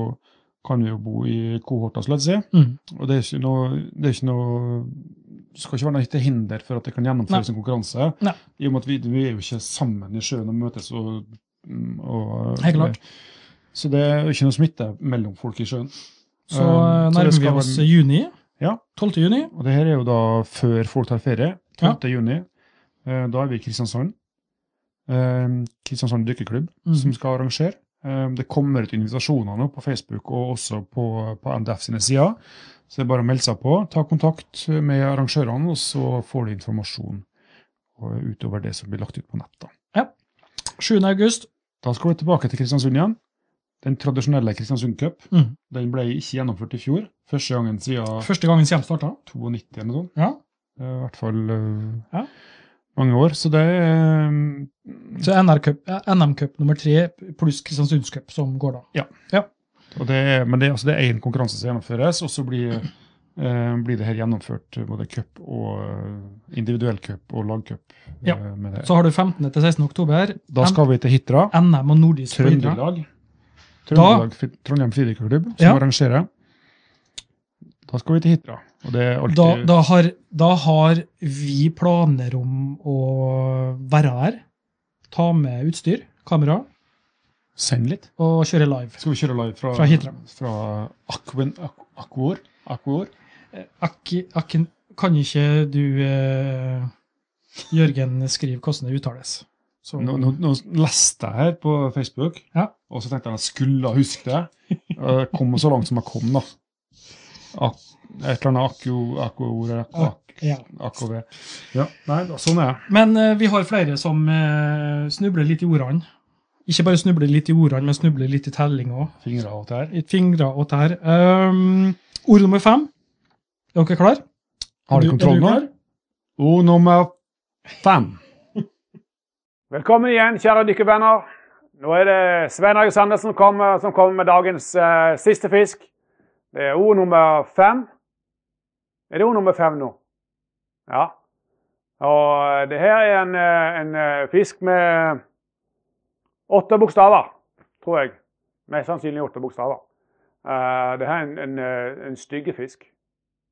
Speaker 2: kan vi jo bo i kohorter, skal jeg si.
Speaker 1: Mhm.
Speaker 2: Og det er ikke noe, det er ikke noe skal ikke være noe til hinder for at det kan gjennomføres en konkurranse.
Speaker 1: Nei.
Speaker 2: I og med at vi, vi er jo ikke sammen i sjøen og møtes og, mm, og
Speaker 1: Helt klart.
Speaker 2: Så det er jo ikke noe smitte mellom folk i sjøen.
Speaker 1: Så eh,
Speaker 2: Um, så det
Speaker 1: nærmer vi
Speaker 2: skal
Speaker 1: oss
Speaker 2: være-
Speaker 1: juni.
Speaker 2: Ja.
Speaker 1: 12. juni.
Speaker 2: Og det her er jo da før folk tar ferie. 12. juni. Eh, Da er vi i Kristiansand. Eh, Kristiansand dykkeklubb
Speaker 1: Mhm.
Speaker 2: som skal arrangere. Eh, Det kommer ut invitasjoner nå på Facebook og også på, på NDF sine sider. Så det er bare å melde seg på. Ta kontakt med arrangørene, og så får du informasjon eh, utover det som blir lagt ut på nett. Da.
Speaker 1: 7. august.
Speaker 2: Da skal vi tilbake til Kristiansund igjen. Den tradisjonelle Kristiansund Cup
Speaker 1: Mhm.
Speaker 2: den ble ikke gjennomført i fjor. Første gangen siden sånn.
Speaker 1: Første gangen Siem starta.
Speaker 2: 92 eller noe sånt.
Speaker 1: Ja.
Speaker 2: Det er I hvert fall eh,
Speaker 1: Ja.
Speaker 2: mange år. Så det er eh,
Speaker 1: Så NR Cup, eh, NM Cup nummer tre pluss Kristiansunds Cup som går da.
Speaker 2: og det er, Men det, er- altså det er én konkurranse som gjennomføres, og så blir, eh, blir det her gjennomført eh, både cup og eh, individuell cup og lagcup. eh,
Speaker 1: Ja.
Speaker 2: med det.
Speaker 1: Så har du 15. til 16. oktober.
Speaker 2: Da skal vi til Hitra.
Speaker 1: N- NM og nordisk på idrett.
Speaker 2: Trøndelag. Trøndelag Fi- Trondheim Fridykkerklubb som
Speaker 1: Ja.
Speaker 2: arrangerer. Da skal vi til Hitra. Og det er alltid
Speaker 1: Da, da, har, da har vi planer om å være her. Ta med utstyr, kamera,
Speaker 2: Send litt.
Speaker 1: og kjøre live.
Speaker 2: Skal vi kjøre live fra,
Speaker 1: Fra Hitra.
Speaker 2: fra Aquin, Aqu- Aquor? Aquor?
Speaker 1: Akki- Akken, kan ikke du, eh, Jørgen, skrive hvordan det uttales? Så,
Speaker 2: Nå, nå, nå leste jeg her på Facebook,
Speaker 1: Ja.
Speaker 2: og så tenkte jeg at jeg skulle huske det. Og Jeg kom så langt som jeg kom, da. Ak, et eller annet akko, akkoord ak,
Speaker 1: Ja.
Speaker 2: AKV. Ja, nei, da, sånn er jeg.
Speaker 1: Men eh, vi har flere som eh, snubler litt i ordene. Ikke bare snubler litt i ordene, men snubler litt i telling òg.
Speaker 2: Fingre av og til her.
Speaker 1: I fingre og tær. Um, ord nummer fem. Er dere klare?
Speaker 2: Har
Speaker 1: Er
Speaker 2: du
Speaker 1: du- er
Speaker 2: kontroll
Speaker 1: du
Speaker 2: nå?
Speaker 1: klar?
Speaker 2: Ord nummer fem.
Speaker 3: Velkommen igjen, kjære dykkervenner. Nå er det Svein Erik Sandnes som kommer, som kommer med dagens eh, siste fisk. Det er ord nummer fem. Er det ord nummer fem nå? Ja. Og det her er en, eh, en eh, fisk med åtte bokstaver, tror jeg. Mest sannsynlig åtte bokstaver. Eh, det her er en, en, eh, en stygge fisk.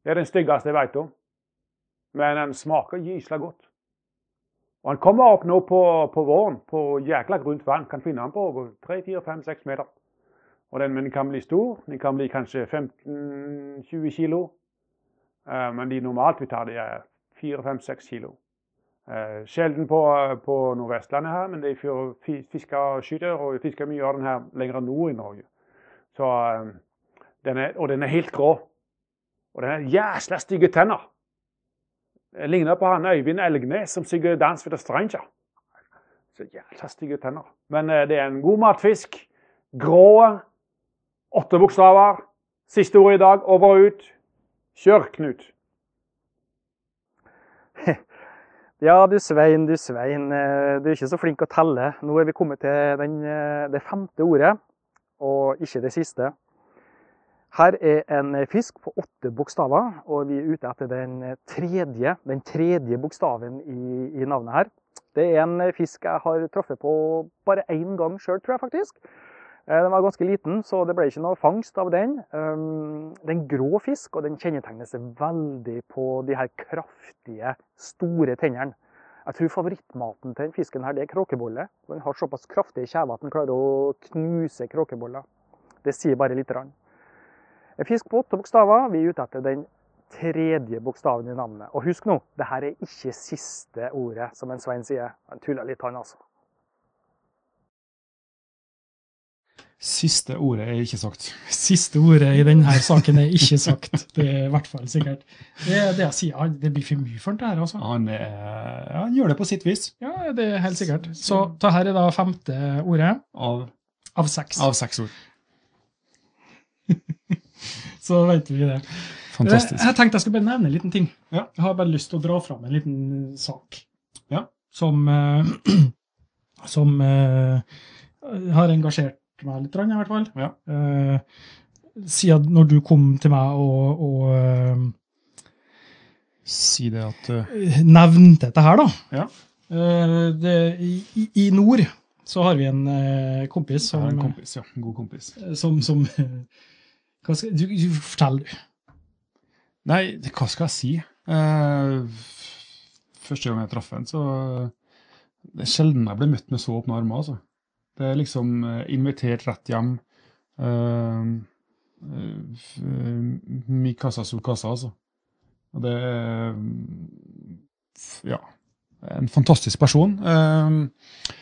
Speaker 3: Det er den styggeste jeg veit om. Men den smaker gysla godt. Og han kommer opp nå på, på våren på jækla grunt vann. Kan finne han på over 3-4-5-6 meter. Og den, men den kan bli stor. Den kan bli kanskje 15-20 kilo. Eh, men de normalt vi tar, det er 4-5-6 kilo. Eh, sjelden på, på Nordvestlandet her, men de fyr- fi- fisker skyter, og vi fisker mye av den her lenger nord i Norge. Så, eh, den er, og den er helt grå. Og den har jæsla stygge tenner. Jeg ligner på han Øyvind Elgnes som synger 'Dans with a stranger'. Så jævla stygge tenner. Men eh, det er en god matfisk. Grå. Åtte bokstaver. Siste ord i dag. Over og ut. Kjør, Knut.
Speaker 4: Ja, du Svein, du Svein. eh, Du er ikke så flink å telle. Nå er vi kommet til den, eh, det femte ordet, og ikke det siste. Her er en fisk på åtte bokstaver, og vi er ute etter den tredje, den tredje bokstaven i, i navnet her. Det er en fisk jeg har truffet på bare én gang sjøl, tror jeg faktisk. Eh, Den var ganske liten, så det ble ikke noe fangst av den. Um, Det er en grå fisk, og den kjennetegnes veldig på de her kraftige, store tennene. Jeg tror favorittmaten til den fisken her, det er kråkebolle. Den har såpass kraftige kjever at den klarer å knuse kråkeboller. Det sier bare lite grann. En fisk på åtte bokstaver. Vi er ute etter den tredje bokstaven i navnet. Og husk nå, det her er ikke siste ordet, som en Svein sier. Han tuller litt, han altså.
Speaker 2: Siste ordet er ikke sagt.
Speaker 1: Siste ordet i denne saken er ikke sagt. Det er i hvert fall sikkert. Det, er det jeg sier, Han- det blir for mye for han, det her, altså.
Speaker 2: Han, er, ja, han gjør det på sitt vis.
Speaker 1: Ja, det er helt sikkert. Så det her er da femte ordet
Speaker 2: Av,
Speaker 1: av seks.
Speaker 2: av seks ord.
Speaker 1: Så vet vi det.
Speaker 2: Fantastisk.
Speaker 1: Jeg tenkte jeg skulle bare nevne en liten ting.
Speaker 2: Ja.
Speaker 1: Jeg har bare lyst til å dra fram en liten eh, sak
Speaker 2: Ja.
Speaker 1: som, eh, som eh, har engasjert meg litt, grann, i hvert fall.
Speaker 2: Ja.
Speaker 1: Eh, siden når du kom til meg og, og
Speaker 2: Si det at eh,
Speaker 1: eh, nevnte dette her, da.
Speaker 2: Ja.
Speaker 1: Eh, det, i, I nord så har vi en eh, kompis
Speaker 2: jeg
Speaker 1: som, eh,
Speaker 2: har en kompis. Ja, en god kompis.
Speaker 1: som, som Hva skal du, du Fortell, du.
Speaker 2: Nei, hva skal jeg si? Eh, f- første gang jeg traff henne, så Det er sjelden jeg ble møtt med så åpne armer. altså. Det er liksom eh, invitert rett hjem. Eh, eh, f- eh, mi casa su casa, altså. Og det er f- Ja. En fantastisk person. Eh,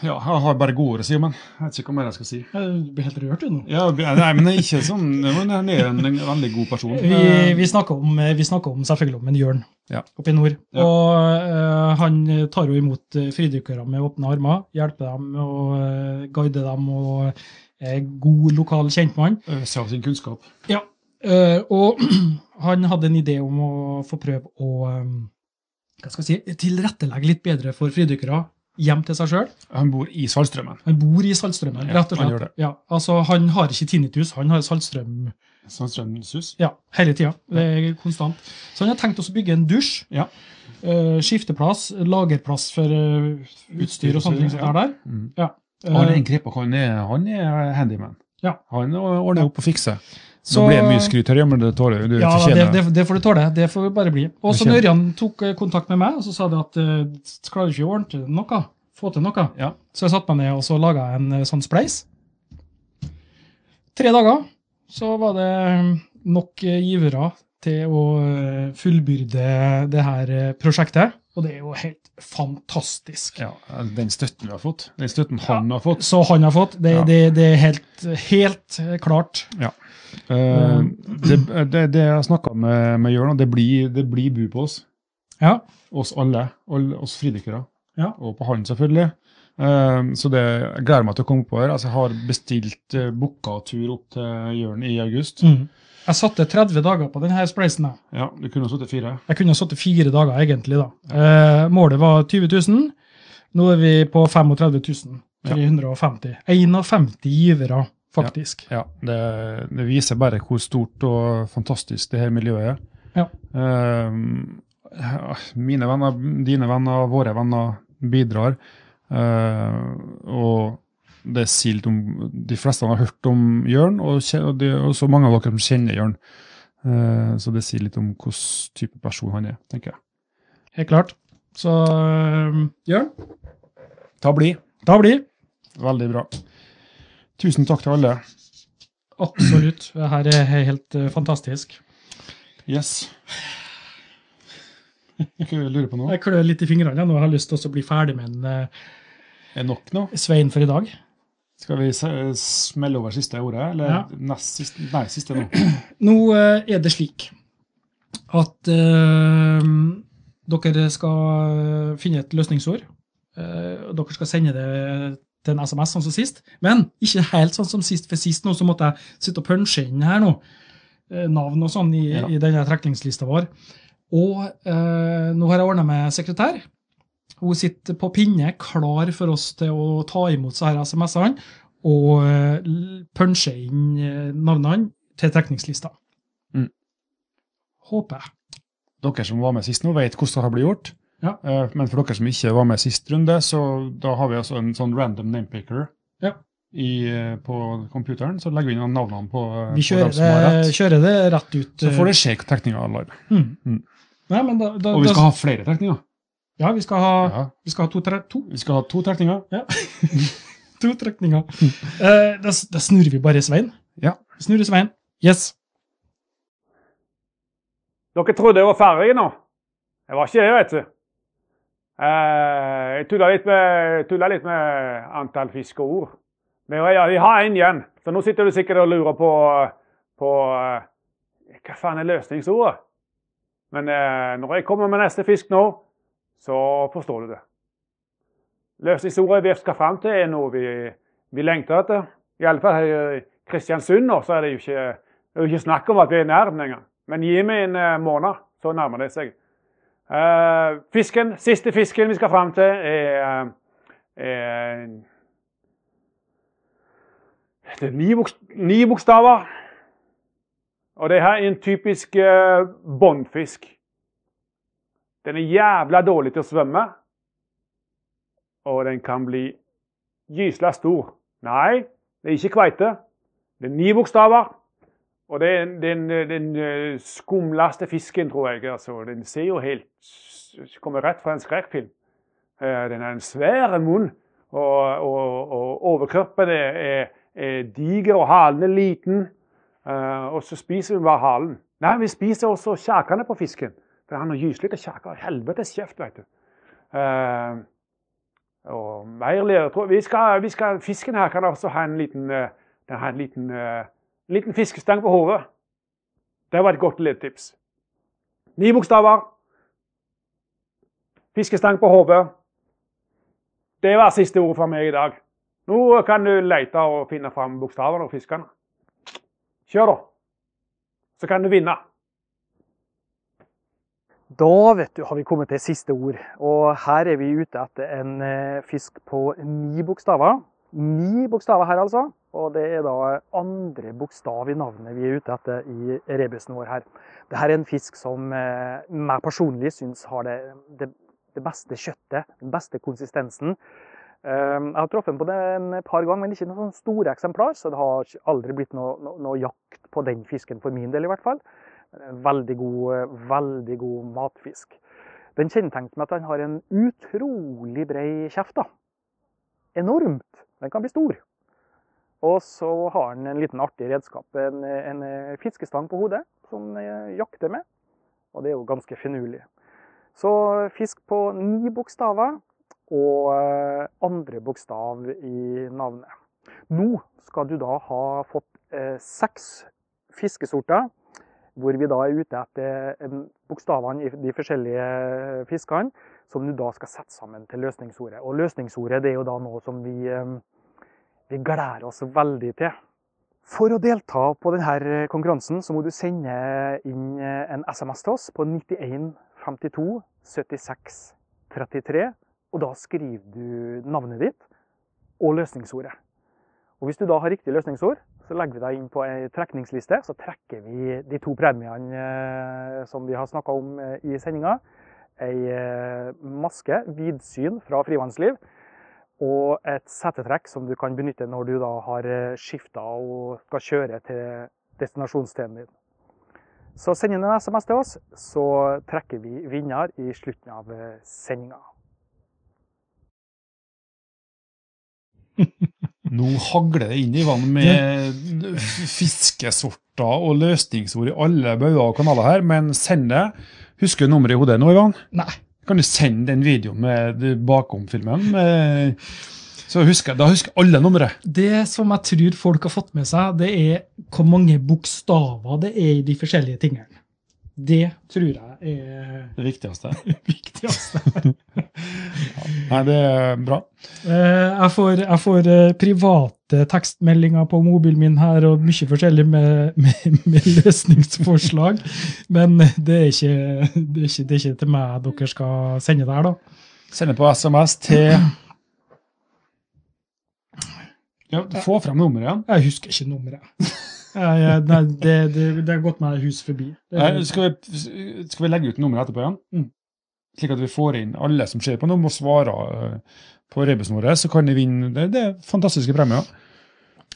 Speaker 2: ja, jeg har bare gode ord å si om han. Jeg vet ikke hva mer jeg skal si.
Speaker 1: Du blir helt rørt, du nå.
Speaker 2: Ja, nei, men det er ikke sånn. Men han er en, en veldig god person.
Speaker 1: Vi, vi, snakker om, eh, vi snakker om selvfølgelig om en bjørn
Speaker 2: Eh, Ja.
Speaker 1: oppe i nord.
Speaker 2: Ja.
Speaker 1: Og eh, han tar jo imot eh, fridykkere med åpne armer, hjelper dem og eh, guider dem og er god lokal kjentmann.
Speaker 2: Øser av sin kunnskap.
Speaker 1: Eh, og han hadde en idé om å få prøve å eh, hva skal jeg si, tilrettelegge litt bedre for fridykkere hjem til seg sjøl.
Speaker 2: Han bor i Saltstrømmen.
Speaker 1: Han bor i Saltstrømmen,
Speaker 2: Ja,
Speaker 1: rett og
Speaker 2: han
Speaker 1: slett.
Speaker 2: gjør det.
Speaker 1: Ja, altså, han har ikke tinnitus, han har Saltstrøm
Speaker 2: Saltstrømmensus.
Speaker 1: Ja, hele tida. Det er konstant. Så han har tenkt også å bygge en dusj.
Speaker 2: Ja.
Speaker 1: eh, skifteplass, lagerplass for eh, utstyr og sånne ting som
Speaker 2: Ja.
Speaker 1: er der.
Speaker 2: Mm.
Speaker 1: Ja.
Speaker 2: Han er
Speaker 1: Eh,
Speaker 2: en krepa, han er, han er handyman.
Speaker 1: Ja.
Speaker 2: Han ordner opp og fikser.
Speaker 1: så-
Speaker 2: Nå ble det mye skryt her, men det tåler du.
Speaker 1: Ja, det,
Speaker 2: fortjener
Speaker 1: det, det får du tåle. Det får vi bare bli. Og så
Speaker 2: Fortjener.
Speaker 1: når Ørjan tok eh, kontakt med meg, og så sa de at eh, klarer du ikke å ordne til noe? Få til noe?
Speaker 2: Ja.
Speaker 1: Så jeg satte meg ned og så laga en eh, sånn spleis. Tre dager så var det eh, nok eh, givere til å eh, fullbyrde det her eh, prosjektet. Og det er jo helt fantastisk.
Speaker 2: Ja, den støtten vi har fått, den støtten han har fått
Speaker 1: Så han har fått. Det,
Speaker 2: Ja.
Speaker 1: det, det er helt, helt klart.
Speaker 2: eh,
Speaker 1: Mm.
Speaker 2: det, det, det jeg snakka med, med Jørn, og det blir, det blir bu på oss.
Speaker 1: Ja.
Speaker 2: Oss alle. alle oss fridykkere.
Speaker 1: Ja.
Speaker 2: Og på han, selvfølgelig. Eh, så det, jeg gleder meg til å komme oppover. Altså, jeg har bestilt uh, booka tur opp til Jørn i august.
Speaker 1: Jeg satte 30 dager på denne spleisen. jeg.
Speaker 2: Ja, Du kunne ha sittet fire.
Speaker 1: Jeg kunne ha satt fire dager, egentlig. da. Eh, målet var 20 000. Nå er vi på 35 350. 51 givere, faktisk.
Speaker 2: Ja, det, det viser bare hvor stort og fantastisk det her miljøet er.
Speaker 1: Ja.
Speaker 2: Ehm, ja, mine venner, dine venner, våre venner bidrar. Ehm, og det er silt om De fleste har hørt om Jørn, og, kje- og det er også mange av dere som kjenner Jørn. Ehm, så det sier litt om hvilken type person han er, tenker jeg.
Speaker 1: Helt klart. Så eh, Jørn,
Speaker 2: Ta bli.
Speaker 1: da blir
Speaker 2: Veldig bra. Tusen takk til alle.
Speaker 1: absolutt Det her er helt eh, fantastisk.
Speaker 2: Yes. Hva lurer du på nå?
Speaker 1: Jeg klør litt i fingrene jeg, nå. Jeg har lyst til å bli ferdig med en eh,
Speaker 2: Er nok nå?
Speaker 1: Svein for i dag.
Speaker 2: Skal vi se- smelle over siste ordet, eller
Speaker 1: Ja.
Speaker 2: nest siste? Nei, siste nå.
Speaker 1: Nå eh, er det slik at eh, dere skal finne et løsningsord. eh, og dere skal sende det til en SMS, sånn som sist. Men ikke helt sånn som sist, for sist nå så måtte jeg sitte og punche inn her nå. eh, navn og sånn i,
Speaker 2: Ja.
Speaker 1: i denne trekningslista vår. Og eh, nå har jeg ordna med sekretær. Hun sitter på pinne, klar for oss til å ta imot så her SMS-ene og eh, l- punche inn eh, navnene til trekningslista.
Speaker 2: Mm.
Speaker 1: Håper jeg.
Speaker 2: Dere som var med sist nå, vet hvordan det har blitt gjort.
Speaker 1: Ja.
Speaker 2: Eh, Men for dere som ikke var med sist runde, så da har vi altså en sånn random namepicker
Speaker 1: Ja.
Speaker 2: i, eh, på computeren. Så legger vi inn navnene på, eh,
Speaker 1: Vi
Speaker 2: på
Speaker 1: kjører
Speaker 2: dem som har
Speaker 1: det,
Speaker 2: rett.
Speaker 1: kjører det rett ut. eh,
Speaker 2: Så får det skje trekninger alle.
Speaker 1: Mm.
Speaker 2: Mm.
Speaker 1: Nei, men da, da,
Speaker 2: Og vi
Speaker 1: da,
Speaker 2: skal ha flere trekninger.
Speaker 1: ja, vi skal ha,
Speaker 2: Ja.
Speaker 1: vi skal ha to, tre, to,
Speaker 2: Vi skal ha to trekninger.
Speaker 1: to trekninger. Eh, da, s- da snurrer vi bare Svein.
Speaker 2: Mm. Ja.
Speaker 1: Snurrer Svein. Yes.
Speaker 3: Dere trodde jeg var ferdig nå. Jeg var ikke det, vet du. Eh, jeg tulla litt med, tulla litt med antall fisk og ord. Men ja, vi har én igjen, så nå sitter du sikkert og lurer på, på eh, Hva faen er løsningsordet? Men eh, når jeg kommer med neste fisk nå, så forstår du det. Løsningsordet vi skal fram til, er noe vi, vi lengter etter. Iallfall her i Kristiansund nå, så er det jo ikke, det er jo ikke snakk om at vi er i nærheten engang. Men gi meg en eh, måned, så nærmer det seg. Eh, fisken, Siste fisken vi skal fram til, er, eh, er Det er ni, boks, ni bokstaver. Og det her er en typisk eh, båndfisk. Den er jævla dårlig til å svømme. Og den kan bli gysla stor. Nei, det er ikke kveite. Det er ni bokstaver. Og den, den, den eh, skumleste fisken, tror jeg. altså, Den ser jo helt s- Kommer rett fra en skrekkfilm. Eh, Den har en svær munn, og, og, og overkroppen er, er, er diger, og halen er liten. Eh, Og så spiser vi bare halen. Nei, vi spiser også kjakene på fisken. For han har gyselig til kjaker. Helvetes kjeft, vet du. Eh, og Meierlier tror vi skal, vi skal, Fisken her kan også ha en liten, eh, den har en liten, eh, en liten fiskestang på hodet. Det var et godt ledtips. Ni bokstaver. Fiskestang på hodet. Det var siste ordet fra meg i dag. Nå kan du lete og finne fram bokstavene og fiskene. Kjør, da. Så kan du vinne.
Speaker 4: Da vet du, har vi kommet til siste ord. Og her er vi ute etter en eh, fisk på ni bokstaver. Ni bokstaver her, altså. Og det er da andre bokstav i navnet vi er ute etter i rebusen vår her. Dette er en fisk som eh, jeg personlig syns har det, det, det beste kjøttet, den beste konsistensen. Eh, Jeg har truffet den på det et par ganger, men ikke noen sånne store eksemplar, så det har ikke- aldri blitt noe, noe, noe jakt på den fisken for min del, i hvert fall. Eh, Veldig god, eh, veldig god matfisk. Den kjennetegnes med at den har en utrolig brei kjeft. da. Enormt. Den kan bli stor. Og så har den en liten artig redskap, en, en eh, fiskestang på hodet, som den eh, jakter med. Og det er jo ganske finurlig. Så fisk på ni bokstaver og eh, andre bokstav i navnet. Nå skal du da ha fått eh, seks fiskesorter hvor vi da er ute etter em, bokstavene i de forskjellige fiskene, som du da skal sette sammen til løsningsordet. Og løsningsordet det er jo da noe som vi, em, vi gleder oss veldig til. For å delta på denne konkurransen, så må du sende inn en SMS til oss på 91 52 76 33, og da skriver du navnet ditt og løsningsordet. Og Hvis du da har riktig løsningsord, så legger vi deg inn på ei trekningsliste. Så trekker vi de to premiene eh, som vi har snakka om eh, i sendinga. Ei eh, maske, vidsyn fra frivannsliv, og et settetrekk som du kan benytte når du da har skifta og skal kjøre til destinasjonsstedet din. Så send inn en SMS til oss, så trekker vi vinner i slutten av eh, sendinga.
Speaker 2: Nå hagler det inn i vann med fiskesorter og løsningsord i alle bauger og kanaler her, men send det. Husker du nummeret i hodet nå, Ivan?
Speaker 1: Nei.
Speaker 2: Kan du sende den videoen med bakom-filmen? med- Så husker, da husker alle nummeret.
Speaker 1: Det som jeg tror folk har fått med seg, det er hvor mange bokstaver det er i de forskjellige tingene. Det tror jeg er
Speaker 2: Det viktigste.
Speaker 1: det viktigste.
Speaker 2: Nei, det er bra.
Speaker 1: Eh, Jeg får, jeg får eh, private tekstmeldinger på mobilen min her, og mye forskjellig med, med, med løsningsforslag. Men det er, ikke, det, er ikke, det er ikke til meg dere skal sende der, da.
Speaker 2: Send det på SMS til ja, Få fram nummeret igjen.
Speaker 1: Jeg husker ikke nummeret. Jeg- jeg- Nei, det, det, det har gått meg hus forbi. Det,
Speaker 2: Nei, Skal vi, skal vi legge ut nummeret etterpå igjen?
Speaker 1: Mm.
Speaker 2: Slik at vi får inn alle som ser på nå, må svare eh, på rebusen vår, så kan de vinne. Det, det er fantastiske premier.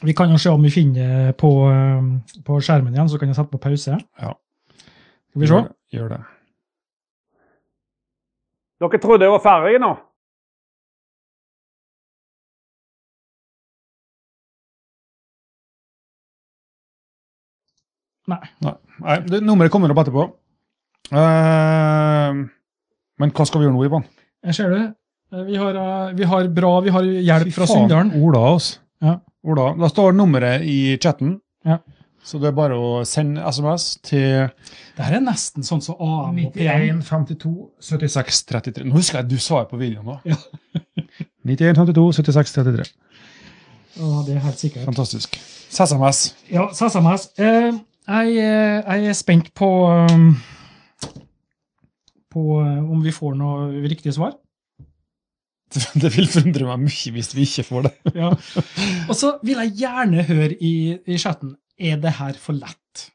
Speaker 1: vi kan jo se om vi finner på, eh, på skjermen igjen, så kan jeg sette på pause.
Speaker 2: Ja.
Speaker 1: Skal vi se?
Speaker 2: Gjør det, Gjør det.
Speaker 3: Dere trodde jeg var ferdig nå?
Speaker 2: Nei, det, nummeret kommer opp etterpå. Eh, men hva skal vi gjøre nå, Ivan?
Speaker 1: Jeg ser det. Eh, Vi har, eh, vi har bra vi har hjelp fra
Speaker 2: Faen,
Speaker 1: Sunndalen.
Speaker 2: Ola, altså.
Speaker 1: Ja.
Speaker 2: Ola. Da står nummeret i chatten.
Speaker 1: Ja.
Speaker 2: Så det er bare å sende SMS til
Speaker 1: Det her er nesten sånn som AM og
Speaker 5: 91,
Speaker 1: PM.
Speaker 5: 52,
Speaker 2: 7633. Nå husker jeg du sa det på videoen òg.
Speaker 5: 91, 52, 76, 33.
Speaker 1: Ja, det er helt sikkert.
Speaker 2: Fantastisk. SMS.
Speaker 1: Ja, sa SMS. Eh, jeg, eh, jeg er spent på, um, på eh, om vi får noe riktig svar.
Speaker 2: Det vil forundre meg mye hvis vi ikke får det.
Speaker 1: Ja. Og så vil jeg gjerne høre i, i chatten er det her for lett.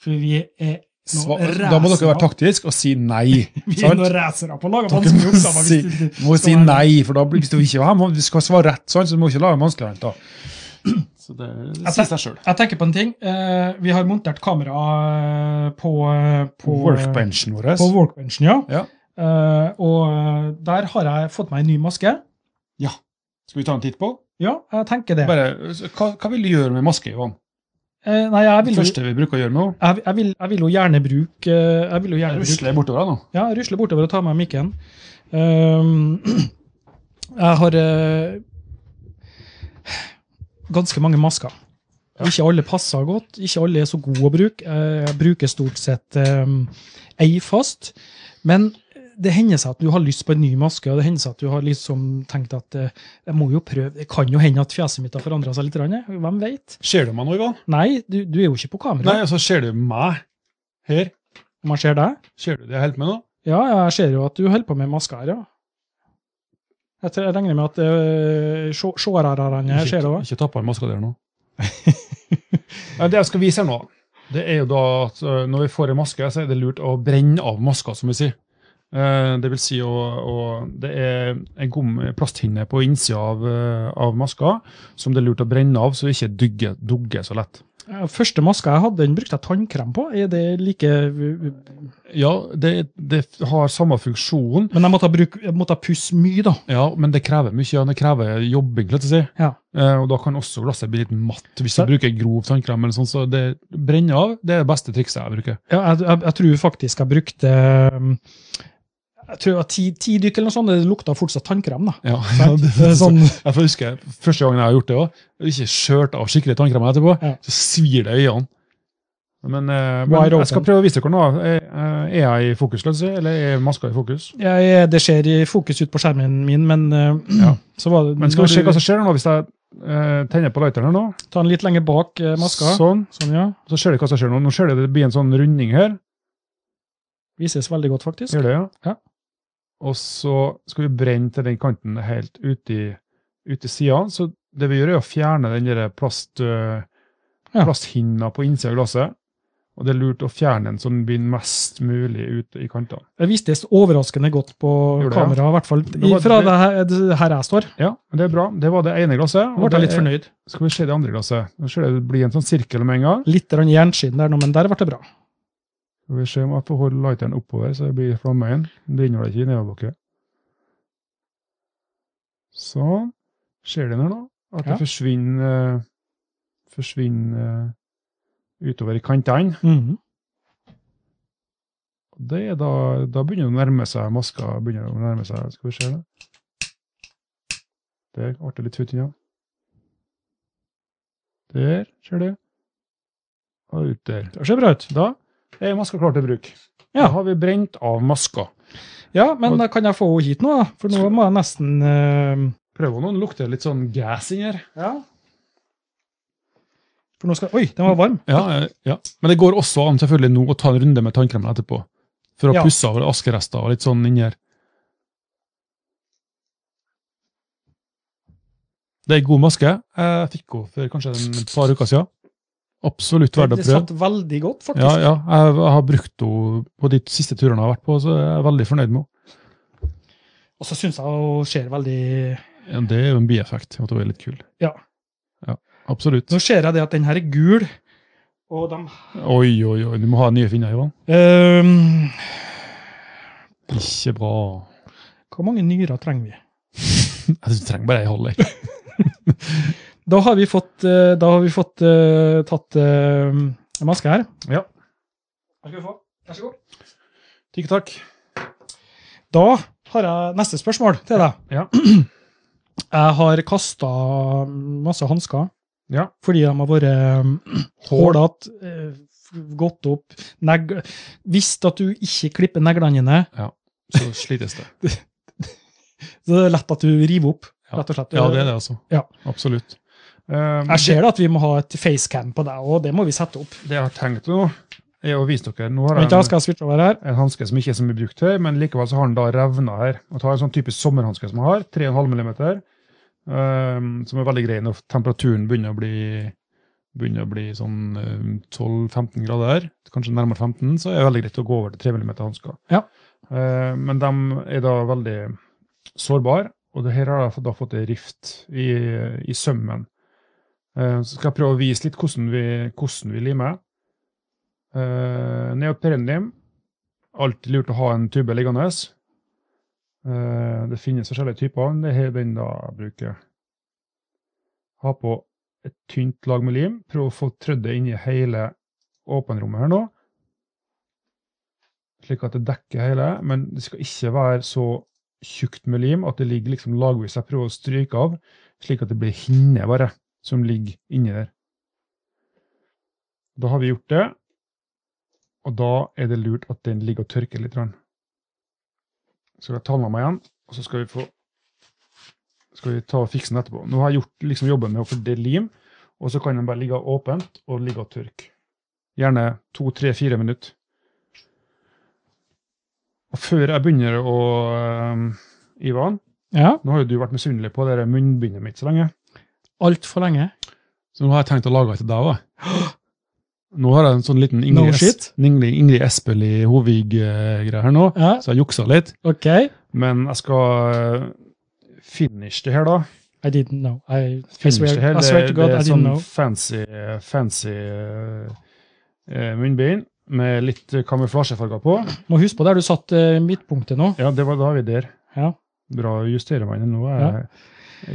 Speaker 1: For vi er
Speaker 2: Sva-
Speaker 1: noen
Speaker 2: da må dere
Speaker 1: racere-
Speaker 2: være taktiske og si nei.
Speaker 1: Vi er
Speaker 2: sant?
Speaker 1: noen racere på å lage
Speaker 2: Dere
Speaker 1: vanskelige
Speaker 2: må
Speaker 1: oppgaver.
Speaker 2: si,
Speaker 1: hvis det-
Speaker 2: må
Speaker 1: skal
Speaker 2: si
Speaker 1: være-
Speaker 2: nei, for da blir- hvis du ikke ja, men du skal svare rett, sant, så du må ikke lage det vanskeligere. enn da. Så det, det
Speaker 1: Jeg
Speaker 2: sier seg sjøl.
Speaker 1: Jeg tenker på en ting. Eh, vi har montert kamera eh, på, eh, på
Speaker 2: Workbenchen vår.
Speaker 1: På workbenchen, ja.
Speaker 2: Ja.
Speaker 1: Eh, og eh, der har jeg fått meg en ny maske.
Speaker 2: Skal vi ta en titt på?
Speaker 1: Ja, jeg tenker det.
Speaker 2: Bare, hva, hva vil du gjøre med maske, Ivan?
Speaker 1: Eh, nei, jeg
Speaker 2: Det
Speaker 1: vil, jo,
Speaker 2: første vi bruker å gjøre med henne,
Speaker 1: jeg, jeg, vil, jeg vil jo gjerne bruke eh, Jeg vil jo
Speaker 2: er
Speaker 1: gjerne
Speaker 2: å
Speaker 1: bruke
Speaker 2: rusle bortover henne.
Speaker 1: Ja, jeg rusler bortover og tar meg mikken. Ehm, jeg har eh, ganske mange masker. Ikke alle passer godt, ikke alle er så gode å bruke. Eh, Jeg bruker stort sett um, ei fast. Men det hender seg at du har lyst på en ny maske, og det hender seg at du har liksom tenkt at eh, jeg må jo prøve. Det kan jo hende at fjeset mitt har forandra seg litt. grann, Hvem vet?
Speaker 2: Ser du meg nå, Ivan?
Speaker 1: Nei, du, du er jo ikke på
Speaker 2: Nei,
Speaker 1: kamera.
Speaker 2: altså, ser du meg her?
Speaker 1: Om jeg ser deg?
Speaker 2: Ser du det jeg holder på med nå?
Speaker 1: Ja, jeg ser jo at du holder på med masker her, ja. Jeg tror- jeg regner med at øh, sjå- sjårarene her ser det
Speaker 2: Ikke,
Speaker 1: òg.
Speaker 2: ikke tapp av maska der nå. Nei, det jeg skal vise her nå, det er jo da at øh, når vi får en maske, så er det lurt å brenne av maska, som vi sier. Eh, Det vil si å, å Det er en gom plasthinne på innsida av, øh, av maska som det er lurt å brenne av, så det ikke dugger, dugger så lett.
Speaker 1: Første maska jeg hadde, den brukte jeg tannkrem på. Er det like
Speaker 2: Ja, det, det har samme funksjon,
Speaker 1: Men jeg måtte, ha bruk, jeg måtte ha pusse mye, da.
Speaker 2: ja, men det krever mye. Ja, det krever jobbing, slett å si.
Speaker 1: Ja.
Speaker 2: Eh, Og da kan også glasset bli litt matt hvis du
Speaker 1: Ja.
Speaker 2: bruker grov tannkrem. eller sånn, Så det brenner av. Det er det beste trikset jeg bruker.
Speaker 1: Ja, jeg, jeg, jeg tror faktisk jeg brukte øhm, jeg tror det var ti, ti dykk eller noe sånt. Det lukta fortsatt tannkrem, da.
Speaker 2: Ja,
Speaker 1: Sant?
Speaker 2: det,
Speaker 1: Det er
Speaker 2: sånn.
Speaker 1: sånn,
Speaker 2: Jeg får huske første gangen jeg har gjort det òg. Ikke skjørt av skikkelig tannkrem etterpå.
Speaker 1: Ja.
Speaker 2: Så svir det i øynene. Men, eh,
Speaker 1: Wide
Speaker 2: men
Speaker 1: open.
Speaker 2: jeg skal prøve å vise dere nå. Er, eh, er jeg i fokus, la oss si, eller er maska i fokus?
Speaker 1: jeg, det skjer i fokus ut på skjermen min, men øh,
Speaker 2: Ja.
Speaker 1: så var det
Speaker 2: Men skal vi se hva
Speaker 1: når du
Speaker 2: som skjer nå hvis jeg eh, tenner på lighteren her nå?
Speaker 1: tar den litt lenger bak øh, maska.
Speaker 2: Sånn.
Speaker 1: Sånn, ja.
Speaker 2: Så ser du hva som skjer nå. Nå ser du det blir en sånn runding her.
Speaker 1: Vises veldig godt, faktisk.
Speaker 2: Gjør det, ja.
Speaker 1: Ja.
Speaker 2: Og så skal vi brenne til den kanten helt ut i, ut i siden. Så det vi gjør er å fjerne den der plast, øh,
Speaker 1: Ja.
Speaker 2: plasthinna på innsida av glasset. Og det er lurt å fjerne den så den blir mest mulig ute i kantene.
Speaker 1: Det vistes overraskende godt på
Speaker 2: Gjorde det, ja.
Speaker 1: kamera, i hvert fall
Speaker 2: Det var-
Speaker 1: fra det her, det her jeg står.
Speaker 2: Ja, men det er bra. Det var det ene glasset.
Speaker 1: Nå
Speaker 2: og
Speaker 1: ble jeg
Speaker 2: det
Speaker 1: litt
Speaker 2: er-
Speaker 1: fornøyd.
Speaker 2: Skal vi se det andre glasset. Nå ser det det blir en sånn sirkel med en gang.
Speaker 1: Litt grann jernskinn der nå, men der ble det bra.
Speaker 2: Skal vi se om jeg får holde lighteren oppover, så det blir flamme igjen. Den brenner vel ikke i nedoverbakke. Sånn. Ser den her nå? At det
Speaker 1: Ja.
Speaker 2: forsvinner eh, Forsvinner eh, utover i kantene.
Speaker 1: Mhm.
Speaker 2: Det er da, da begynner det å nærme seg maska. begynner det å nærme seg, Skal vi se det. Der ble det litt futt igjen. Der, ser du. Og ut der.
Speaker 1: Det ser bra ut.
Speaker 2: Da er maska klar til bruk.
Speaker 1: Ja.
Speaker 2: Da har vi brent av maska.
Speaker 1: Ja, men da kan jeg få henne hit nå, da? For nå må jeg nesten eh,
Speaker 2: Prøv å nå lukte litt sånn gass inni her.
Speaker 1: For nå skal Oi, den var varm.
Speaker 2: Ja, eh, ja. Men det går også an selvfølgelig nå å ta en runde med tannkremen etterpå. For å
Speaker 1: Ja.
Speaker 2: pusse av askerester og litt sånn inni her. Det er en god maske. Jeg fikk henne for kanskje en par uker siden. Absolutt verdt å
Speaker 1: det
Speaker 2: prøve.
Speaker 1: satt veldig godt, faktisk.
Speaker 2: Ja, ja. Jeg jeg har brukt henne på de siste turene jeg har vært på, så jeg er veldig fornøyd med henne.
Speaker 1: Og så syns jeg hun ser veldig
Speaker 2: Ja, Det er jo en bieffekt. At hun er litt kul.
Speaker 1: Ja.
Speaker 2: ja absolutt.
Speaker 1: Nå ser jeg det at den her er gul, og de
Speaker 2: Oi, oi, oi. Du må ha nye finner, Ivan.
Speaker 1: Ehm,
Speaker 2: Ikke bra.
Speaker 1: Hvor mange nyrer trenger vi?
Speaker 2: Jeg synes du trenger bare ei halv. jeg.
Speaker 1: Da har vi fått, eh, da har vi fått eh, tatt eh, en maske her.
Speaker 2: Ja.
Speaker 1: Her skal vi få. Vær så god.
Speaker 2: Tikk takk.
Speaker 1: Da har jeg neste spørsmål til deg.
Speaker 2: Ja.
Speaker 1: Jeg har kasta masse hansker
Speaker 2: Ja.
Speaker 1: fordi de har vært eh, hålete, eh, gått opp negl... Visst at du ikke klipper neglene dine,
Speaker 2: Så slites det.
Speaker 1: så det er lett at du river opp.
Speaker 2: Ja.
Speaker 1: rett og slett.
Speaker 2: Ja, det er det, altså.
Speaker 1: Ja.
Speaker 2: Absolutt. Um,
Speaker 1: Jeg ser da at vi må ha et facecam på deg, og det må vi sette opp.
Speaker 2: det, det jeg har tenkt nå, er å vise dere Nå har
Speaker 1: Vent, da
Speaker 2: jeg en,
Speaker 1: skal jeg switche over her.
Speaker 2: en hanske som ikke er så mye brukt her, men likevel så har den da revna her. Og tar en sånn typisk sommerhanske som jeg har, 3,5 mm, um, som er veldig grei når temperaturen begynner å bli begynner å bli sånn um, 12-15 grader, kanskje nærmere 15, så er det veldig greit å gå over til 3 mm hansker.
Speaker 1: Ja.
Speaker 2: Eh, men de er da veldig sårbare, og det her har jeg da fått en rift i, i sømmen. Eh, Så skal jeg prøve å vise litt hvordan vi, hvordan vi limer. Eh, Neoprenlim. Alltid lurt å ha en tube liggende. Eh, Det finnes forskjellige typer. men Det er den da jeg bruker. Ha på et tynt lag med lim. Prøv å få trødd det inn i hele åpenrommet her nå. Slik at det dekker hele, men det skal ikke være så tjukt med lim at det ligger liksom lagvis. Jeg prøver å stryke av, slik at det blir hinne bare som ligger inni der. Da har vi gjort det, og da er det lurt at den ligger og tørker litt. grann. Så skal jeg ta den av meg igjen, og så skal vi få skal vi ta og fikse den etterpå. Nå har jeg gjort liksom jobben med å fordele lim, og så kan den bare ligge åpent og ligge og tørke. Gjerne to, tre, fire minutter. Og før jeg begynner å øhm, Ivan,
Speaker 1: Ja,
Speaker 2: nå har jo du vært misunnelig på det der munnbindet mitt så lenge.
Speaker 1: altfor lenge.
Speaker 2: Så nå har jeg tenkt å lage et til deg òg. Nå har jeg en sånn liten
Speaker 1: No
Speaker 2: Ingrid,
Speaker 1: shit.
Speaker 2: Es Ingrid, Ingrid Espel i Hovig-greie her nå,
Speaker 1: Ja,
Speaker 2: så jeg juksa litt.
Speaker 1: OK.
Speaker 2: Men jeg skal øh, finish det her, da.
Speaker 1: I didn't know. I, I,
Speaker 2: Finish
Speaker 1: swear,
Speaker 2: det her.
Speaker 1: I
Speaker 2: Det,
Speaker 1: swear to God, I
Speaker 2: det er
Speaker 1: didn't
Speaker 2: sånn
Speaker 1: know.
Speaker 2: fancy, fancy eh, eh, munnbind med litt eh, kamuflasjefarger på.
Speaker 1: Må huske på der du satt eh, midtpunktet nå.
Speaker 2: Ja, det var da vi der.
Speaker 1: Ja.
Speaker 2: Bra å justere meg nå. er Jeg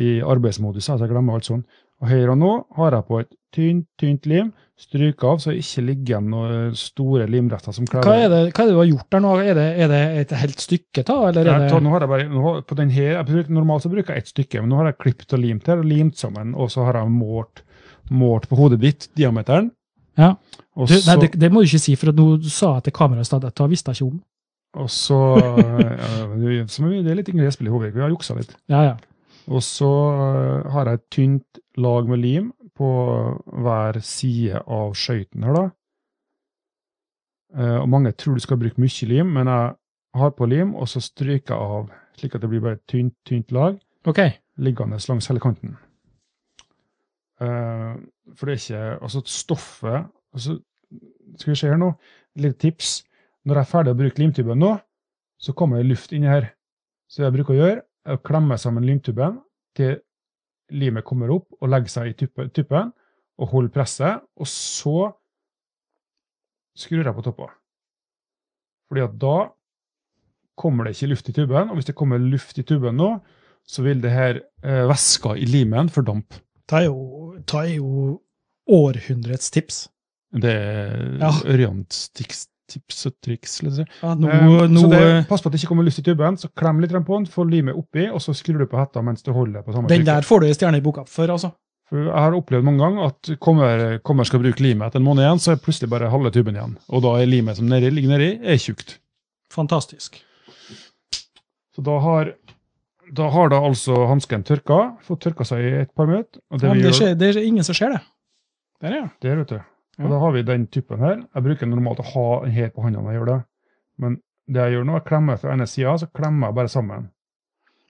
Speaker 2: i arbeidsmodus, altså jeg glemmer alt sånn. Og her og nå har jeg på et tynt, tynt lim. Stryke av så det ikke ligger igjen noen store limrester som
Speaker 1: Hva er,
Speaker 2: klærer.
Speaker 1: det, hva er det du har gjort der nå? Er det, er det et helt stykke, da? Eller er
Speaker 2: Jeg tar,
Speaker 1: det
Speaker 2: nå har jeg bare, nå, har- på den her, jeg bruker, normalt så bruker jeg ett stykke, men nå har jeg klippet og limt her, og limt sammen, og så har jeg målt, målt på hodet ditt diameteren.
Speaker 1: Ja.
Speaker 2: Og
Speaker 1: du,
Speaker 2: så,
Speaker 1: Nei, det, det må du ikke si, for at nå sa jeg til kameraet i stad at jeg visste ikke om.
Speaker 2: og så ja, det- som vi- Det er litt Ingrid Espelid Hovig, vi har juksa litt.
Speaker 1: Ja, ja.
Speaker 2: Og så eh, har jeg et tynt lag med lim på hver side av skøyten her, da. Eh, Og mange tror du skal bruke mye lim, men jeg har på lim, og så stryker jeg av, slik at det blir bare et tynt, tynt lag
Speaker 1: OK.
Speaker 2: liggende langs hele kanten. Eh, For det er ikke Altså, stoffet altså, Skal vi se her nå, et lite tips. Når jeg er ferdig å bruke limtuben nå, så kommer det luft inni her. Så det jeg bruker å gjøre, er å klemme sammen limtuben til limet kommer opp og legger seg i tuppe- tuppen, og holder presset, og så skrur jeg på toppen. Fordi at da kommer det ikke luft i tuben, og hvis det kommer luft i tuben nå, så vil det her eh, væska i limen fordampe.
Speaker 1: Ta er jo, ta er jo århundrets tips.
Speaker 2: Det er
Speaker 1: Ja.
Speaker 2: Ørjans tips, tips og triks. Liksom.
Speaker 1: Ja, nå,
Speaker 2: Eh,
Speaker 1: nå
Speaker 2: så det,
Speaker 1: eh,
Speaker 2: pass på at det ikke kommer luft i tuben, så klem litt på den, få limet oppi, og så skrur du på hetta mens du holder det på samme
Speaker 1: Den
Speaker 2: trykket.
Speaker 1: der får du ei stjerne i boka for, altså.
Speaker 2: For jeg har opplevd mange ganger at kommer, kommer skal bruke limet etter en måned igjen, så er plutselig bare halve tuben igjen. Og da er limet som nedi, ligger nedi, er tjukt.
Speaker 1: Fantastisk.
Speaker 2: Så da har da har da altså hansken tørka, fått tørka seg i et par minutter. Og det
Speaker 1: Ja, men
Speaker 2: vi
Speaker 1: det,
Speaker 2: gjør-
Speaker 1: skjer, det er ingen som ser det. Der, ja.
Speaker 2: Der, vet du. Og
Speaker 1: Ja.
Speaker 2: da har vi den typen her. Jeg bruker normalt å ha den her på hånda når jeg gjør det. Men det jeg gjør nå, jeg klemmer fra ene sida, så klemmer jeg bare sammen.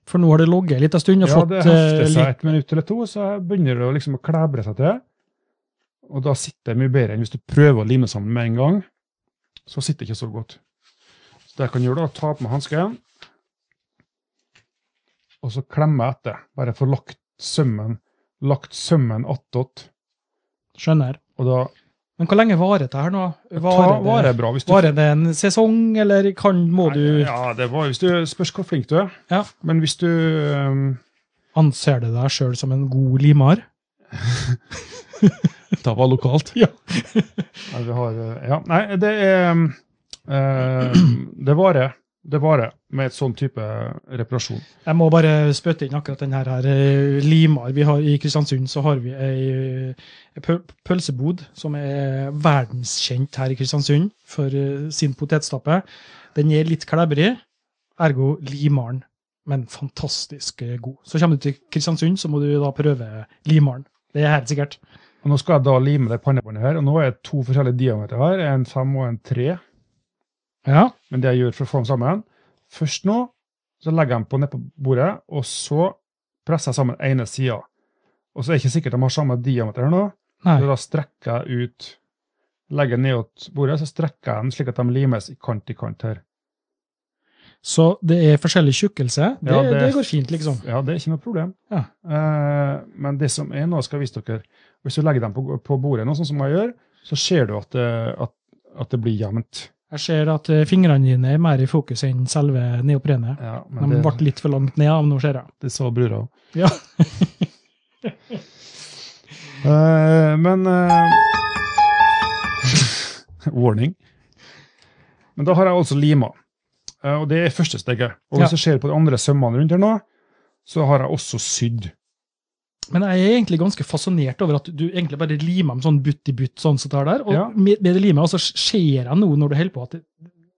Speaker 1: For nå har det ligget en liten stund og
Speaker 2: Ja,
Speaker 1: fått
Speaker 2: det
Speaker 1: eh,
Speaker 2: hefter seg
Speaker 1: litt
Speaker 2: et minutt eller to, så jeg begynner det å liksom å klebre seg til. Og da sitter det mye bedre enn hvis du prøver å lime sammen med en gang. Så sitter det ikke så godt. Så det jeg kan gjøre, da, ta på meg hansken, og så klemmer jeg etter. Bare få lagt sømmen lagt sømmen attåt.
Speaker 1: Skjønner.
Speaker 2: Og da
Speaker 1: Men hvor lenge varer dette her nå?
Speaker 2: tar
Speaker 1: Varer
Speaker 2: varer
Speaker 1: det,
Speaker 2: bra. Hvis du
Speaker 1: varer det en sesong, eller kan, må du
Speaker 2: Nei, Ja, det var hvis du spørs hvor flink du er.
Speaker 1: Ja.
Speaker 2: Men hvis du ehm,
Speaker 1: Anser du deg sjøl som en god limer?
Speaker 2: Da var lokalt.
Speaker 1: Ja.
Speaker 2: Nei, vi har, eh, ja. Nei, det er ehm, eh, Det varer. Det varer med et sånn type reparasjon.
Speaker 1: Jeg må bare spytte inn akkurat den her, her eh, Limar. Vi har, I Kristiansund så har vi ei, eh, pøl- pølsebod som er verdenskjent her i Kristiansund for eh, sin potetstappe. Den er litt klebrig, ergo Limaren, men fantastisk eh, god. Så kommer du til Kristiansund, så må du da prøve Limaren. Det er helt sikkert.
Speaker 2: Og Nå skal jeg da lime det pannebåndet her. og Nå er det to forskjellige diameter her. En fem og en tre.
Speaker 1: Ja,
Speaker 2: Men det jeg gjør for å få dem sammen Først nå så legger jeg dem på ned på bordet, og så presser jeg sammen ene sida. Og så er det ikke sikkert de har samme diameter her nå.
Speaker 1: nei.
Speaker 2: Så da strekker jeg ut Legger ned åt bordet, så strekker jeg den slik at de limes i kant i kant her.
Speaker 1: Så det er forskjellig tjukkelse. Det,
Speaker 2: Ja,
Speaker 1: det,
Speaker 2: det-
Speaker 1: går fint, liksom.
Speaker 2: Ja, det er ikke noe problem.
Speaker 1: Ja.
Speaker 2: Eh, men det som er nå, skal jeg vise dere Hvis du legger dem på, på bordet, nå, sånn som jeg gjør, så ser du at det, at, at det blir jevnt.
Speaker 1: Jeg ser at eh, fingrene dine er mer i fokus enn selve neoprenet.
Speaker 2: Ja,
Speaker 1: De
Speaker 2: men det,
Speaker 1: ble litt for langt ned, men nå ser jeg.
Speaker 2: det sa brura òg.
Speaker 1: Ja.
Speaker 2: Eh, men eh, Warning. Men da har jeg altså lima. Eh, og det er første steget. Og hvis
Speaker 1: Ja.
Speaker 2: jeg ser på de andre sømmene rundt her nå, så har jeg også sydd.
Speaker 1: Men jeg er egentlig ganske fascinert over at du egentlig bare limer dem sånn butt i butt. sånn som det er der, Og
Speaker 2: Ja.
Speaker 1: med, med det limet, og så ser jeg nå når du holder på, at det,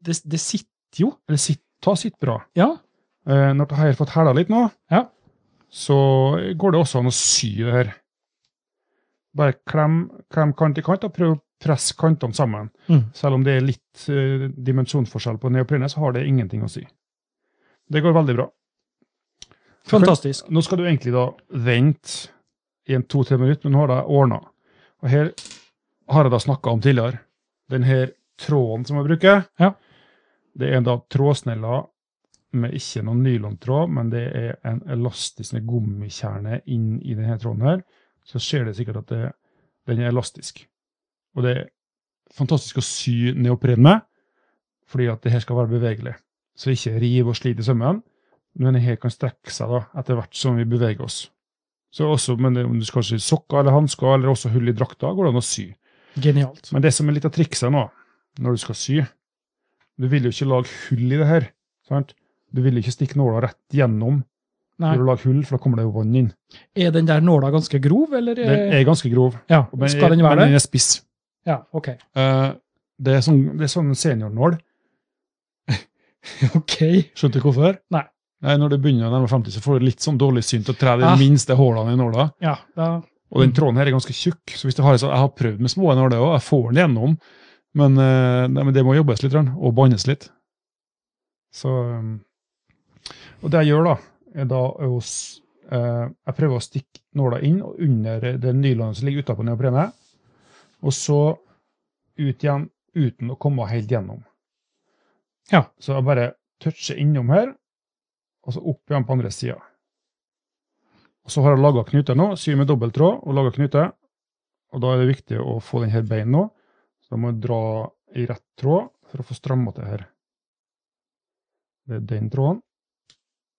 Speaker 1: det, det sitter jo.
Speaker 2: Eller sitt, ta sitt bra.
Speaker 1: Ja.
Speaker 2: Eh, når jeg har fått hæla litt nå,
Speaker 1: Ja.
Speaker 2: så går det også an å sy det her. Bare klem, klem kant i kant og prøv å presse kantene sammen.
Speaker 1: Mm.
Speaker 2: Selv om det er litt eh, dimensjonsforskjell på neoprenet, så har det ingenting å si. Det går veldig bra.
Speaker 1: Fantastisk.
Speaker 2: Nå skal du egentlig da vente i en to-tre minutter, men nå har jeg ordna. Og her har jeg da snakka om tidligere. Den her tråden som jeg bruker,
Speaker 1: Ja.
Speaker 2: det er da trådsneller med ikke noen nylontråd, men det er en elastisk sånn gummikjerne inn i denne tråden her. Så ser det sikkert at det, den er elastisk. Og det er fantastisk å sy neopren med, fordi at det her skal være bevegelig. Så ikke riv og slit i sømmen men den her kan strekke seg da, etter hvert som vi beveger oss. Så også, men det- Om du skal sy sokker eller hansker, eller også hull i drakta, går det an å sy.
Speaker 1: Genialt.
Speaker 2: Men det som er litt av trikset nå, når du skal sy Du vil jo ikke lage hull i det her. sant? Du vil jo ikke stikke nåla rett gjennom
Speaker 1: Nei.
Speaker 2: når du lager hull, for da kommer det jo vann inn.
Speaker 1: Er den der nåla ganske grov, eller?
Speaker 2: Den
Speaker 1: eh,
Speaker 2: er ganske grov.
Speaker 1: ja,
Speaker 2: men-
Speaker 1: Skal den
Speaker 2: Men
Speaker 1: være
Speaker 2: den
Speaker 1: det?
Speaker 2: er spiss.
Speaker 1: Ja, ok.
Speaker 2: Eh, det, er sånn, det er sånn seniornål.
Speaker 1: Ok.
Speaker 2: Skjønte du hvorfor?
Speaker 1: Nei.
Speaker 2: Nei, Når du begynner å nærme 50, så får du litt sånn dårlig syn til å tre de
Speaker 1: Ah.
Speaker 2: minste hullene i nåla.
Speaker 1: Ja, da,
Speaker 2: Og den tråden her er ganske tjukk, så hvis du har en sånn, jeg har prøvd med små nåler òg, jeg får den gjennom, men, eh, nei, men det må jobbes litt grann, og bannes litt. Så um, Og det jeg gjør, da, er da å s- eh, Jeg prøver å stikke nåla inn og under den nylonet som ligger utapå neoprenet, og så ut igjen uten å komme helt gjennom.
Speaker 1: Ja.
Speaker 2: Så jeg bare toucher innom her, og så opp igjen på andre sida. Og så har jeg laga knuter nå, syr med dobbelttråd og laga knuter. Og da er det viktig å få den her bein nå, så da må jeg dra i rett tråd for å få stramma til her. Det er den tråden.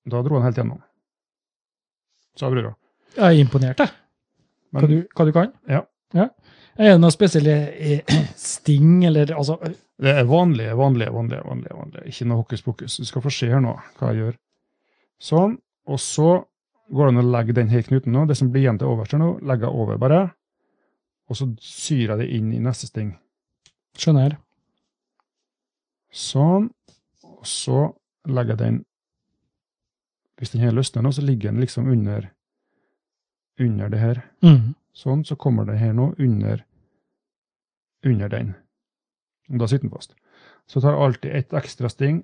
Speaker 2: Da dro den helt gjennom. Så jeg brura.
Speaker 1: jeg er imponert, jeg. Hva
Speaker 2: Men
Speaker 1: du, hva du kan.
Speaker 2: Ja.
Speaker 1: Er det noen spesielle eh, sting, eller altså
Speaker 2: det er vanlige, vanlige, vanlige. vanlige, vanlige. Ikke noe hokus pokus. Du skal få se her nå hva jeg gjør. Sånn. Og så går det an å legge den her knuten nå. Det som blir igjen til overs her nå, legger jeg over bare. Og så syr jeg det inn i neste sting.
Speaker 1: Skjønner jeg.
Speaker 2: Sånn. Og så legger jeg den Hvis den her løsner nå, så ligger den liksom under under det her.
Speaker 1: Mm.
Speaker 2: Sånn. Så kommer den her nå under under den. Og da sitter den fast. Så tar jeg alltid et ekstra sting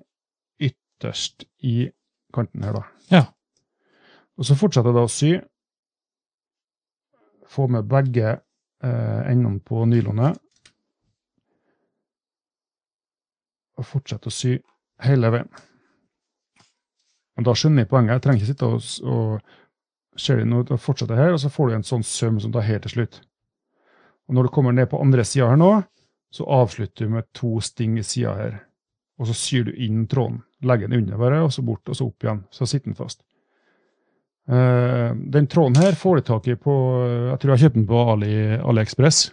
Speaker 2: ytterst i kanten her, da.
Speaker 1: Ja.
Speaker 2: Og så fortsetter jeg da å sy. Få med begge eh, endene på nylonet. Og fortsette å sy hele veien. Og da skjønner jeg poenget. Jeg trenger ikke sitte og, s- og se det nå, da fortsetter jeg her, og så får du en sånn søm som tar helt til slutt. Og når du kommer ned på andre sida her nå, så avslutter du med to sting i sida her. Og så syr du inn tråden. Legger den under bare, og så bort, og så opp igjen. Så sitter den fast. Eh, den tråden her får du tak i på eh, Jeg tror jeg kjøpte den på Ali, AliExpress.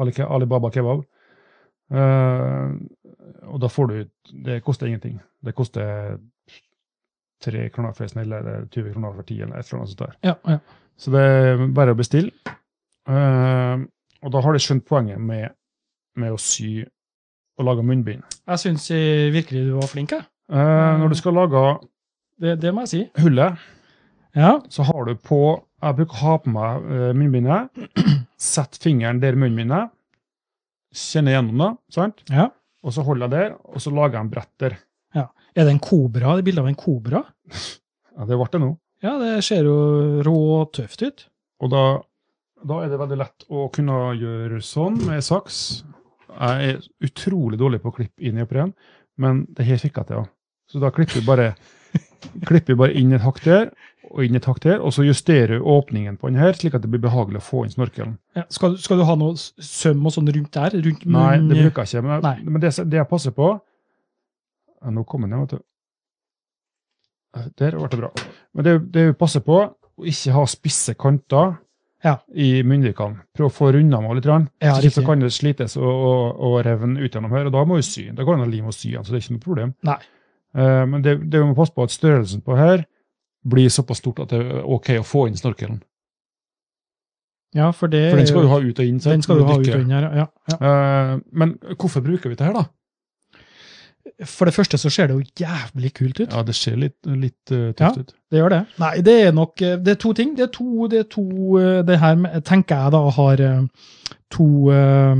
Speaker 2: Ali, Alibaba kebab. Eh, og da får du Det koster ingenting. Det koster tre kroner for en snille, eller 20 kroner for ti, eller et eller annet sånt. der.
Speaker 1: Ja, ja.
Speaker 2: Så det er bare å bestille. Eh, og da har de skjønt poenget med, med å sy og lage munnbind.
Speaker 1: Jeg syns eh, virkelig du var flink, jeg.
Speaker 2: Eh, når du skal lage
Speaker 1: Det, det må jeg si.
Speaker 2: hullet,
Speaker 1: Ja.
Speaker 2: så har du på Jeg bruker å ha på meg eh, munnbindet. Sett fingeren der munnbindet er. Kjenner gjennom det, sant?
Speaker 1: Ja.
Speaker 2: Og så holder jeg der, og så lager jeg en brett der.
Speaker 1: Er det en kobra? Det er bilde av en kobra?
Speaker 2: Ja, det ble det nå.
Speaker 1: Ja, det ser jo rå og tøft ut.
Speaker 2: Og da, da er det veldig lett å kunne gjøre sånn med saks. Jeg er utrolig dårlig på å klippe inn i neopren, men det her fikk jeg til. ja. Så da klipper vi bare, klipper vi bare inn et hakk der, og inn et hakk der, og så justerer du åpningen på den her, slik at det blir behagelig å få inn snorkelen.
Speaker 1: Ja, skal, du- skal du ha noe s- søm og sånn rundt der? Rundt
Speaker 2: Nei,
Speaker 1: munnen
Speaker 2: det
Speaker 1: i-
Speaker 2: bruker jeg ikke. Men,
Speaker 1: Mm, Nei.
Speaker 2: men det, det jeg passer på ja, Nå kommer den, vet du. Der ble det bra. Men det, det jeg passer på, å ikke ha spisse kanter
Speaker 1: Ja.
Speaker 2: i munnvikene. Prøv å få runda med litt. Rann.
Speaker 1: Ja,
Speaker 2: så, ikke så
Speaker 1: riktig.
Speaker 2: kan det slites og, og, og revne ut gjennom her, og da må du sy. Da går det an å lime og sy den, så det er ikke noe problem.
Speaker 1: Nei.
Speaker 2: Eh, men det, det vi må passe på, at størrelsen på her blir såpass stort at det er OK å få inn snorkelen.
Speaker 1: Ja, for det
Speaker 2: For den
Speaker 1: er
Speaker 2: skal
Speaker 1: jo-
Speaker 2: du ha ut og inn. sant?
Speaker 1: den skal du ha ut
Speaker 2: dykker.
Speaker 1: og inn her. Ja, ja.
Speaker 2: Eh, men hvorfor bruker vi det her, da?
Speaker 1: For det første så ser det jo jævlig kult ut.
Speaker 2: Ja, det ser litt, litt eh,
Speaker 1: Ja.
Speaker 2: tøft ut.
Speaker 1: Det gjør det. Nei, det er nok eh, Det er to ting. Det er to Det, er to, eh, det her med- tenker jeg da har eh, to eh,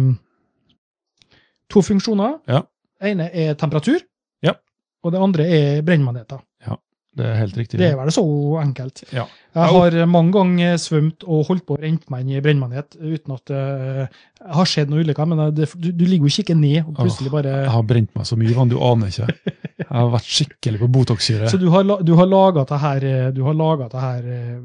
Speaker 1: To funksjoner.
Speaker 2: Ja.
Speaker 1: ene er temperatur.
Speaker 2: Ja.
Speaker 1: Og det andre er brennmaneter.
Speaker 2: Det er helt riktig.
Speaker 1: Det er vel så enkelt.
Speaker 2: Ja.
Speaker 1: Jeg har eh, mange ganger svømt og holdt på å rente meg inn i brennmanet uten at eh, det har skjedd noen ulykker, men eh, det, du, du ligger jo og kikker ned, og plutselig bare
Speaker 2: Jeg har brent meg så mye, Ivan, du aner ikke. Jeg har vært skikkelig på Botox-syre.
Speaker 1: Så du har, la- du har laga det her eh, Du har laget det her eh,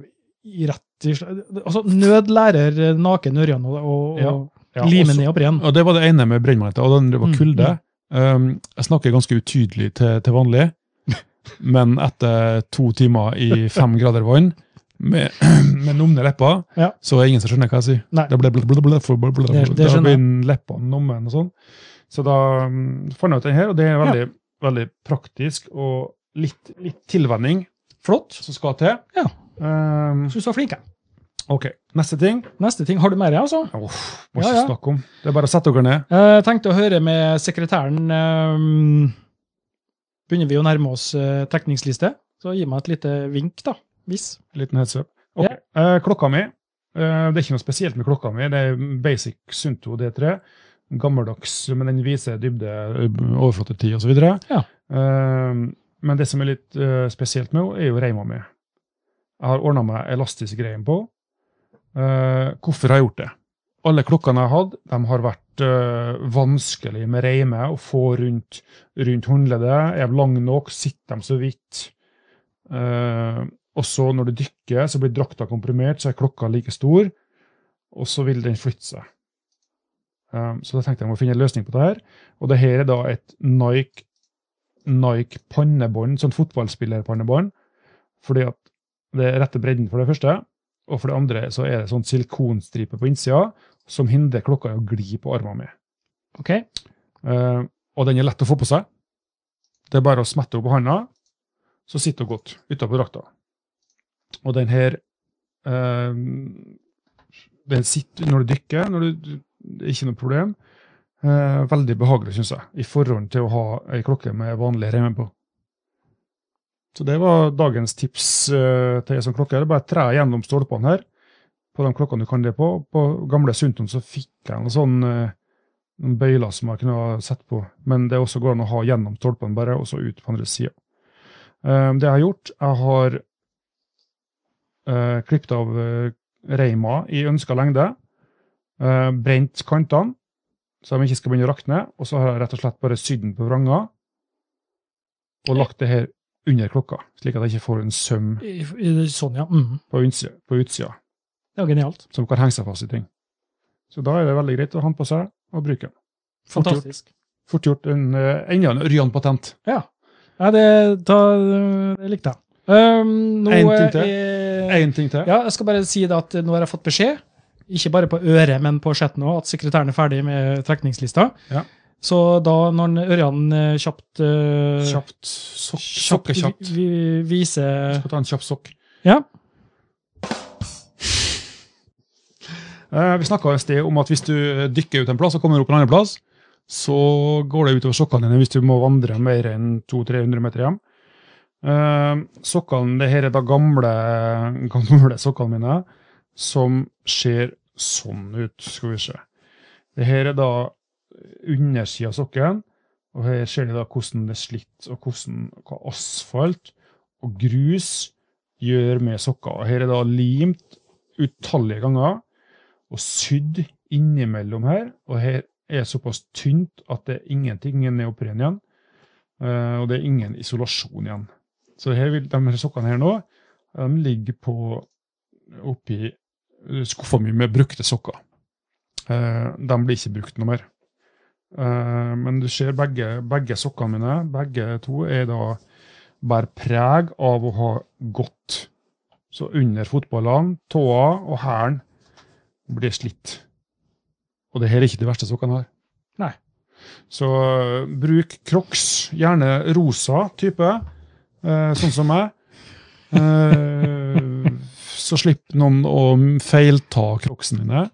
Speaker 1: i rett i sl- Altså, nødlærer eh, naken Ørjan og, og,
Speaker 2: Ja,
Speaker 1: og
Speaker 2: Ja,
Speaker 1: lime
Speaker 2: også-
Speaker 1: ned og brenn.
Speaker 2: Og det var det ene med brennmaneter, og det andre var
Speaker 1: Mm,
Speaker 2: kulde. Um, jeg snakker ganske utydelig til, til vanlig, men etter to timer i fem grader vann, med, med numne lepper,
Speaker 1: Ja.
Speaker 2: så er det ingen som skjønner hva jeg sier.
Speaker 1: Nei.
Speaker 2: Da ble- ble- ble- ble- for- ble- ble-
Speaker 1: Det-
Speaker 2: ble-
Speaker 1: det
Speaker 2: da
Speaker 1: skjønner
Speaker 2: blir
Speaker 1: jeg.
Speaker 2: leppene nummen og sånn. Så da um, fant jeg ut den her, og det er veldig, veldig praktisk og litt, litt tilvenning
Speaker 1: Flott.
Speaker 2: som skal til.
Speaker 1: Ja.
Speaker 2: Um,
Speaker 1: Jeg synes du var flink. jeg.
Speaker 2: ok, neste ting.
Speaker 1: Neste ting. Har du mer, ja, altså?
Speaker 2: Uff, må
Speaker 1: Ja,
Speaker 2: ikke
Speaker 1: ja.
Speaker 2: snakke om. Det er bare å sette dere ned.
Speaker 1: Jeg tenkte å høre med sekretæren eh, Begynner vi å nærme oss eh, tekningsliste? Så gi meg et lite vink, da. Hvis.
Speaker 2: Liten heads up. Ok, eh, klokka mi. eh, det er ikke noe spesielt med klokka mi. Det er basic Sunto D3. Gammeldags, men den viser dybde, eh, ø- overflatetid osv.
Speaker 1: Ja.
Speaker 2: Uh, men det som er litt eh, spesielt med henne, er jo reima mi. Jeg har ordna meg elastisk reim på henne. Eh, hvorfor har jeg gjort det? Alle klokkene jeg har hatt, de har vært eh, vanskelig med reime å få rundt, rundt håndleddet. Er de lange nok? Sitter de så vidt? Eh, og så når du dykker, så blir drakta komprimert, så er klokka like stor, og så vil den flytte seg. Um, så da tenkte jeg å finne en løsning på det her. Og det her er da et Nike, Nike pannebånd, sånn fotballspillerpannebånd, fordi at det er rette bredden for det første, og for det andre så er det sånn silikonstripe på innsida som hindrer klokka i å gli på armene mine.
Speaker 1: OK?
Speaker 2: Eh, og den er lett å få på seg. Det er bare å smette opp på handa, så sitter hun godt utapå drakta. Og den her eh, den sitter når du dykker. Når du, det er ikke noe problem. Eh, veldig behagelig, syns jeg, i forhold til å ha ei klokke med vanlig remme på. Så det var dagens tips eh, til ei sånn klokke. Det er bare å tre gjennom stolpene her. På de klokkene du kan det på. På gamle Sunton så fikk jeg en sånn eh, noen bøyler som jeg kunne ha sett på, men det også går an å ha gjennom stolpene bare, og så ut på andre sida. det jeg har gjort, jeg har uh, klippet av eh, reima i ønska lengde, eh, brent kantene, så de ikke skal begynne å rakne, og så har jeg rett og slett bare sydd den på vranga, og lagt det her under klokka, slik at jeg ikke får en søm
Speaker 1: I, i, sånn, ja. Mm.
Speaker 2: på utsida, på utsida
Speaker 1: Det var genialt.
Speaker 2: som kan henge seg fast i ting. Så da er det veldig greit å ha den på seg og bruke den. Fort gjort.
Speaker 1: Fantastisk.
Speaker 2: Fort gjort. En, eh, enda en Ørjan-patent.
Speaker 1: Ja. ja det, da, det likte jeg. Um, nå,
Speaker 2: En ting til.
Speaker 1: eh,
Speaker 2: Én ting til.
Speaker 1: ja, jeg skal bare si det at nå har jeg fått beskjed, ikke bare på øret, men på chatten òg, at sekretæren er ferdig med trekningslista.
Speaker 2: Ja.
Speaker 1: Så da, når en Ørjan eh, kjapt eh,
Speaker 2: Kjapt. Sokk.
Speaker 1: kjapt
Speaker 2: Sokke kjapt.
Speaker 1: vi, vi, viser
Speaker 2: Skal ta en kjapp sokk.
Speaker 1: Ja.
Speaker 2: Eh, Vi snakka et sted om at hvis du dykker ut en plass og kommer opp en annen plass, så går det utover sokkene dine hvis du må vandre mer enn 200-300 meter hjem. Eh, Sokkene, det her er da gamle, gamle sokkene mine, som ser sånn ut. Skal vi se. Det her er da undersida av sokken, og her ser de da hvordan det er slitt, og hvordan hva asfalt og grus gjør med sokker. Og her er da limt utallige ganger og sydd innimellom her. Og her er såpass tynt at det er ingenting ingen neopren igjen. eh, Og det er ingen isolasjon igjen. Så her vil, de her sokkene her nå De ligger på oppi eh, skuffa mi med brukte sokker. Eh, De blir ikke brukt noe mer. Eh, Men du ser begge, begge sokkene mine, begge to, er da bærer preg av å ha gått. Så under fotballene, tåa og hælen blir slitt. Og det her er ikke de verste sokkene jeg har.
Speaker 1: Nei.
Speaker 2: Så eh, bruk Crocs, gjerne rosa type, eh, sånn som meg. Eh, så slipper noen å feilta crocsene mine.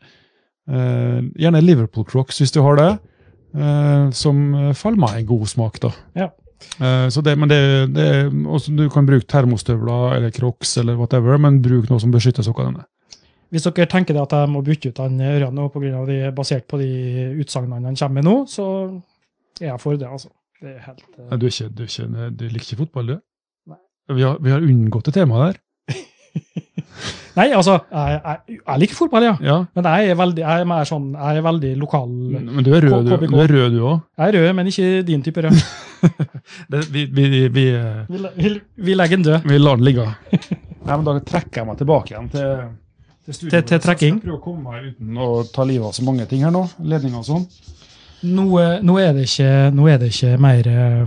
Speaker 2: Eh, gjerne Liverpool Crocs hvis du har det, eh, som faller meg i god smak, da.
Speaker 1: Ja.
Speaker 2: Eh, så det, men det, det, også, du kan bruke termostøvler eller crocs eller whatever, men bruk noe som beskytter sokkene dine.
Speaker 1: Hvis dere tenker det at jeg må bytte ut han Ørjan nå på grunn av de, basert på de utsagnene han kommer med nå, så er jeg for det, altså. Det er helt eh,
Speaker 2: Nei, Du, er ikke, du, er ikke, du liker ikke fotball, du? Vi har, vi har unngått det temaet der.
Speaker 1: Nei, altså, jeg, jeg, jeg liker fotball, ja.
Speaker 2: Ja.
Speaker 1: Men jeg er veldig, jeg er mer sånn, jeg er veldig lokal.
Speaker 2: Men du er rød, du,
Speaker 1: KBK.
Speaker 2: du er rød, du òg.
Speaker 1: Jeg er rød, men ikke din type rød.
Speaker 2: Vi, vi, vi, eh,
Speaker 1: Vi, le- vi, vi legger den død.
Speaker 2: Vi lar den ligge. Nei, men Da trekker jeg meg tilbake igjen til, studio.
Speaker 1: Til- til trekking?
Speaker 2: Jeg prøver å komme meg uten å ta livet av så mange ting her nå. Ledninger og sånn.
Speaker 1: Nå, eh, nå, er, det ikke, nå er det ikke mer eh,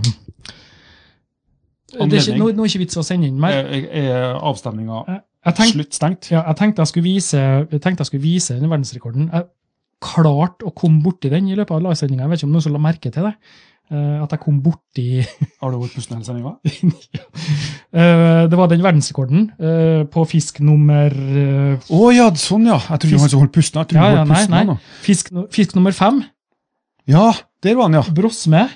Speaker 1: det er ikke,
Speaker 2: Anledning.
Speaker 1: nå, nå er det ikke vits å sende inn mer.
Speaker 2: Er, er avstemninga
Speaker 1: Jeg tenkte
Speaker 2: slutt stengt?
Speaker 1: Ja, jeg tenkte jeg skulle vise, jeg tenkte jeg skulle vise den verdensrekorden. Jeg klarte å komme borti den i løpet av livesendinga. Jeg vet ikke om noen som la merke til det. eh, At jeg kom borti
Speaker 2: Har du vært pusten hele sendinga?
Speaker 1: Eh, Det var den verdensrekorden eh, på fisk nummer eh,
Speaker 2: Å ja, sånn ja! Jeg trodde
Speaker 1: Fisk.
Speaker 2: han som holdt pusten. Jeg trodde
Speaker 1: Ja,
Speaker 2: han
Speaker 1: ja,
Speaker 2: holdt
Speaker 1: nei,
Speaker 2: pusten
Speaker 1: nei.
Speaker 2: han, da.
Speaker 1: Fisk, nu- fisk nummer fem.
Speaker 2: Ja, der var han, ja.
Speaker 1: Brosme.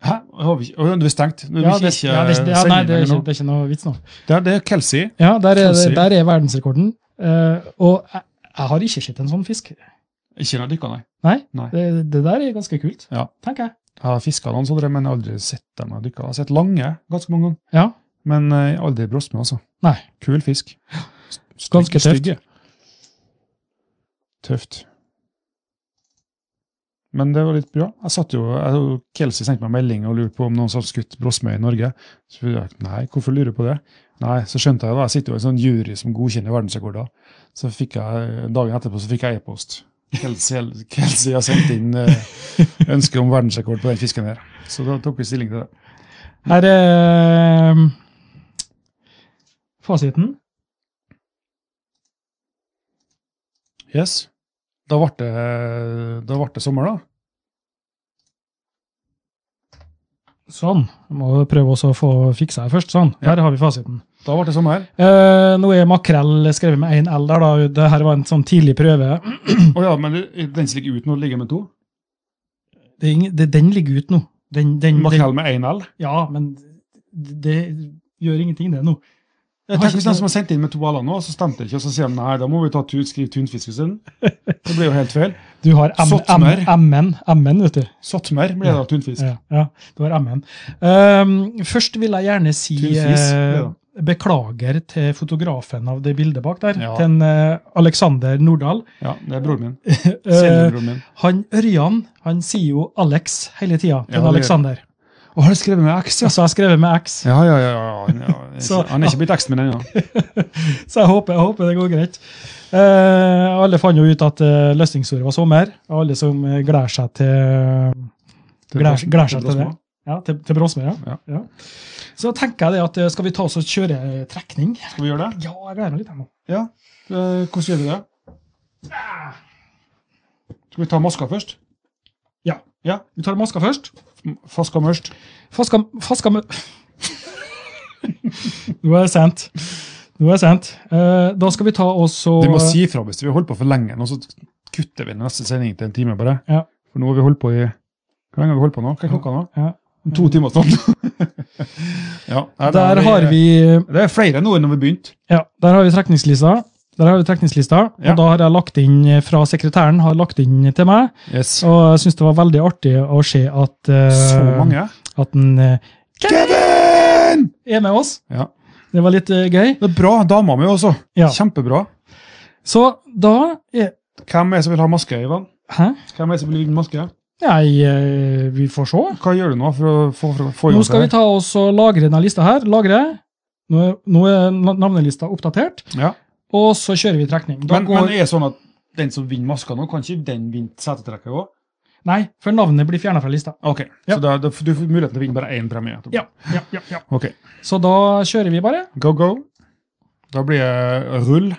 Speaker 2: Hæ? Har vi, ikke- Å, ja, du er stengt? Du vil
Speaker 1: Ja, det,
Speaker 2: ikke
Speaker 1: ja, det, er ikke- ja,
Speaker 2: sende
Speaker 1: nei,
Speaker 2: inn
Speaker 1: det, er
Speaker 2: lenger
Speaker 1: ikke,
Speaker 2: nå?
Speaker 1: det er ikke noe vits nå.
Speaker 2: Der, det er Kelsey.
Speaker 1: Ja, Der er,
Speaker 2: Skal vi se.
Speaker 1: det- der er verdensrekorden. Eh, Og jeg, jeg har ikke sett en sånn fisk.
Speaker 2: Ikke en av dykka, nei.
Speaker 1: Det, det der er ganske kult,
Speaker 2: Ja.
Speaker 1: tenker jeg.
Speaker 2: Jeg har fiska noen sånne, men jeg har aldri sett dem jeg dykka. Jeg har sett lange ganske mange ganger.
Speaker 1: Ja.
Speaker 2: Men eh, aldri brosme, altså.
Speaker 1: Nei.
Speaker 2: Kul fisk. Stygg-
Speaker 1: Ganske tøft.
Speaker 2: stygge. Tøft. Men det var litt bra. Jeg satt jo, jeg, Kelsey sendte meg en melding og lurte på om noen som hadde skutt brosme i Norge. Så jeg, nei, hvorfor lurer du på det? Nei, så skjønte jeg da, jeg sitter jo i en sånn jury som godkjenner verdensrekorder. Så fikk jeg, dagen etterpå så fikk jeg e-post. Kelsey, Kelsey har sendt inn eh, ønske om verdensrekord på den fisken her. Så da tok vi stilling til det.
Speaker 1: Her er eh, fasiten.
Speaker 2: Yes. Da ble det, da ble det sommer, da.
Speaker 1: Sånn. Jeg må prøve også å få fiksa det først. Sånn.
Speaker 2: Ja.
Speaker 1: Der har vi fasiten.
Speaker 2: Da ble det sommer.
Speaker 1: Eh, nå er makrell skrevet med én L der, da. Det her var en sånn tidlig prøve.
Speaker 2: Å ja, men det- den som ligger ut nå, ligger med to.
Speaker 1: Det er ingen, det, den ligger ute nå. Den, den, den,
Speaker 2: Makrell med én L.
Speaker 1: ja, men det gjør ingenting, det nå.
Speaker 2: Jeg tenker Hvis de som har sendt inn med to L-er nå, så stemte det ikke, og så sier de nei, da må vi ta tu, skrive tunfisk isteden. Det blir jo helt feil.
Speaker 1: Du har M- M-
Speaker 2: Sottmer.
Speaker 1: M-en, M-en, vet du.
Speaker 2: Satmer blir da tunfisk.
Speaker 1: Ja, ja, du har M-en. Ehm, først vil jeg gjerne si
Speaker 2: Tunfis,
Speaker 1: eh,
Speaker 2: ja.
Speaker 1: beklager til fotografen av det bildet bak der,
Speaker 2: Ja.
Speaker 1: til en, eh, Alexander Nordahl.
Speaker 2: Ja, det er broren min.
Speaker 1: Eh,
Speaker 2: Senere broren min.
Speaker 1: Han Ørjan han sier jo Alex hele tida til
Speaker 2: Ja, det gjør
Speaker 1: Alexander.
Speaker 2: Å, har du skrevet med X, ja?
Speaker 1: Så jeg har skrevet med X.
Speaker 2: Ja, ja, ja. ja, han- ja. han er
Speaker 1: Så-
Speaker 2: ikke- Han er ikke blitt X-en min ennå.
Speaker 1: Så jeg håper, jeg håper det går greit. Eh, alle fant jo ut at eh, løsningsordet var sommer. Og alle som eh, gleder seg til Gleder gleder seg til det. Ja, til, til Bråsmer, ja.
Speaker 2: Ja.
Speaker 1: ja. Så tenker jeg det at eh, skal vi ta oss og kjøre eh, trekning?
Speaker 2: Skal vi gjøre det?
Speaker 1: Ja, jeg gleder meg litt. her nå.
Speaker 2: Ja. Eh, Hvordan gjør vi det? Skal vi ta maska først?
Speaker 1: Vi tar maska først.
Speaker 2: Faska mørst.
Speaker 1: Faska, faska med Nå er det sent. Nå er det sent. Eh, da skal vi ta oss og
Speaker 2: Vi må si fra hvis vi har holdt på for lenge. Nå så kutter vi neste sending til en time bare.
Speaker 1: Ja.
Speaker 2: For nå har vi holdt på i Hvor lenge har vi holdt på nå? Hva er klokka nå?
Speaker 1: Ja.
Speaker 2: To timer snart. ja, nei, da
Speaker 1: Der har vi
Speaker 2: Det er flere nå enn når vi begynte.
Speaker 1: Ja, der har vi trekningslista. Der har vi trekningslista,
Speaker 2: Ja.
Speaker 1: og da har jeg lagt inn eh, fra sekretæren har lagt inn til meg.
Speaker 2: Yes.
Speaker 1: Og jeg syns det var veldig artig å se at eh,
Speaker 2: Så mange.
Speaker 1: At den eh,
Speaker 2: Kevin!
Speaker 1: er med oss.
Speaker 2: Ja.
Speaker 1: Det var litt eh, gøy.
Speaker 2: Det er bra. Dama mi også.
Speaker 1: Ja.
Speaker 2: Kjempebra.
Speaker 1: Så da er
Speaker 2: Hvem er det som vil ha maske, Ivan?
Speaker 1: Hæ?
Speaker 2: Hvem er det som vil vinne maske?
Speaker 1: Nei, eh, vi får se.
Speaker 2: Hva gjør du nå for å få, for å få
Speaker 1: Nå skal vi ta oss og lagre denne lista her. Lagre. Nå er, nå er na- navnelista oppdatert,
Speaker 2: Ja.
Speaker 1: og så kjører vi trekning. Da
Speaker 2: Men,
Speaker 1: går,
Speaker 2: men er det sånn at den som vinner maska nå, kan ikke den vinne setetrekket òg?
Speaker 1: Nei, for navnet blir fjerna fra lista.
Speaker 2: Ok,
Speaker 1: Ja.
Speaker 2: Så da, da, du får muligheten til å vinne bare én premie? etterpå.
Speaker 1: Ja, ja, ja, ja.
Speaker 2: Ok,
Speaker 1: Så da kjører vi bare.
Speaker 2: Go, go. Da blir det rull.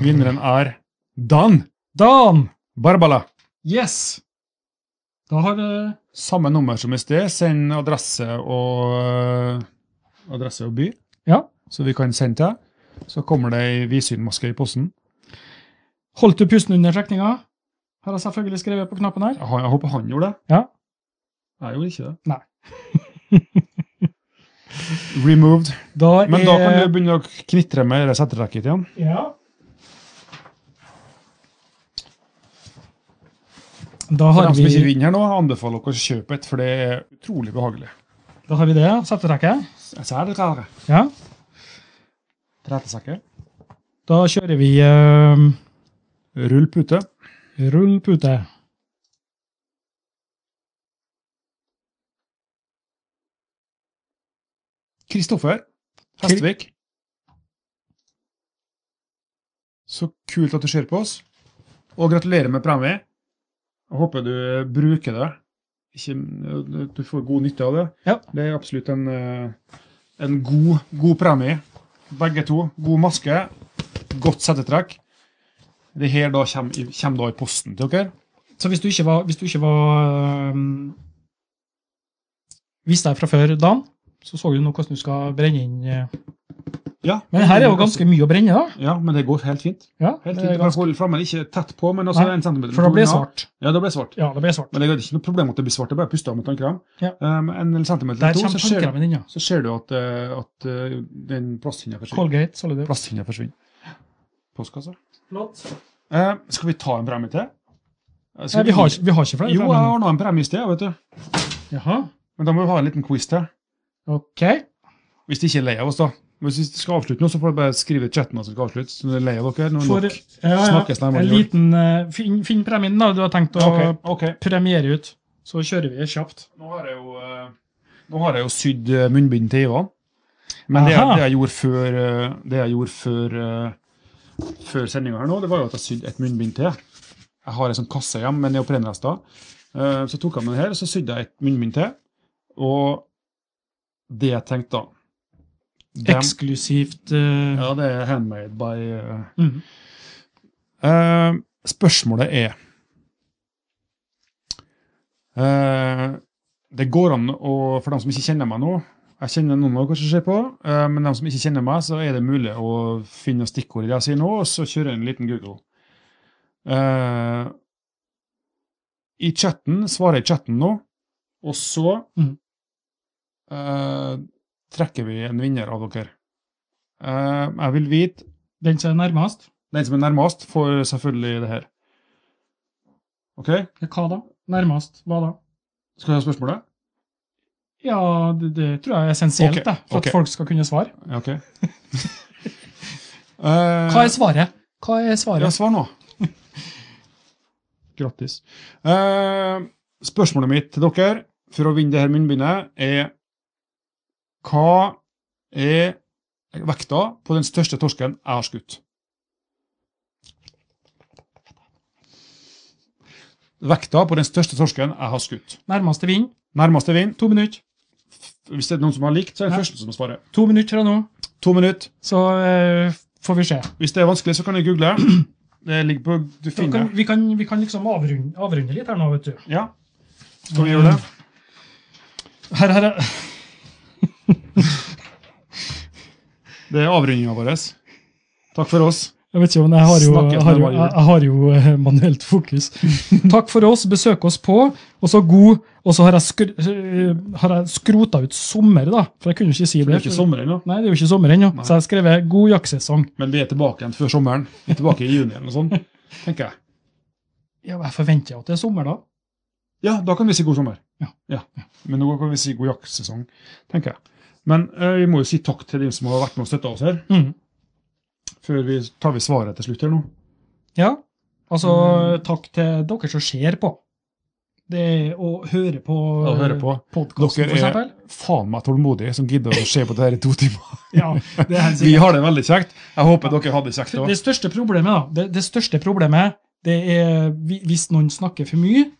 Speaker 2: Vinneren er Dan
Speaker 1: Dan!
Speaker 2: Barbala.
Speaker 1: Yes! Da har eh,
Speaker 2: Samme nummer som i sted. Send adresse og eh, adresse og by,
Speaker 1: Ja.
Speaker 2: så vi kan sende til. deg. Så kommer det ei Visynmaske i posten.
Speaker 1: Holdt du pusten under trekninga? Har jeg selvfølgelig skrevet på knappen her.
Speaker 2: Jeg, har- jeg håper han gjorde det.
Speaker 1: Ja.
Speaker 2: Jeg gjorde ikke det.
Speaker 1: Nei.
Speaker 2: Removed.
Speaker 1: Da er
Speaker 2: Men da kan
Speaker 1: Eh.
Speaker 2: du begynne å knitre med det setterekket ditt igjen.
Speaker 1: Ja. Da
Speaker 2: For
Speaker 1: har,
Speaker 2: dem som ikke
Speaker 1: vi,
Speaker 2: vinner nå, anbefaler dere å kjøpe et, for det er utrolig behagelig.
Speaker 1: da har vi det. Settetrekket.
Speaker 2: Jeg ser det rare.
Speaker 1: Ja.
Speaker 2: Tretesekker.
Speaker 1: Da kjører vi eh,
Speaker 2: Rull pute.
Speaker 1: Rull pute.
Speaker 2: Kristoffer Hestvik. Så kult at du ser på oss. Og gratulerer med premie. Jeg håper du bruker det. Ikke, du får god nytte av det.
Speaker 1: Ja.
Speaker 2: Det er absolutt en, eh, en god, god premie. Begge to. God maske. Godt settetrekk. Det her da kommer, i- kommer da i posten til dere.
Speaker 1: Så hvis du ikke var, hvis du ikke var um, Visste deg fra før, Dan, så så du nå hvordan du skal brenne inn eh.
Speaker 2: Ja,
Speaker 1: Men her er jo ganske mye å brenne, da.
Speaker 2: Ja, men det går helt fint.
Speaker 1: Ja, det
Speaker 2: Helt fint.
Speaker 1: er
Speaker 2: Du kan
Speaker 1: ganske,
Speaker 2: holde flammen ikke tett på, men også
Speaker 1: Nei,
Speaker 2: en centimeter.
Speaker 1: for da blir det
Speaker 2: unna.
Speaker 1: svart.
Speaker 2: Ja, da ble det svart.
Speaker 1: Ja, det blir svart.
Speaker 2: Men det er ikke noe problem at det blir svart. Det er bare puster av med tannkrem.
Speaker 1: Ja.
Speaker 2: Um, en centimeter
Speaker 1: Der
Speaker 2: eller to,
Speaker 1: kommer
Speaker 2: så ser,
Speaker 1: tannkremmen inn, ja.
Speaker 2: så ser du at, eh, at eh, den plasthinna forsvinner.
Speaker 1: Colgate, så du det.
Speaker 2: Plasthinna forsvinner. Postkassa.
Speaker 1: Flott.
Speaker 2: Eh, skal vi ta en premie til? Eh, skal
Speaker 1: Nei, vi har, ikke- vi har ikke flere.
Speaker 2: Jo, jeg
Speaker 1: fra
Speaker 2: har nå en premie i sted, vet du.
Speaker 1: nå. Jaha.
Speaker 2: Men da må vi ha en liten quiz til.
Speaker 1: Ok.
Speaker 2: Hvis de ikke er lei av oss, da. Men Hvis vi skal avslutte nå, så får dere bare skrive i chatten at vi skal avslutte. Så vi er lei av dere. Nå er
Speaker 1: For,
Speaker 2: nok.
Speaker 1: ja,
Speaker 2: Snakkes
Speaker 1: ja,
Speaker 2: nærmere
Speaker 1: en
Speaker 2: jul.
Speaker 1: liten eh, Finn, finn premien da, du har tenkt å
Speaker 2: Ok, ok.
Speaker 1: premiere ut. Så kjører vi kjapt.
Speaker 2: Nå har jeg jo, eh, nå har jeg jo sydd eh, munnbind til Ivan. Men det, jeg-
Speaker 1: Aha.
Speaker 2: det jeg gjorde før, eh, det jeg gjorde før, eh, før sendinga her nå, det var jo at jeg sydde et munnbind til. Jeg har ei sånn kasse hjemme med neoprenrester. Eh, Så tok jeg med den her, og så sydde jeg et munnbind til. Og det jeg tenkte da dem-
Speaker 1: Eksklusivt eh,
Speaker 2: Ja, det er handmade by eh.
Speaker 1: Mhm.
Speaker 2: Eh, Spørsmålet er Eh, Det går an å For dem som ikke kjenner meg nå Jeg kjenner noen av dere som ser på, eh, men dem som ikke kjenner meg, så er det mulig å finne noen stikkord i det jeg sier nå, og så kjøre en liten Google. Eh, I chatten svarer jeg i chatten nå, og så
Speaker 1: Mhm.
Speaker 2: eh, trekker vi en vinner av dere. Eh, jeg vil vite
Speaker 1: Den som er nærmest.
Speaker 2: Den som er nærmest, får selvfølgelig det her. OK?
Speaker 1: Ja, Hva da? Nærmest? Hva da?
Speaker 2: Skal vi ha spørsmålet?
Speaker 1: Ja, det, det tror jeg er essensielt,
Speaker 2: Ok,
Speaker 1: da, for
Speaker 2: ok.
Speaker 1: at folk skal kunne svare.
Speaker 2: Ja, OK. Eh,
Speaker 1: Hva er svaret? Hva er svaret?
Speaker 2: Ja, svar nå. Grattis. Eh, spørsmålet mitt til dere for å vinne det her munnbindet er Hva er vekta på den største torsken jeg har skutt? Vekta på den største torsken jeg har skutt.
Speaker 1: Nærmeste vinner.
Speaker 2: Nærmeste vinner.
Speaker 1: To minutter.
Speaker 2: Hvis det er noen som har likt, så er det
Speaker 1: Ja.
Speaker 2: første som svarer.
Speaker 1: To minutter fra nå,
Speaker 2: To minutter.
Speaker 1: så eh, får vi se.
Speaker 2: Hvis det er vanskelig, så kan jeg google. Det ligger på Du
Speaker 1: Da
Speaker 2: finner
Speaker 1: Kan,
Speaker 2: det.
Speaker 1: vi, kan, vi kan liksom avrunde, avrunde litt her nå, vet du.
Speaker 2: Ja. Skal vi gjøre det?
Speaker 1: Her, her, er-
Speaker 2: Det er avrundinga vår. Takk for oss.
Speaker 1: Jeg vet ikke, men jeg har jo,
Speaker 2: Snakkes
Speaker 1: jeg har jo,
Speaker 2: med
Speaker 1: jeg har jo eh, manuelt fokus. Takk for oss, besøk oss på, og så god, og så har jeg, skr eh, har jeg skrota ut sommer, da, for jeg kunne jo ikke si
Speaker 2: Det
Speaker 1: det.
Speaker 2: er ikke sommer ennå,
Speaker 1: Nei, det er jo ikke sommer ennå,
Speaker 2: Nei.
Speaker 1: så jeg har skrevet god jaktsesong.
Speaker 2: men vi er tilbake igjen før sommeren. Vi er tilbake i juni eller noe sånt, tenker jeg.
Speaker 1: Ja, jeg forventer jo at det er sommer da.
Speaker 2: Ja, da kan vi si god sommer.
Speaker 1: Ja.
Speaker 2: Men nå kan vi si god jaktsesong, tenker jeg. Men eh, vi må jo si takk til de som har vært med og støtta oss her,
Speaker 1: Mhm.
Speaker 6: Mm.
Speaker 2: før vi tar vi svaret til slutt her nå.
Speaker 1: Ja, altså takk til dere som ser på. Det å høre på,
Speaker 2: Og høre på.
Speaker 1: podkasten,
Speaker 2: Dere
Speaker 1: for
Speaker 2: er-
Speaker 1: eksempel.
Speaker 6: faen meg tålmodig som gidder å se på det her i to timer.
Speaker 1: Ja, det er helt
Speaker 6: Vi
Speaker 1: sikkert.
Speaker 6: har det veldig kjekt. Jeg håper dere hadde det kjekt
Speaker 1: Det,
Speaker 6: òg.
Speaker 1: det største problemet, da, det, det største problemet, det er hvi- hvis noen snakker for mye,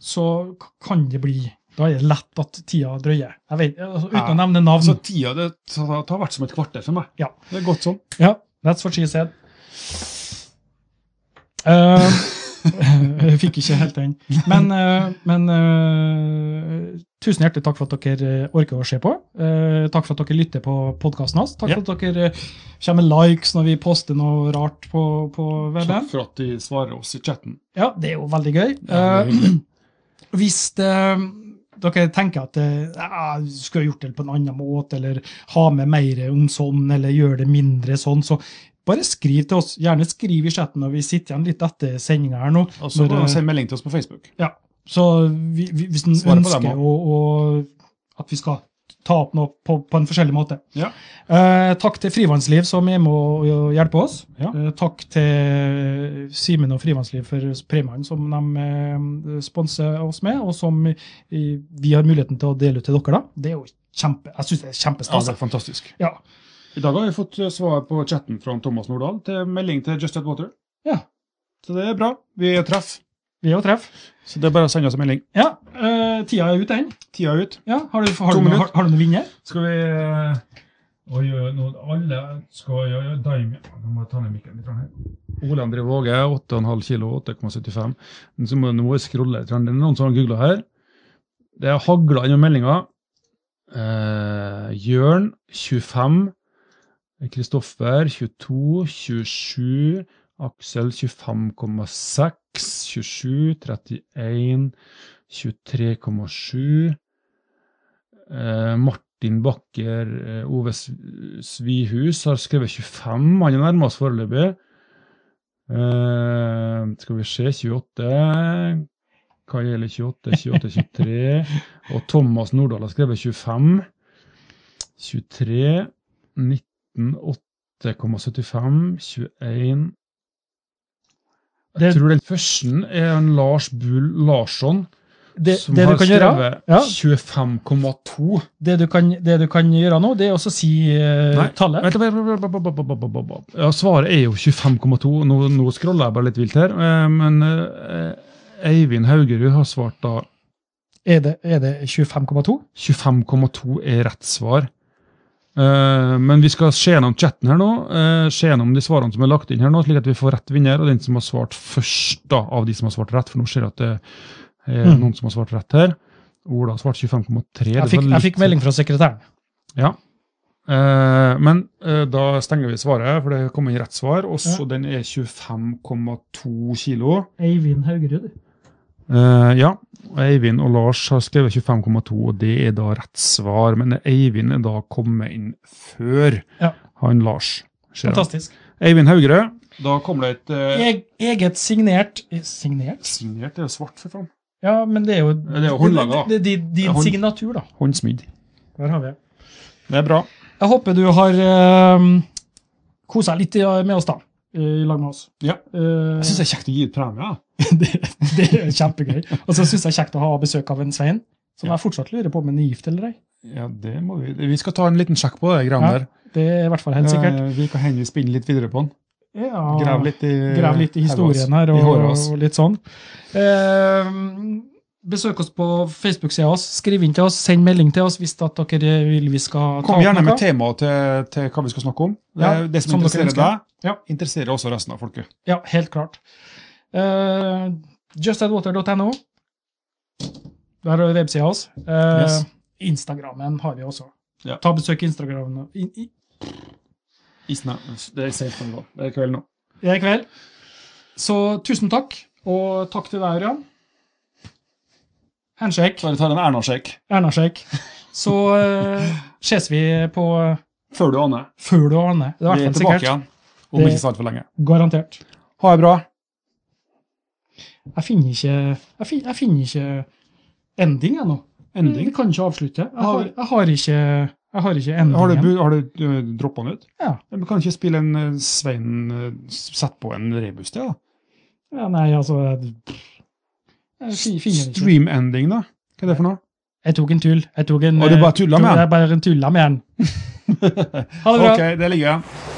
Speaker 1: så k- kan det bli Da er det lett at tida drøyer. Jeg vet, altså, uten å
Speaker 6: Ja.
Speaker 1: nevne navn.
Speaker 6: Så tida det har har vært som et kvarter for meg.
Speaker 1: Ja.
Speaker 6: Det er godt sånn.
Speaker 1: Ja, that's what she said. Eh, jeg fikk ikke helt den. Men, eh, men eh, tusen hjertelig takk for at dere eh, orker å se på. Eh, takk for at dere lytter på podkasten hans. Takk
Speaker 6: Ja.
Speaker 1: for at dere eh, kommer med likes når vi poster noe rart på, på webben.
Speaker 6: Takk for at de svarer oss i chatten.
Speaker 1: Ja, det er jo veldig gøy.
Speaker 6: Ja, det er
Speaker 1: Eh, hvis eh, dere tenker at eh, «Ah, jeg skulle ha gjort det på en annen måte, eller ha med mer om sånn, eller gjøre det mindre sånn, så bare skriv til oss. Gjerne skriv i chatten når vi sitter igjen litt etter sendinga her nå.
Speaker 6: Og så
Speaker 1: Når,
Speaker 6: kan
Speaker 1: eh,
Speaker 6: de sende melding til oss på Facebook.
Speaker 1: Så vi, vi, hvis en
Speaker 6: Svare på dem
Speaker 1: ønsker å, å, at vi skal ta opp noe på, på en forskjellig måte.
Speaker 6: Ja.
Speaker 1: Eh, takk til Frivannsliv, som er med å å hjelpe oss.
Speaker 6: Ja.
Speaker 1: Eh, takk til Simen og Frivannsliv for premiene som de eh, sponser oss med, og som eh, vi har muligheten til å dele ut til dere. da. Det er jo kjempe, Jeg syns det er
Speaker 6: Ja, det
Speaker 1: kjempestas.
Speaker 6: er fantastisk.
Speaker 1: Ja.
Speaker 6: I dag har vi fått eh, svar på chatten fra Thomas Nordahl til melding til Just Add Water.
Speaker 1: Ja.
Speaker 6: Så det er bra. Vi er treff.
Speaker 1: Vi er jo treff.
Speaker 6: Så det er bare å sende oss en melding.
Speaker 1: Ja, eh, tida er ute, den.
Speaker 6: Tida er ut.
Speaker 1: Ja, har, du- har,
Speaker 6: To
Speaker 1: du noe-
Speaker 6: minutter.
Speaker 1: har, har du noen vinner?
Speaker 2: Skal vi eh, Oi, oi, nå alle skal oi, oi, daim. Nå må jeg ta ned mikken litt her. Ole André Våge, 8,5 kilo, 8,75. Men så må jeg nå scrolle. litt. Det er noen som har googla her. Det er hagla innom meldinga. Eh, Jørn, 25. Kristoffer, 22. 27. Aksel, 25,6. 27. 31. 23,7. Eh, Martin Bakker eh, Ove Sv- Svihus har skrevet 25. Han er nærmest foreløpig. Eh, skal vi se 28. Hva gjelder 28, 28, 23? Og Thomas Nordahl har skrevet 25. 23. 19, 8,75. 21 Jeg
Speaker 1: Det-
Speaker 2: tror den første er en Lars Bull Larsson,
Speaker 1: Det,
Speaker 2: som
Speaker 1: det
Speaker 2: har
Speaker 1: du kan gjøre?
Speaker 2: skrevet
Speaker 1: ja.
Speaker 2: 25,2.
Speaker 1: det du kan, det du kan gjøre nå, det er også å si eh,
Speaker 2: Nei,
Speaker 1: tallet.
Speaker 2: Vent, vent, vent, vent, vent, vent, vent, vent. Ja, svaret er jo 25,2. Nå, nå scroller jeg bare litt vilt her. eh, Men eh, Eivind Haugerud har svart da
Speaker 1: Er det, er det 25,2?
Speaker 2: 25,2 er rett svar. Eh, men vi skal se gjennom chatten her nå, eh, se gjennom de svarene som er lagt inn her nå, slik at vi får rett vinner, og den som har svart først da, av de som har svart rett. For nå ser jeg at det er
Speaker 1: Mm.
Speaker 2: noen som har svart rett her. Ola har svart 25,3.
Speaker 1: Jeg
Speaker 6: sånn
Speaker 1: fikk, jeg fikk melding fra sekretæren.
Speaker 2: Eh, men eh, da stenger vi svaret, for det kom inn rett svar. Og så den er 25,2 kilo.
Speaker 1: Eivind Haugerud.
Speaker 2: Eh, ja. Og Eivind og Lars har skrevet 25,2, og det er da rett svar. Men Eivind er da kommet inn før
Speaker 1: Ja.
Speaker 2: han Lars. ser jeg.
Speaker 1: Fantastisk.
Speaker 2: Eivind Haugerød.
Speaker 6: Da kommer det et eh,
Speaker 1: Eg, eget signert eh, Signert?
Speaker 6: Signert er jo svart, for faen.
Speaker 1: Ja, men det er jo
Speaker 6: Det er jo håndlaget, da.
Speaker 1: Det, det, det,
Speaker 6: Det
Speaker 1: din
Speaker 6: er hånd-
Speaker 1: signatur, da.
Speaker 2: Håndsmidd.
Speaker 1: Der har vi det.
Speaker 6: Det er bra.
Speaker 1: Jeg håper du har uh, kosa deg litt i- med oss, da. eh, I lag med oss.
Speaker 6: Ja.
Speaker 1: Eh,
Speaker 6: Jeg syns det er kjekt å gi ut premie. jeg.
Speaker 1: det, det er kjempegøy. Og så syns jeg det er kjekt å ha besøk av en Svein, som jeg fortsatt lurer på om han er gift eller ei.
Speaker 6: Ja, det må vi. Vi skal ta en liten sjekk på det greiene
Speaker 1: Ja,
Speaker 6: der.
Speaker 1: Det er i hvert fall helt sikkert.
Speaker 6: Eh, Vi kan hende vi spinner litt videre på den.
Speaker 1: Ja.
Speaker 6: Grav litt i,
Speaker 1: Grav litt i historien her,
Speaker 6: I
Speaker 1: og,
Speaker 6: håret Eh, oss.
Speaker 1: og litt sånn. Eh, besøk oss på Facebook-sida vår, skriv inn til oss, send melding til oss hvis at dere vil vi skal ta
Speaker 6: Kom
Speaker 1: opp
Speaker 6: gjerne
Speaker 1: noe.
Speaker 6: med tema til, til hva vi skal snakke om. Det,
Speaker 1: Ja,
Speaker 6: det som,
Speaker 1: som dere
Speaker 6: interesserer
Speaker 1: ønsker.
Speaker 6: deg,
Speaker 1: Ja.
Speaker 6: interesserer også resten av folket.
Speaker 1: Ja, helt klart. Eh, justadwater.no. Der har vi websida vår. Eh,
Speaker 6: Yes.
Speaker 1: Instagrammen har vi også.
Speaker 6: Ja.
Speaker 1: Ta besøk i Instagrammen i, i,
Speaker 6: Isna, det er safe nå. Det er kveld nå.
Speaker 1: i kveld. Så tusen takk, og takk til deg, Ørjan. Handshake.
Speaker 6: Så vi tar en Erna-sjekk
Speaker 1: Erna-sjekk. Så eh, ses vi på
Speaker 6: før du aner.
Speaker 1: før du aner. Det er i
Speaker 6: Vi
Speaker 1: hvert
Speaker 6: er
Speaker 1: fall
Speaker 6: tilbake
Speaker 1: sikkert.
Speaker 6: igjen om
Speaker 1: Det-
Speaker 6: ikke så altfor lenge.
Speaker 1: Garantert.
Speaker 6: Ha det bra.
Speaker 1: Jeg finner ikke, jeg fin, jeg finner ikke ending ennå.
Speaker 6: Ending.
Speaker 1: Vi kan ikke avslutte. Jeg
Speaker 6: Har-
Speaker 1: har, jeg har ikke jeg har ikke endingen.
Speaker 6: Har du, bu- har du droppa den ut?
Speaker 1: Mm. Ja.
Speaker 6: Men kan ikke spille en eh, Svein eh, s- Sett på en rebus til, da?
Speaker 1: Ja, nei, altså Jeg, jeg finner den ikke.
Speaker 6: Stream ending, da? Hva er det for noe?
Speaker 1: Jeg tok en tull. Jeg tok en,
Speaker 2: Og du
Speaker 1: eh,
Speaker 2: bare tullet med
Speaker 1: tok-
Speaker 2: han?
Speaker 1: Jeg bare tullet med han. Ha det bra.
Speaker 2: OK, det ligger jeg.